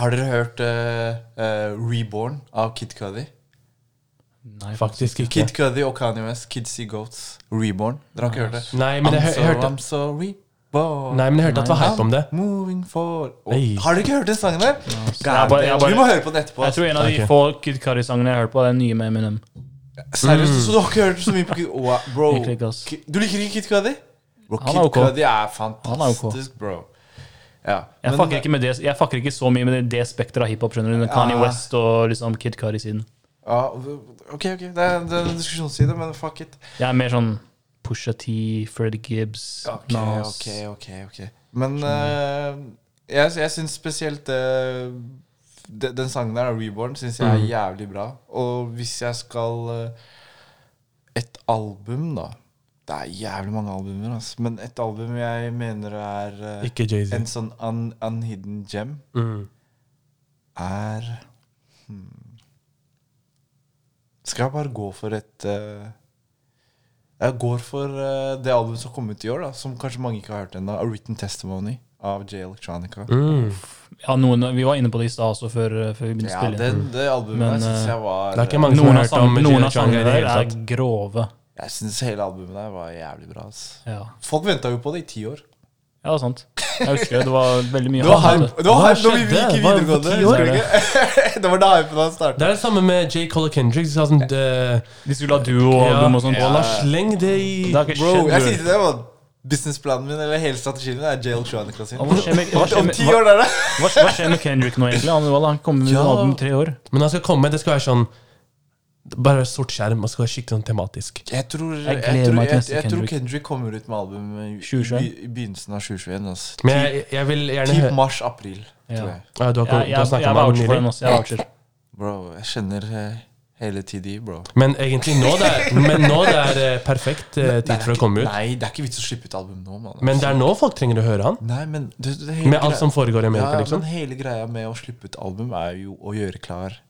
Speaker 3: Har dere hørt eh, eh, Reborn av Kid Cudi?
Speaker 1: Nei,
Speaker 2: Faktisk ikke.
Speaker 3: Kid Cudi og Kanye West, Kids See Goats, Reborn. Dere har ikke hørt det?
Speaker 2: Nei, altså. men jeg, hø-
Speaker 3: I'm so,
Speaker 2: jeg hørte
Speaker 3: I'm so reborn.
Speaker 2: Nei, men jeg hørte at det var hype om det.
Speaker 3: Moving forward. Å,
Speaker 2: Nei.
Speaker 3: Har dere ikke hørt den sangen der?
Speaker 1: Jeg bare- jeg
Speaker 3: God,
Speaker 1: bare-
Speaker 3: vi må høre på den etterpå. altså.
Speaker 1: Jeg tror en av de
Speaker 2: Ok.
Speaker 1: få Kid Cudi-sangene jeg har hørt på, er den nye med Eminem.
Speaker 3: Seriøst, så du har ikke hørt så mye på Kid Wow, Bro.
Speaker 1: Jeg liker ikke, Mm. ass.
Speaker 3: Ki- Du liker ikke Kid Cudi? Bro,
Speaker 1: Han er
Speaker 3: Kid
Speaker 1: ok.
Speaker 3: Cudi er
Speaker 1: Han er ok.
Speaker 3: fantastisk, bro. Ja.
Speaker 1: Jeg
Speaker 3: men-
Speaker 1: fucker ikke, med det, jeg fucker ikke så mye med det, det spekteret av hiphop. skjønner du, med Kanye
Speaker 3: Ja.
Speaker 1: West og liksom Kid Cudi-siden.
Speaker 3: ja, Ok, ok, det er, det er en diskusjonsside, men fuck it.
Speaker 1: Jeg er mer sånn Pusha T, Freddy Gibbs,
Speaker 3: Ok,
Speaker 1: Nas.
Speaker 3: ok, ok, ok Men eh, jeg, jeg syns spesielt eh, de, Den sangen der, Reborn, syns jeg er jævlig bra. Og hvis jeg skal eh, Et album, da Det er jævlig mange albumer, altså. men et album jeg mener er eh,
Speaker 2: Ikke Jay-Z.
Speaker 3: en sånn un, unhidden gem,
Speaker 2: Mm.
Speaker 3: er hmm. Skal jeg bare gå for et eh, Jeg går for eh, det albumet som kom ut i år, da som kanskje mange ikke har hørt ennå. A Written Testimony av J. Electronica.
Speaker 2: Mm.
Speaker 1: Ja, noen, vi var inne på det i stad også, før, eh, før vi begynte å
Speaker 3: Ja,
Speaker 1: spille.
Speaker 3: det, det albumet
Speaker 1: Men,
Speaker 3: der syns
Speaker 1: eh,
Speaker 3: jeg var
Speaker 2: det er ikke mange som
Speaker 1: noen
Speaker 2: har
Speaker 1: av,
Speaker 2: hørt om
Speaker 1: sang, noen av
Speaker 2: Chang i
Speaker 1: sangene
Speaker 2: det
Speaker 1: der
Speaker 2: hele
Speaker 1: er
Speaker 2: tatt.
Speaker 1: grove.
Speaker 3: Jeg syns hele albumet der var jævlig bra. ass.
Speaker 1: Ja,
Speaker 3: Folk venta jo på det i ti år.
Speaker 1: ja det er sant. Jeg husker det, det var veldig mye
Speaker 3: Det var
Speaker 1: annet.
Speaker 3: hype det var
Speaker 2: Hva
Speaker 3: hype når vi
Speaker 2: skjedde?
Speaker 3: gikk i
Speaker 2: Hva- for
Speaker 3: videregående.
Speaker 2: ti år?
Speaker 3: husker du ikke? Det var da hypen da starta.
Speaker 2: Det er det samme med J. Cole og Kendrick. Så sånn, det,
Speaker 1: De skulle ha duo-album og sånt.
Speaker 2: ja, sleng det i
Speaker 1: Det har ikke
Speaker 3: Bro,
Speaker 1: skjedd.
Speaker 3: jeg
Speaker 1: bror.
Speaker 3: sier til deg at businessplanen min eller hele strategien min er J. Electronica sin.
Speaker 1: Ja, Hva skjer med, hva skjer
Speaker 3: Om
Speaker 1: med,
Speaker 3: ti
Speaker 1: hva,
Speaker 3: år der, da?
Speaker 1: hva, hva skjer med Kendrick nå, egentlig? Han, han kommer med
Speaker 2: Ja.
Speaker 1: ja. album i tre år.
Speaker 2: Men han skal komme, det skal være sånn Bare sort skjerm, og skal være skikkelig sånn tematisk.
Speaker 3: Jeg tror, jeg,
Speaker 1: gleder
Speaker 3: tror,
Speaker 1: meg
Speaker 3: jeg,
Speaker 1: til
Speaker 3: jeg,
Speaker 1: neste
Speaker 3: tror
Speaker 1: Kendrick.
Speaker 3: Kendrick kommer ut med album i,
Speaker 1: 2021.
Speaker 3: i begynnelsen av 2021. Altså.
Speaker 2: Men jeg, jeg vil gjerne
Speaker 3: Typ
Speaker 2: høre
Speaker 3: mars-april,
Speaker 1: Ja.
Speaker 3: tror jeg.
Speaker 2: ja, Du har,
Speaker 1: Jeg,
Speaker 2: ikke- du har
Speaker 1: jeg, jeg
Speaker 2: snakket med ham
Speaker 1: voucher for den
Speaker 2: nylig.
Speaker 1: også. Jeg voucher.
Speaker 3: Bro, jeg kjenner eh, hele TD, bro.
Speaker 2: Men egentlig nå det er, men nå det er eh, perfekt eh, tid for å komme ut.
Speaker 3: Nei, det er ikke vits å slippe ut album nå, mann.
Speaker 2: Men det er nå folk trenger å høre han.
Speaker 3: Nei, men det, det hele
Speaker 2: Med alt som foregår i
Speaker 3: ja,
Speaker 2: Amerika,
Speaker 3: ja,
Speaker 2: liksom.
Speaker 3: men hele greia med å slippe ut album er jo å gjøre klar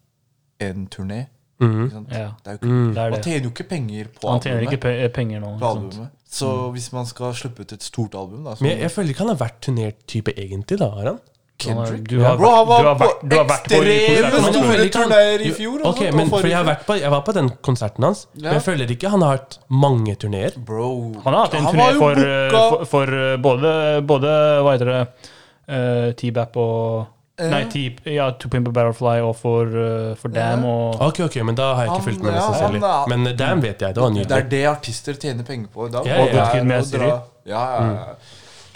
Speaker 3: en turné.
Speaker 2: Mhm. Mm.
Speaker 3: Ikke sant?
Speaker 1: Ja,
Speaker 3: Det er jo ikke,
Speaker 1: det er
Speaker 3: Man
Speaker 1: det.
Speaker 3: tjener jo ikke penger på
Speaker 1: Han tjener ikke
Speaker 3: albumet.
Speaker 1: pe penger nå.
Speaker 3: På
Speaker 1: ikke sant?
Speaker 3: albumet. Så
Speaker 1: Mm.
Speaker 3: hvis man skal slippe ut et stort album, da som
Speaker 2: Men jeg, jeg føler ikke han har vært turnert type egentlig, da. har han?
Speaker 3: Kendrick
Speaker 1: Du har,
Speaker 3: Bro, han
Speaker 1: du har
Speaker 3: var
Speaker 1: vært, du har
Speaker 3: på
Speaker 1: vært på
Speaker 3: ekstreme
Speaker 1: konserten hans, bror.
Speaker 2: Men jeg
Speaker 3: store
Speaker 2: føler ikke han-
Speaker 3: turneer i fjor. altså. og
Speaker 2: Ok,
Speaker 3: sånt, og
Speaker 2: men for
Speaker 3: forrige
Speaker 2: jeg, har
Speaker 3: fjor.
Speaker 2: vært på, jeg var på den konserten hans, men jeg føler ikke han har hatt mange turneer.
Speaker 3: Bro,
Speaker 1: Han har hatt en
Speaker 3: han
Speaker 1: turné
Speaker 3: var jo
Speaker 1: for,
Speaker 3: booka-
Speaker 1: eh, for, for eh, både, både hva heter det, eh, T-Bap
Speaker 3: Eh.
Speaker 1: og Nei, T ja, To Pimp a Butterfly og for, eh, for Dam og
Speaker 2: Ok, ok, men da har jeg ikke
Speaker 3: Han-
Speaker 2: fulgt med,
Speaker 3: ja,
Speaker 2: mest sannsynlig.
Speaker 3: han er-
Speaker 2: Men eh, Damn vet jeg, det var
Speaker 3: Det
Speaker 2: nydelig.
Speaker 3: er det artister tjener penger på i dag.
Speaker 2: Ja, ja,
Speaker 3: Og det
Speaker 2: ja.
Speaker 3: er
Speaker 1: Good med
Speaker 3: å dra-
Speaker 1: Siri.
Speaker 3: Ja, ja, ja.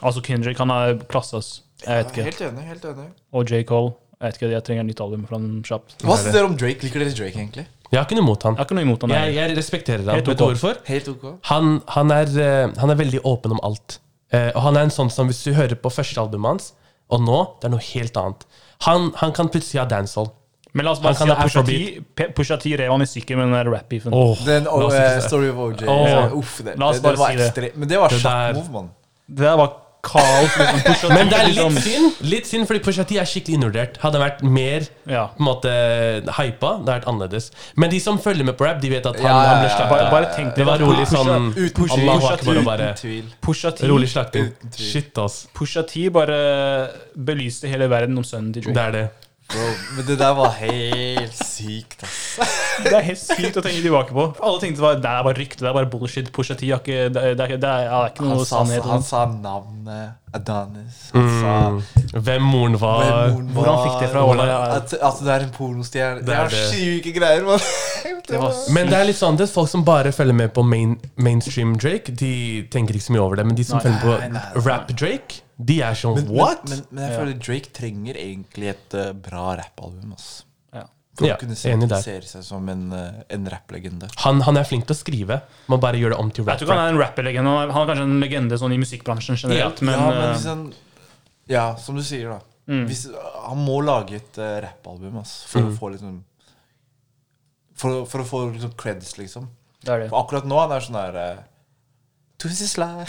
Speaker 1: Altså Kendrick, han er klasse, ass. Jeg vet ikke.
Speaker 3: Helt enig. helt enig
Speaker 1: Og J. Cole. Jeg vet ikke, jeg trenger et nytt album fra den kjapt.
Speaker 3: Hva syns dere om Drake? Liker dere Drake, egentlig?
Speaker 2: Jeg har ikke noe mot han.
Speaker 1: Jeg har ikke noe imot han. Jeg,
Speaker 2: Jeg, jeg respekterer han.
Speaker 1: Helt
Speaker 2: Vet du
Speaker 1: ok.
Speaker 2: hvorfor?
Speaker 3: Helt ok.
Speaker 2: Han, han, er, eh, han er veldig åpen om alt. Eh, og han er en sånn som hvis du hører på første albumet hans, og nå, det er noe helt annet. Han, han kan plutselig ha dancehall.
Speaker 1: Men la oss
Speaker 2: Han
Speaker 1: bare si
Speaker 2: kan
Speaker 1: at
Speaker 2: ha
Speaker 1: Pusha T,
Speaker 2: Afrobeat.
Speaker 1: P- Pusha T rev han i stykker med den der rap-beefen.
Speaker 2: Åh,
Speaker 3: Den
Speaker 2: la
Speaker 3: og,
Speaker 2: oss ikke si
Speaker 3: eh,
Speaker 2: det.
Speaker 3: Story of OJ.
Speaker 2: Åh.
Speaker 3: Uff, det,
Speaker 1: La oss
Speaker 3: det,
Speaker 1: bare
Speaker 3: det var
Speaker 1: si det.
Speaker 3: ekstremt. Men det var
Speaker 2: Det der-
Speaker 3: sharp move, mann.
Speaker 1: Det der var kaos. Liksom. Pusha T,
Speaker 2: Men det er litt
Speaker 1: liksom-
Speaker 2: synd, litt synd fordi Pusha T er skikkelig undervurdert. Hadde han vært mer
Speaker 1: Ja.
Speaker 2: på en måte hypa, det hadde vært annerledes. Men de som følger med på rap, de vet at han,
Speaker 3: Ja, ja,
Speaker 2: han ble
Speaker 3: ja.
Speaker 1: Bare,
Speaker 2: slakta.
Speaker 1: bare tenk dere
Speaker 2: Det var
Speaker 1: at
Speaker 2: rolig
Speaker 1: Pusha-
Speaker 2: sånn
Speaker 3: Uten tvil.
Speaker 2: Allah akbar og bare
Speaker 3: Uten tvil.
Speaker 1: Pusha T,
Speaker 3: Mm.
Speaker 2: Rolig slakting.
Speaker 3: Uten tvil.
Speaker 2: Shit, ass.
Speaker 1: Pusha T bare belyste hele verden om sønnen til Drake.
Speaker 2: Det er det.
Speaker 3: Bro, men det der var helt sykt, ass.
Speaker 1: Det er helt sykt å tenke tilbake på. For alle tenkte bare, det er bare rykte, det er bare bullshit. Pusha T har ikke Det er, det er, det er, det er ikke
Speaker 3: Han
Speaker 1: noe
Speaker 3: sa,
Speaker 1: sannhet.
Speaker 3: han sa navnet Adonis. Han
Speaker 1: Mm.
Speaker 3: sa
Speaker 2: Hvem moren var
Speaker 3: hvem moren
Speaker 1: Hvor han
Speaker 3: var,
Speaker 1: fikk det fra,
Speaker 3: hvordan-
Speaker 1: hvordan-
Speaker 3: At, at det er en pornostjerne. Det
Speaker 2: er
Speaker 3: er
Speaker 2: det.
Speaker 3: syke greier, mann. Det
Speaker 1: var
Speaker 3: var-
Speaker 1: sykt.
Speaker 2: Men det er litt sånn, det er folk som bare følger med på main, mainstream Drake, de tenker ikke så mye over det. Men de som
Speaker 1: Nei,
Speaker 2: følger
Speaker 3: nei, nei,
Speaker 2: på rap Drake, de er sånn What?!
Speaker 3: Men, men, men jeg føler Drake trenger egentlig et eh, bra rappalbum. ass.
Speaker 1: Ja.
Speaker 3: For
Speaker 2: Ja,
Speaker 3: å kunne se,
Speaker 2: enig der.
Speaker 3: se seg som en, eh, en rapplegende.
Speaker 2: han, han er flink til å skrive. Man bare gjør det om til
Speaker 1: Jeg
Speaker 2: rap.
Speaker 1: tror ikke han er en rapper-legende. Han er- han er kanskje en legende sånn i musikkbransjen generelt. Men,
Speaker 3: ja, men
Speaker 1: eh,
Speaker 3: liksom- hvis han Ja, som du sier, da. Hvis, eh, han må lage et uh, rappalbum ass, for å få liksom For, for å få liksom creds, liksom.
Speaker 1: det er det.
Speaker 3: For akkurat nå han er sånn der eh, Twisty Slide.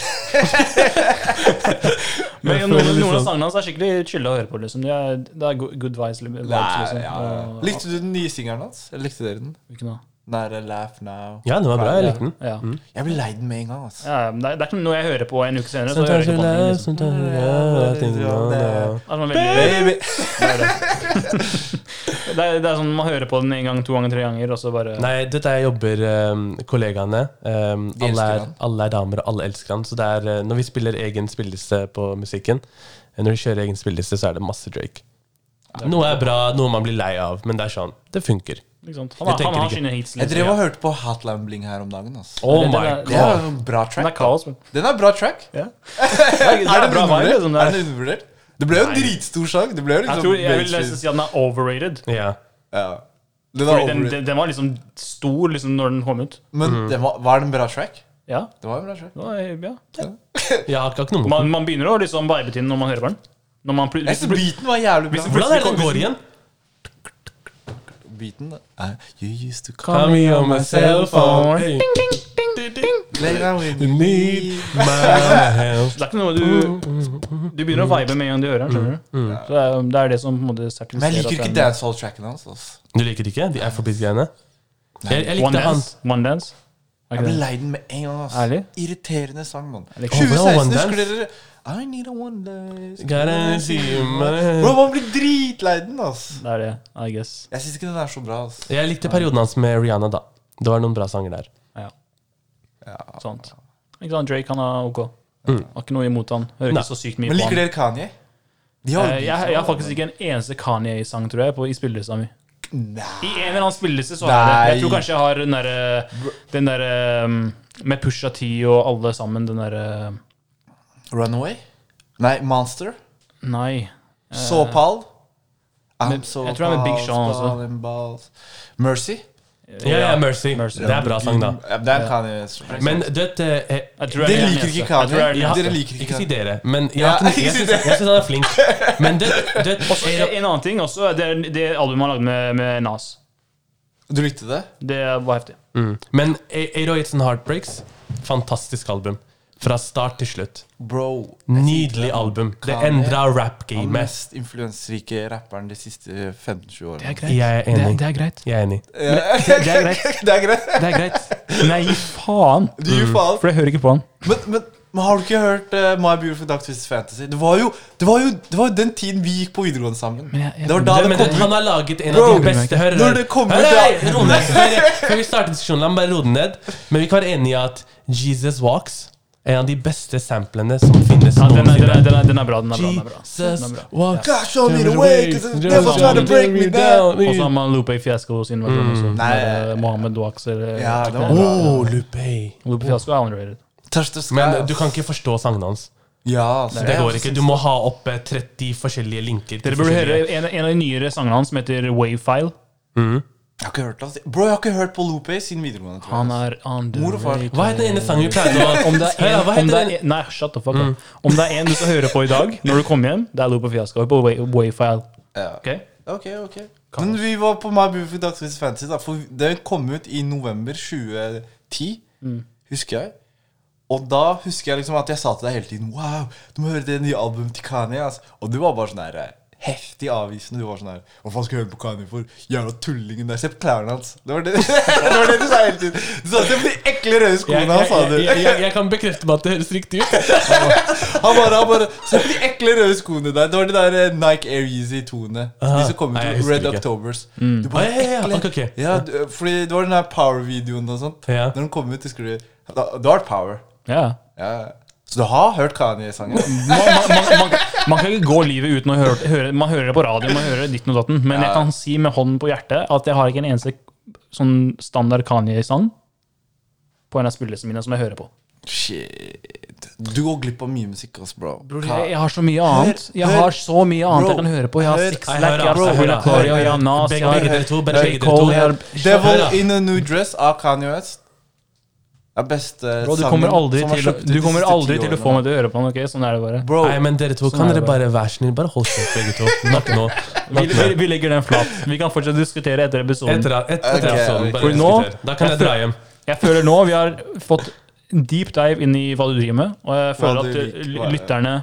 Speaker 1: Men liksom-
Speaker 2: Jeg føler
Speaker 1: noen,
Speaker 2: litt
Speaker 1: noen av
Speaker 2: sånn-
Speaker 1: sangene hans er skikkelig chille å høre på. Liksom. Det, er, det er go- good vibes. li- vibes liksom. Og-
Speaker 3: Likte du den nye singelen hans? Eller likte dere den?
Speaker 1: Ikke noe.
Speaker 3: Den der eh, Laugh Now.
Speaker 2: Ja, den var bra. Jeg likte den.
Speaker 1: Ja.
Speaker 3: Jeg ble lei den med en gang. ass.
Speaker 1: Ja, men det, er, det er ikke noe jeg hører på en uke senere. Så jeg hører
Speaker 2: Sometimes
Speaker 1: ikke
Speaker 2: you
Speaker 1: på den,
Speaker 2: laugh,
Speaker 1: liksom.
Speaker 2: sometimes you laugh, I think you know.
Speaker 1: Altså, man velger,
Speaker 3: Baby.
Speaker 1: det, er, det er sånn man hører på den en gang, to ganger, tre ganger, og så bare
Speaker 2: Nei, dette er jobber um, kollegaene. Um,
Speaker 3: De
Speaker 2: alle,
Speaker 3: elsker
Speaker 2: er,
Speaker 3: han.
Speaker 2: alle er damer, og alle elsker han. Så det er, uh, når vi spiller egen spilleliste på musikken, eh, når vi kjører egen spilleliste, så er det masse Drake. Noe er bra, noe man blir lei av, men det er sånn. Det funker.
Speaker 1: ikke sant? Han, har-
Speaker 2: Jeg tenker
Speaker 1: han har
Speaker 2: ikke.
Speaker 1: sine hits.
Speaker 3: Jeg
Speaker 1: Liksom.
Speaker 3: drev og hørte på Hotline Bling her om dagen. ass.
Speaker 2: Oh
Speaker 1: Det- det-
Speaker 2: my
Speaker 1: det-
Speaker 2: god!
Speaker 3: Det er en bra
Speaker 1: Men
Speaker 3: track.
Speaker 1: det er kaos. Men.
Speaker 3: Den er bra track.
Speaker 1: Det er, det er
Speaker 3: den
Speaker 1: bra vibe,
Speaker 3: undervurdert?
Speaker 1: liksom. Det
Speaker 3: Er
Speaker 1: er.
Speaker 3: den undervurdert? Det ble jo en dritstor sang. Det ble jo
Speaker 1: Jeg,
Speaker 3: liksom
Speaker 1: tror, jeg vil
Speaker 3: mainstream.
Speaker 1: nesten si at den er overrated.
Speaker 2: Ja.
Speaker 3: ja. Den var
Speaker 1: Fordi den, Mm.
Speaker 3: overrated.
Speaker 1: den, den var liksom stor liksom, når den kom ut.
Speaker 3: Men det var, var det en bra track?
Speaker 1: Ja.
Speaker 3: Det var en bra track.
Speaker 1: det var- ja.
Speaker 2: Jeg har ikke- har ikke noe mot
Speaker 1: Man, man begynner å liksom vibe til den når man hører på den. Når man pl-
Speaker 3: Jeg
Speaker 1: hvis det
Speaker 3: synes
Speaker 1: blir-
Speaker 3: beaten var jævlig bra.
Speaker 2: Hvordan er det den går igjen?
Speaker 3: Beaten er You used to come
Speaker 2: Call me on my cell phone.
Speaker 3: later when
Speaker 2: You
Speaker 3: you
Speaker 2: need
Speaker 3: need
Speaker 2: my help.
Speaker 1: det er ikke noe du Du begynner å vibe med en gang du hører den. skjønner du? Så det er, det er det som på en måte sertifiserer
Speaker 3: Men jeg liker
Speaker 1: at
Speaker 3: ikke
Speaker 1: det er en-
Speaker 3: dancehall-tracken hans. ass.
Speaker 2: Du liker det ikke? De afrobeat-greiene? Jeg, jeg
Speaker 1: One
Speaker 2: likte han
Speaker 1: dance. One dance. Er
Speaker 3: Jeg
Speaker 1: ikke
Speaker 3: ble
Speaker 1: det?
Speaker 3: lei den med en gang. ass.
Speaker 1: Ærlig?
Speaker 3: Irriterende sang, mann.
Speaker 1: liker-
Speaker 2: Å, hvordan
Speaker 3: 2016
Speaker 2: One
Speaker 3: husker
Speaker 2: Dance?
Speaker 3: dere I need a one dance
Speaker 2: Gotta see my-
Speaker 3: Bro, Man blir dritlei den, ass.
Speaker 1: Det er det, I guess.
Speaker 3: Jeg syns ikke den er så bra. ass.
Speaker 2: Jeg likte perioden hans med Rihanna da. Det var noen bra sanger der.
Speaker 1: Ja. Sant. Ikke sant, Drake han er ok. Har ikke noe imot han. Hører
Speaker 2: Nei.
Speaker 1: ikke så sykt mye
Speaker 3: Men
Speaker 1: på han.
Speaker 3: liker dere Kanye? De
Speaker 1: Eh,
Speaker 3: har jo
Speaker 1: Jeg,
Speaker 3: beef,
Speaker 1: jeg har
Speaker 3: da.
Speaker 1: faktisk ikke en eneste Kanye-sang, tror jeg, på, i spillelista mi.
Speaker 3: Nei.
Speaker 1: I en eller annen spilleliste så har jeg det. Jeg
Speaker 3: Nei.
Speaker 1: tror kanskje jeg har den derre den der, um, med Pusha T og alle sammen, den derre
Speaker 3: Runaway? Nei, Monster?
Speaker 1: Nei.
Speaker 3: Så pal?
Speaker 1: Eh. men- jeg tror det er med Big Sean også.
Speaker 3: også. Mercy?
Speaker 2: Ja, ja, Mercy.
Speaker 1: Mercy. Mm.
Speaker 2: Det er bra sang, da.
Speaker 3: Ja, det er Kanye.
Speaker 2: Men du vet eh, eh,
Speaker 1: Jeg tror det er
Speaker 3: Dere
Speaker 1: den
Speaker 3: liker
Speaker 1: eneste. Jeg
Speaker 3: ikke
Speaker 1: tror det er den
Speaker 3: Kanye?
Speaker 1: eneste.
Speaker 3: Dere liker
Speaker 2: Ikke
Speaker 3: ikke
Speaker 2: si
Speaker 3: Kanye?
Speaker 2: dere, men jeg, har
Speaker 3: Ja,
Speaker 2: ikke- jeg
Speaker 3: ikke si
Speaker 2: syns jeg syns han er flink. Men det, det
Speaker 1: Også en, en annen ting også, det, er det albumet han lagde med, med Nas.
Speaker 3: Du likte det?
Speaker 1: Det var heftig.
Speaker 2: mm. Men 808s and Heartbreaks, fantastisk album. Fra start til slutt.
Speaker 3: Bro.
Speaker 2: Nydelig album. Det
Speaker 3: Kanye.
Speaker 2: endra
Speaker 3: Den
Speaker 2: rap-gamet.
Speaker 3: mest influensrike rapperen de siste 15-20 årene.
Speaker 2: Jeg er enig.
Speaker 1: er greit.
Speaker 2: Jeg er enig.
Speaker 1: Det er greit.
Speaker 3: Det er greit.
Speaker 1: Det er greit. Nei, faen!
Speaker 3: Du gir faen.
Speaker 1: For jeg hører ikke på han.
Speaker 3: Men, men, men har du ikke hørt eh, My Beautiful Dark Twisted Fantasy? Det var, jo, det, var jo, det var jo den tiden vi gikk på videregående sammen.
Speaker 1: Men jeg- jeg-
Speaker 3: det var da
Speaker 2: Det,
Speaker 3: det,
Speaker 2: men det,
Speaker 3: kom ut.
Speaker 2: han har laget en
Speaker 3: Bro,
Speaker 2: av de beste Hør,
Speaker 3: når
Speaker 2: hør.
Speaker 3: det kommer
Speaker 2: Hør,
Speaker 3: til-
Speaker 2: hei, ro ned. Før- Før vi starter diskusjonen, la meg bare roe den ned. Men vi kan være enige i at Jesus Walks er en av de beste samplene som finnes
Speaker 1: Ja, den, er, den, er,
Speaker 2: noensinne.
Speaker 1: den, er, den er bra. Den er bra. Den er bra.
Speaker 2: Jesus
Speaker 1: Den er bra.
Speaker 2: Walks
Speaker 3: Gosh, show me the way, 'cause it's never
Speaker 1: trying to
Speaker 3: break me down.
Speaker 1: Og så har man Lupe Fiasco sin versjon også.
Speaker 3: Mm. Nei.
Speaker 1: Med, eh, Mohammed Wax eller
Speaker 3: Ja, det var bra.
Speaker 2: Oh, Lupe.
Speaker 1: Lupe Fiasco er underrated.
Speaker 3: Touch the sky.
Speaker 2: Men
Speaker 3: ass.
Speaker 2: du kan ikke forstå sangene hans.
Speaker 3: Ja, altså, ass.
Speaker 2: Det går ikke. Du må ha opp eh, 30 forskjellige linker. til
Speaker 1: Dere burde høre
Speaker 2: forskjellige-
Speaker 1: en, en av de nyere sangene hans som heter Wavefile.
Speaker 3: Jeg har ikke hørt ass. Bro, jeg har ikke hørt på Lupe siden videregående. tror jeg.
Speaker 1: Han er
Speaker 3: Mor og far.
Speaker 1: underrated.
Speaker 2: Hva heter den ene sangen vi pleide å
Speaker 1: Om det er
Speaker 2: Hør,
Speaker 1: en,
Speaker 2: hva
Speaker 1: om det
Speaker 2: heter
Speaker 1: er
Speaker 2: den?
Speaker 1: en, nei, shut the fuck up. Om det er en du skal høre på i dag, når du kommer hjem, det er Lupe Fiasco på Wa- Wavefile.
Speaker 3: Ja.
Speaker 1: Ok?
Speaker 3: Ok, ok. Men vi var på My Beautiful Dark Twisted Fantasy, da, for den kom ut i november 2010,
Speaker 2: Mm.
Speaker 3: husker jeg. Og da husker jeg liksom at jeg sa til deg hele tiden Wow, du må høre det nye albumet til Kanye. ass." Og du var bare sånn her heftig avvisende. Du var sånn her Hva faen skal jeg høre på Kanye for? Jævla tullingen der. Se på klærne hans. Det var det, det, var det du sa hele tiden. Du sa se på de ekle røde
Speaker 2: Jeg,
Speaker 3: skoene
Speaker 2: jeg,
Speaker 3: hans, sa du.
Speaker 2: jeg, jeg, jeg, jeg kan bekrefte meg at det høres riktig ut.
Speaker 3: Han bare, han bare Se på de ekle røde skoene der. Det var de der eh, Nike Air Yeezy-toene.
Speaker 2: Aha.
Speaker 3: De som kom ut
Speaker 2: Nei, jeg
Speaker 3: i
Speaker 2: husker
Speaker 3: Red
Speaker 2: ikke.
Speaker 3: Octobers.
Speaker 1: Mm.
Speaker 3: Du
Speaker 2: Ah, ja, ja, ja.
Speaker 3: ekle.
Speaker 2: Ok, ok.
Speaker 3: Ja, du, fordi det var den der Power-videoen og sånt.
Speaker 2: Ja.
Speaker 3: Når den kom ut, husker du Da da var det Power.
Speaker 1: Ja.
Speaker 3: Ja. Så du har hørt Kanye-sangen?
Speaker 1: Man, man, man, man, man kan ikke gå livet uten å høre, høre Man hører det på radio, man hører ditten og datten, men jeg kan si med hånden på hjertet at jeg har ikke en eneste sånn standard Kanye-sang på en av spillelistene mine som jeg hører på.
Speaker 3: Shit. Du går glipp av mye musikk, ass, bro.
Speaker 1: Bror,
Speaker 3: Ka-
Speaker 1: jeg, jeg har så mye annet. Jeg
Speaker 3: hør.
Speaker 1: har så mye annet
Speaker 3: Bro,
Speaker 1: jeg kan høre på. Jeg har
Speaker 3: hør.
Speaker 1: Six
Speaker 2: Jeg
Speaker 1: Lack,
Speaker 2: hører,
Speaker 1: jeg har
Speaker 2: bro,
Speaker 1: Sahara
Speaker 2: hører,
Speaker 1: Gloria,
Speaker 2: hører.
Speaker 1: jeg har Nas,
Speaker 2: Begge-
Speaker 1: jeg har
Speaker 2: begge dere to, bare
Speaker 1: J.
Speaker 2: begge dere to.
Speaker 1: Cole, jeg har
Speaker 3: Devil
Speaker 2: Hør, da.
Speaker 3: in a New Dress av Kanye West. Det er beste
Speaker 1: Bro, du
Speaker 3: sangen
Speaker 1: kommer aldri
Speaker 3: som er
Speaker 1: til, å-
Speaker 3: sluppet ut
Speaker 1: du
Speaker 3: de
Speaker 1: kommer
Speaker 3: siste
Speaker 1: aldri
Speaker 3: ti
Speaker 1: til å
Speaker 3: årene.
Speaker 1: få meg til å høre på han, ok? Sånn er det bare.
Speaker 3: Bro,
Speaker 2: Nei, men dere to,
Speaker 1: Sånn
Speaker 2: kan
Speaker 1: er
Speaker 2: dere
Speaker 1: det
Speaker 2: bare være snill, bare hold kjeft begge to. Nok nå.
Speaker 1: Vi, vi, vi legger den flat. Vi kan fortsatt diskutere etter episoden.
Speaker 2: Etter, etter, etter
Speaker 3: Ok,
Speaker 2: episoden,
Speaker 3: ok.
Speaker 2: bare
Speaker 1: For nå-
Speaker 2: diskuter. Da kan jeg dra hjem.
Speaker 1: Jeg føler nå vi har fått deep dive inn i hva du driver med, og jeg
Speaker 3: Hva
Speaker 1: føler
Speaker 3: du
Speaker 1: at
Speaker 3: liker,
Speaker 1: eh,
Speaker 3: hva-
Speaker 1: lytterne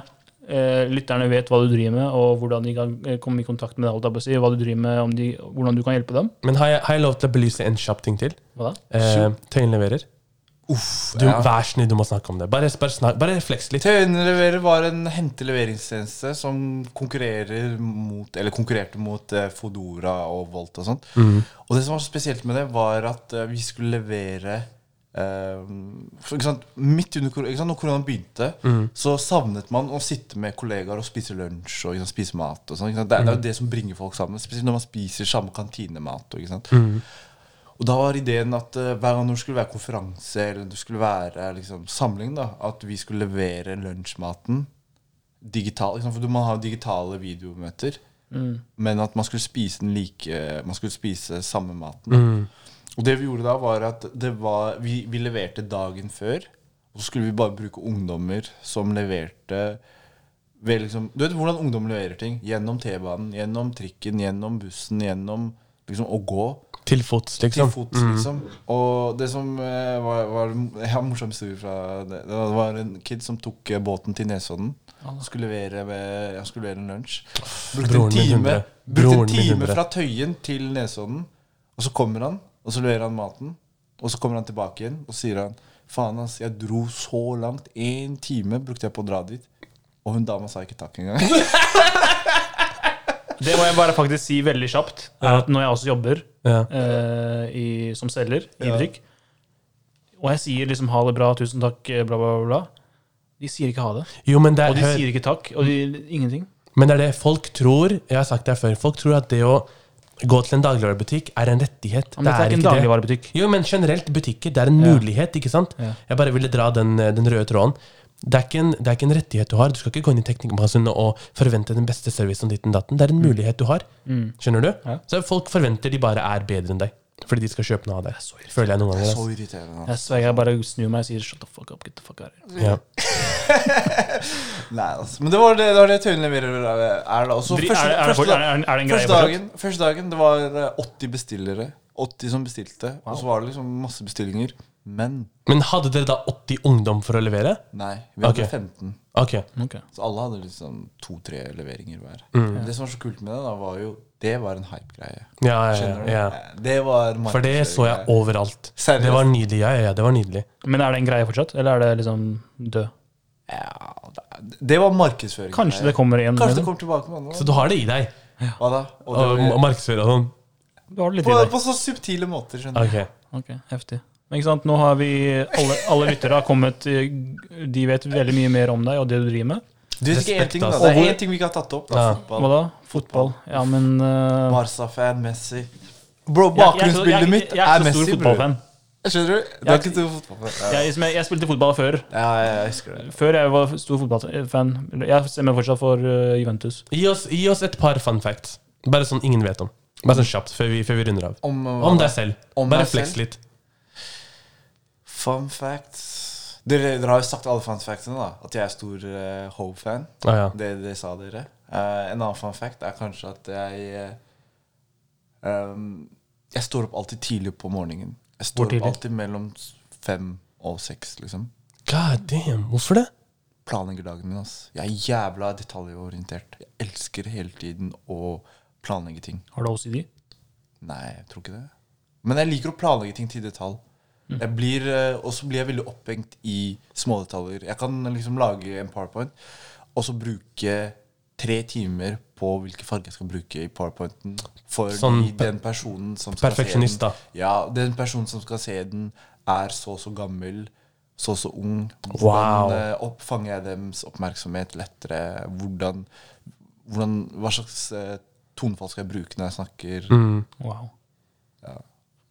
Speaker 1: eh, lytterne vet hva du driver med, og hvordan de kan eh, komme i kontakt med deg. holdt jeg på å si, Hva du driver med, om de, hvordan du kan hjelpe dem.
Speaker 2: Men har jeg, har jeg lov til å belyse en kjapp ting til?
Speaker 1: Hva da?
Speaker 2: Eh, Tøyenleverer.
Speaker 3: uff,
Speaker 2: Du,
Speaker 3: ja.
Speaker 2: Vær snill, du må snakke om det. Bare, bare, snak, bare fleks litt.
Speaker 3: Tøyenleverer var en henteleveringstjeneste som konkurrerer mot Eller konkurrerte mot eh, Fodora og Volt og sånt. Og det som var så spesielt med det, var at eh, vi skulle levere eh, for, ikke sant, Midt under kor- ikke sant, når koronaen begynte, så savnet man å sitte med kollegaer og spise lunsj og ikke sant, spise mat. og sånn, ikke sant? Det, er- det er jo det som bringer folk sammen. Spesielt når man spiser samme kantinemat. og Ikke sant? Og da var ideen at eh, hver gang det skulle være konferanse eller det skulle være liksom, samling, da, at vi skulle levere lunsjmaten digital, ikke sant? for man har jo digitale videomøter, men at man skulle spise den like, man skulle spise samme maten. da. Og det vi gjorde da, var at det var, vi, vi leverte dagen før, og så skulle vi bare bruke ungdommer som leverte ved liksom, Du vet hvordan ungdom leverer ting? Gjennom T-banen, gjennom trikken, gjennom bussen, gjennom liksom, å gå
Speaker 2: Til fots,
Speaker 3: til
Speaker 2: liksom.
Speaker 3: fots, liksom. Og det som eh, var, var Jeg har en morsom historie fra det. Det var- det var en kid som tok eh, båten til Nesodden. Han skulle levere, ved, han skulle levere en lunsj. Brukte
Speaker 2: Broren
Speaker 3: en
Speaker 2: min
Speaker 3: time,
Speaker 2: hundre.
Speaker 3: brukte
Speaker 2: Broren
Speaker 3: en
Speaker 2: min
Speaker 3: time
Speaker 2: hundre.
Speaker 3: fra Tøyen til Nesodden. Og så kommer han, og så leverer han maten. Og så kommer han tilbake igjen og sier han Faen, ass, jeg dro så langt. Én time brukte jeg på å dra dit. Og hun dama sa ikke takk engang.
Speaker 1: Det må jeg bare faktisk si veldig kjapt, er at når jeg også jobber
Speaker 2: Mm, Ja.
Speaker 1: eh, i, som selger i butikk. Og jeg sier liksom ha det bra, tusen takk, eh, bla, bla, bla. bla. De sier ikke ha det.
Speaker 2: Jo, men det,
Speaker 1: Og
Speaker 2: er,
Speaker 1: de
Speaker 2: hør,
Speaker 1: sier ikke takk. Og de, ingenting.
Speaker 2: men det er det folk tror Jeg har sagt det her før. Folk tror at det å gå til en dagligvarebutikk er en rettighet.
Speaker 1: Men dette er ikke en
Speaker 2: ikke det.
Speaker 1: dagligvarebutikk.
Speaker 2: Jo, men generelt, butikker, det er en mulighet, ikke sant?
Speaker 1: Ja.
Speaker 2: Jeg bare ville dra den, eh, den røde tråden. Det er, ikke en, det er ikke en rettighet du har. Du skal ikke gå inn i teknikkmassen og forvente den beste servicen ditt enn datten. Det er
Speaker 3: Mm.
Speaker 2: en mulighet du har. Skjønner du?
Speaker 1: Ja.
Speaker 2: Så folk forventer de bare er bedre enn deg. Fordi de skal kjøpe noe av deg. Føler jeg noen ganger. altså.
Speaker 3: Så
Speaker 2: ass.
Speaker 3: irriterende. ass.
Speaker 1: Jeg sverger, jeg bare snur meg og sier shut the fuck up, get the fuck out of here.
Speaker 2: Ja.
Speaker 3: Nei, altså. Men det var det, det, var det Tøyen leverer eh, er, da. Og så
Speaker 1: Dri-
Speaker 3: første-
Speaker 1: er, det- er, det
Speaker 3: første
Speaker 1: for-
Speaker 3: da-
Speaker 1: er, det- er det en greie
Speaker 3: Første
Speaker 1: for
Speaker 3: dagen, første dagen det var eh, 80 bestillere. 80 som bestilte. Og så var det liksom masse bestillinger. Men
Speaker 2: Men hadde dere da 80 ungdom for å levere?
Speaker 3: nei, vi hadde
Speaker 2: Ok.
Speaker 3: 15.
Speaker 2: Ok.
Speaker 1: Ok.
Speaker 3: Så alle hadde liksom to-tre leveringer hver.
Speaker 1: Mm.
Speaker 3: Det som var så kult med det, da var jo Det var en hype-greie.
Speaker 2: Ja, ja,
Speaker 3: Skjønner du?
Speaker 2: ja.
Speaker 3: Det var
Speaker 2: For det så jeg overalt.
Speaker 3: Seriøst?
Speaker 2: Det var nydelig. Ja, ja, ja, det var nydelig.
Speaker 1: Men er det en greie fortsatt, eller er det liksom død?
Speaker 3: Ja, det- det var markedsføring.
Speaker 1: Kanskje det kommer igjen.
Speaker 3: Kanskje det
Speaker 1: liksom.
Speaker 3: kommer tilbake med noe.
Speaker 2: Så du har det i deg.
Speaker 3: Hva da? Og
Speaker 2: Og
Speaker 3: det,
Speaker 2: markedsføre og sånn.
Speaker 1: Du har det litt i
Speaker 3: på,
Speaker 1: deg.
Speaker 3: på så subtile måter, skjønner du.
Speaker 2: Ok.
Speaker 1: Ok, heftig. Men ikke sant, nå har vi Alle, alle lyttere har kommet eh, De vet veldig mye mer om deg og det du driver med.
Speaker 3: Du vet ikke én
Speaker 2: Respekt,
Speaker 3: ting, da.
Speaker 2: ass.
Speaker 1: Og
Speaker 3: Det er
Speaker 1: hvor-
Speaker 3: én ting vi ikke har tatt opp. Da,
Speaker 2: Ja.
Speaker 1: Hva
Speaker 3: fotball.
Speaker 1: da? Fotball. Ja, men eh,
Speaker 3: Barca-fan, Messi. Bro,
Speaker 1: jeg- jeg- jeg-
Speaker 3: bakgrunnsbildet mitt
Speaker 1: jeg- Jeg er
Speaker 3: er
Speaker 1: ikke så stor
Speaker 3: Messi, bror.
Speaker 1: fotballfan.
Speaker 3: Skjønner du? Du er ikke stor fotballfan?
Speaker 1: Jeg, jeg, jeg spilte fotball før.
Speaker 3: Ja, jeg husker det.
Speaker 1: Før jeg var stor fotballfan. Jeg stemmer fortsatt for eh, Juventus.
Speaker 2: Gi oss, gi oss et par fun facts. Bare sånn ingen vet om. Bare sånn kjapt, før vi, før vi runder av.
Speaker 3: Om,
Speaker 2: Om deg selv.
Speaker 3: Om
Speaker 2: Bare
Speaker 3: meg
Speaker 2: flex
Speaker 3: selv?
Speaker 2: litt.
Speaker 3: Fun facts dere, dere har jo sagt alle fun factsene, da. At jeg er stor eh, Hove-fan.
Speaker 2: Ah, ja.
Speaker 3: Det, det sa dere. Eh, en annen fun fact er kanskje at jeg eh, um, Jeg står opp alltid tidlig på morgenen. Jeg
Speaker 1: Hvor
Speaker 3: står opp
Speaker 1: tidlig?
Speaker 3: alltid mellom s- fem og seks, liksom.
Speaker 2: God damn, hvorfor det?
Speaker 3: planlegger dagen min. ass. Jeg er jævla detaljorientert. Jeg elsker hele tiden å planlegge ting.
Speaker 1: Har du OCD?
Speaker 3: Nei, jeg tror ikke det. Men jeg liker å planlegge ting til detalj.
Speaker 2: Mm.
Speaker 3: Jeg blir, eh, Og så blir jeg veldig opphengt i smådetaljer. Jeg kan liksom lage en powerpoint og så bruke tre timer på hvilke farger jeg skal bruke i powerpointen. For
Speaker 2: Sånn
Speaker 3: den personen som skal
Speaker 2: perfeksjonist,
Speaker 3: se den.
Speaker 2: da.
Speaker 3: Ja, den personen som skal se den, er så og så gammel, så og så ung.
Speaker 2: Wow.
Speaker 3: Hvordan eh, oppfanger jeg deres oppmerksomhet lettere? Hvordan, hvordan, hva slags eh, tonefall skal jeg bruke når jeg snakker?
Speaker 2: Mm.
Speaker 1: Wow.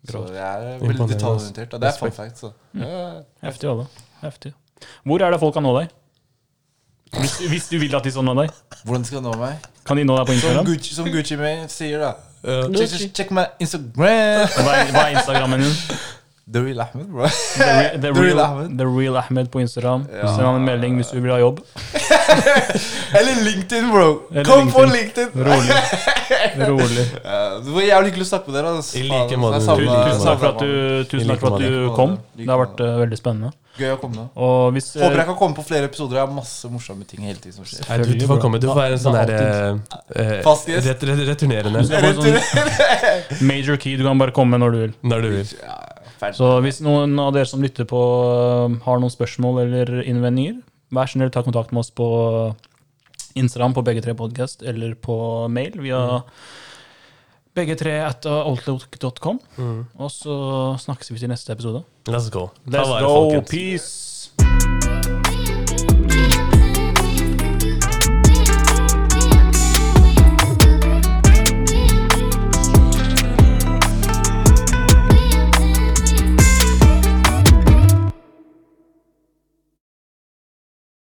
Speaker 3: Så
Speaker 1: Grovt.
Speaker 3: jeg er
Speaker 2: Imponerende,
Speaker 3: veldig
Speaker 2: ass.
Speaker 3: detaljorientert. og Det er fun
Speaker 2: Respekt.
Speaker 3: fact. Så. Ja.
Speaker 1: Heftig, Olle. Heftig. Hvor er det folk kan nå deg? Hvis, hvis du vil at de skal nå deg,
Speaker 3: Hvordan skal jeg nå meg?
Speaker 1: kan de nå deg på
Speaker 3: Som
Speaker 1: Instagram?
Speaker 3: Gucci, som Gucci Mane sier, da.
Speaker 1: Gucci.
Speaker 3: Check, check- check my Instagram!
Speaker 1: Hva er, hva er Instagrammen din?
Speaker 3: The real Ahmed, bro.
Speaker 1: The, re, the,
Speaker 3: The Real
Speaker 1: real,
Speaker 3: Ahmed.
Speaker 1: the real Ahmed på Instagram.
Speaker 3: Ja.
Speaker 1: Send han en melding hvis du vil ha jobb.
Speaker 3: Eller LinkedIn, bro.
Speaker 1: Eller
Speaker 3: Kom på
Speaker 1: LinkedIn.
Speaker 3: LinkedIn!
Speaker 1: Rolig. Rolig.
Speaker 3: Ja, Det var jævlig hyggelig å snakke med dere. ass.
Speaker 2: I like
Speaker 3: Faen, altså,
Speaker 2: måte.
Speaker 3: jeg savner-
Speaker 1: Tusen takk for at
Speaker 2: Tusen
Speaker 3: savner
Speaker 1: du, tusen takk for at du kom. Det har vært eh, veldig spennende.
Speaker 3: dere. Gøy å komme.
Speaker 1: Og hvis eh,
Speaker 3: Håper jeg kan komme på flere episoder. Jeg har masse morsomme ting hele tiden som skjer.
Speaker 2: Nei, du, du får komme. Du får være en sånn der eh, eh,
Speaker 3: Fast gjest.
Speaker 2: ret, ret, returnerende
Speaker 1: Du skal få en sånn major key, du kan bare komme når du vil.
Speaker 2: når du vil.
Speaker 3: Ja, ferdig.
Speaker 1: Så hvis noen av dere som lytter på eh, har noen spørsmål eller innvendinger, vær snill ta kontakt med oss på eh, Instagram på begge tre podcast, eller på mail via begge tre at outlook.com. Og så snakkes vi til neste episode.
Speaker 2: Let's go.
Speaker 1: Mm.
Speaker 2: Ta
Speaker 1: Let's
Speaker 2: vare,
Speaker 1: go,
Speaker 2: folkens.
Speaker 1: peace!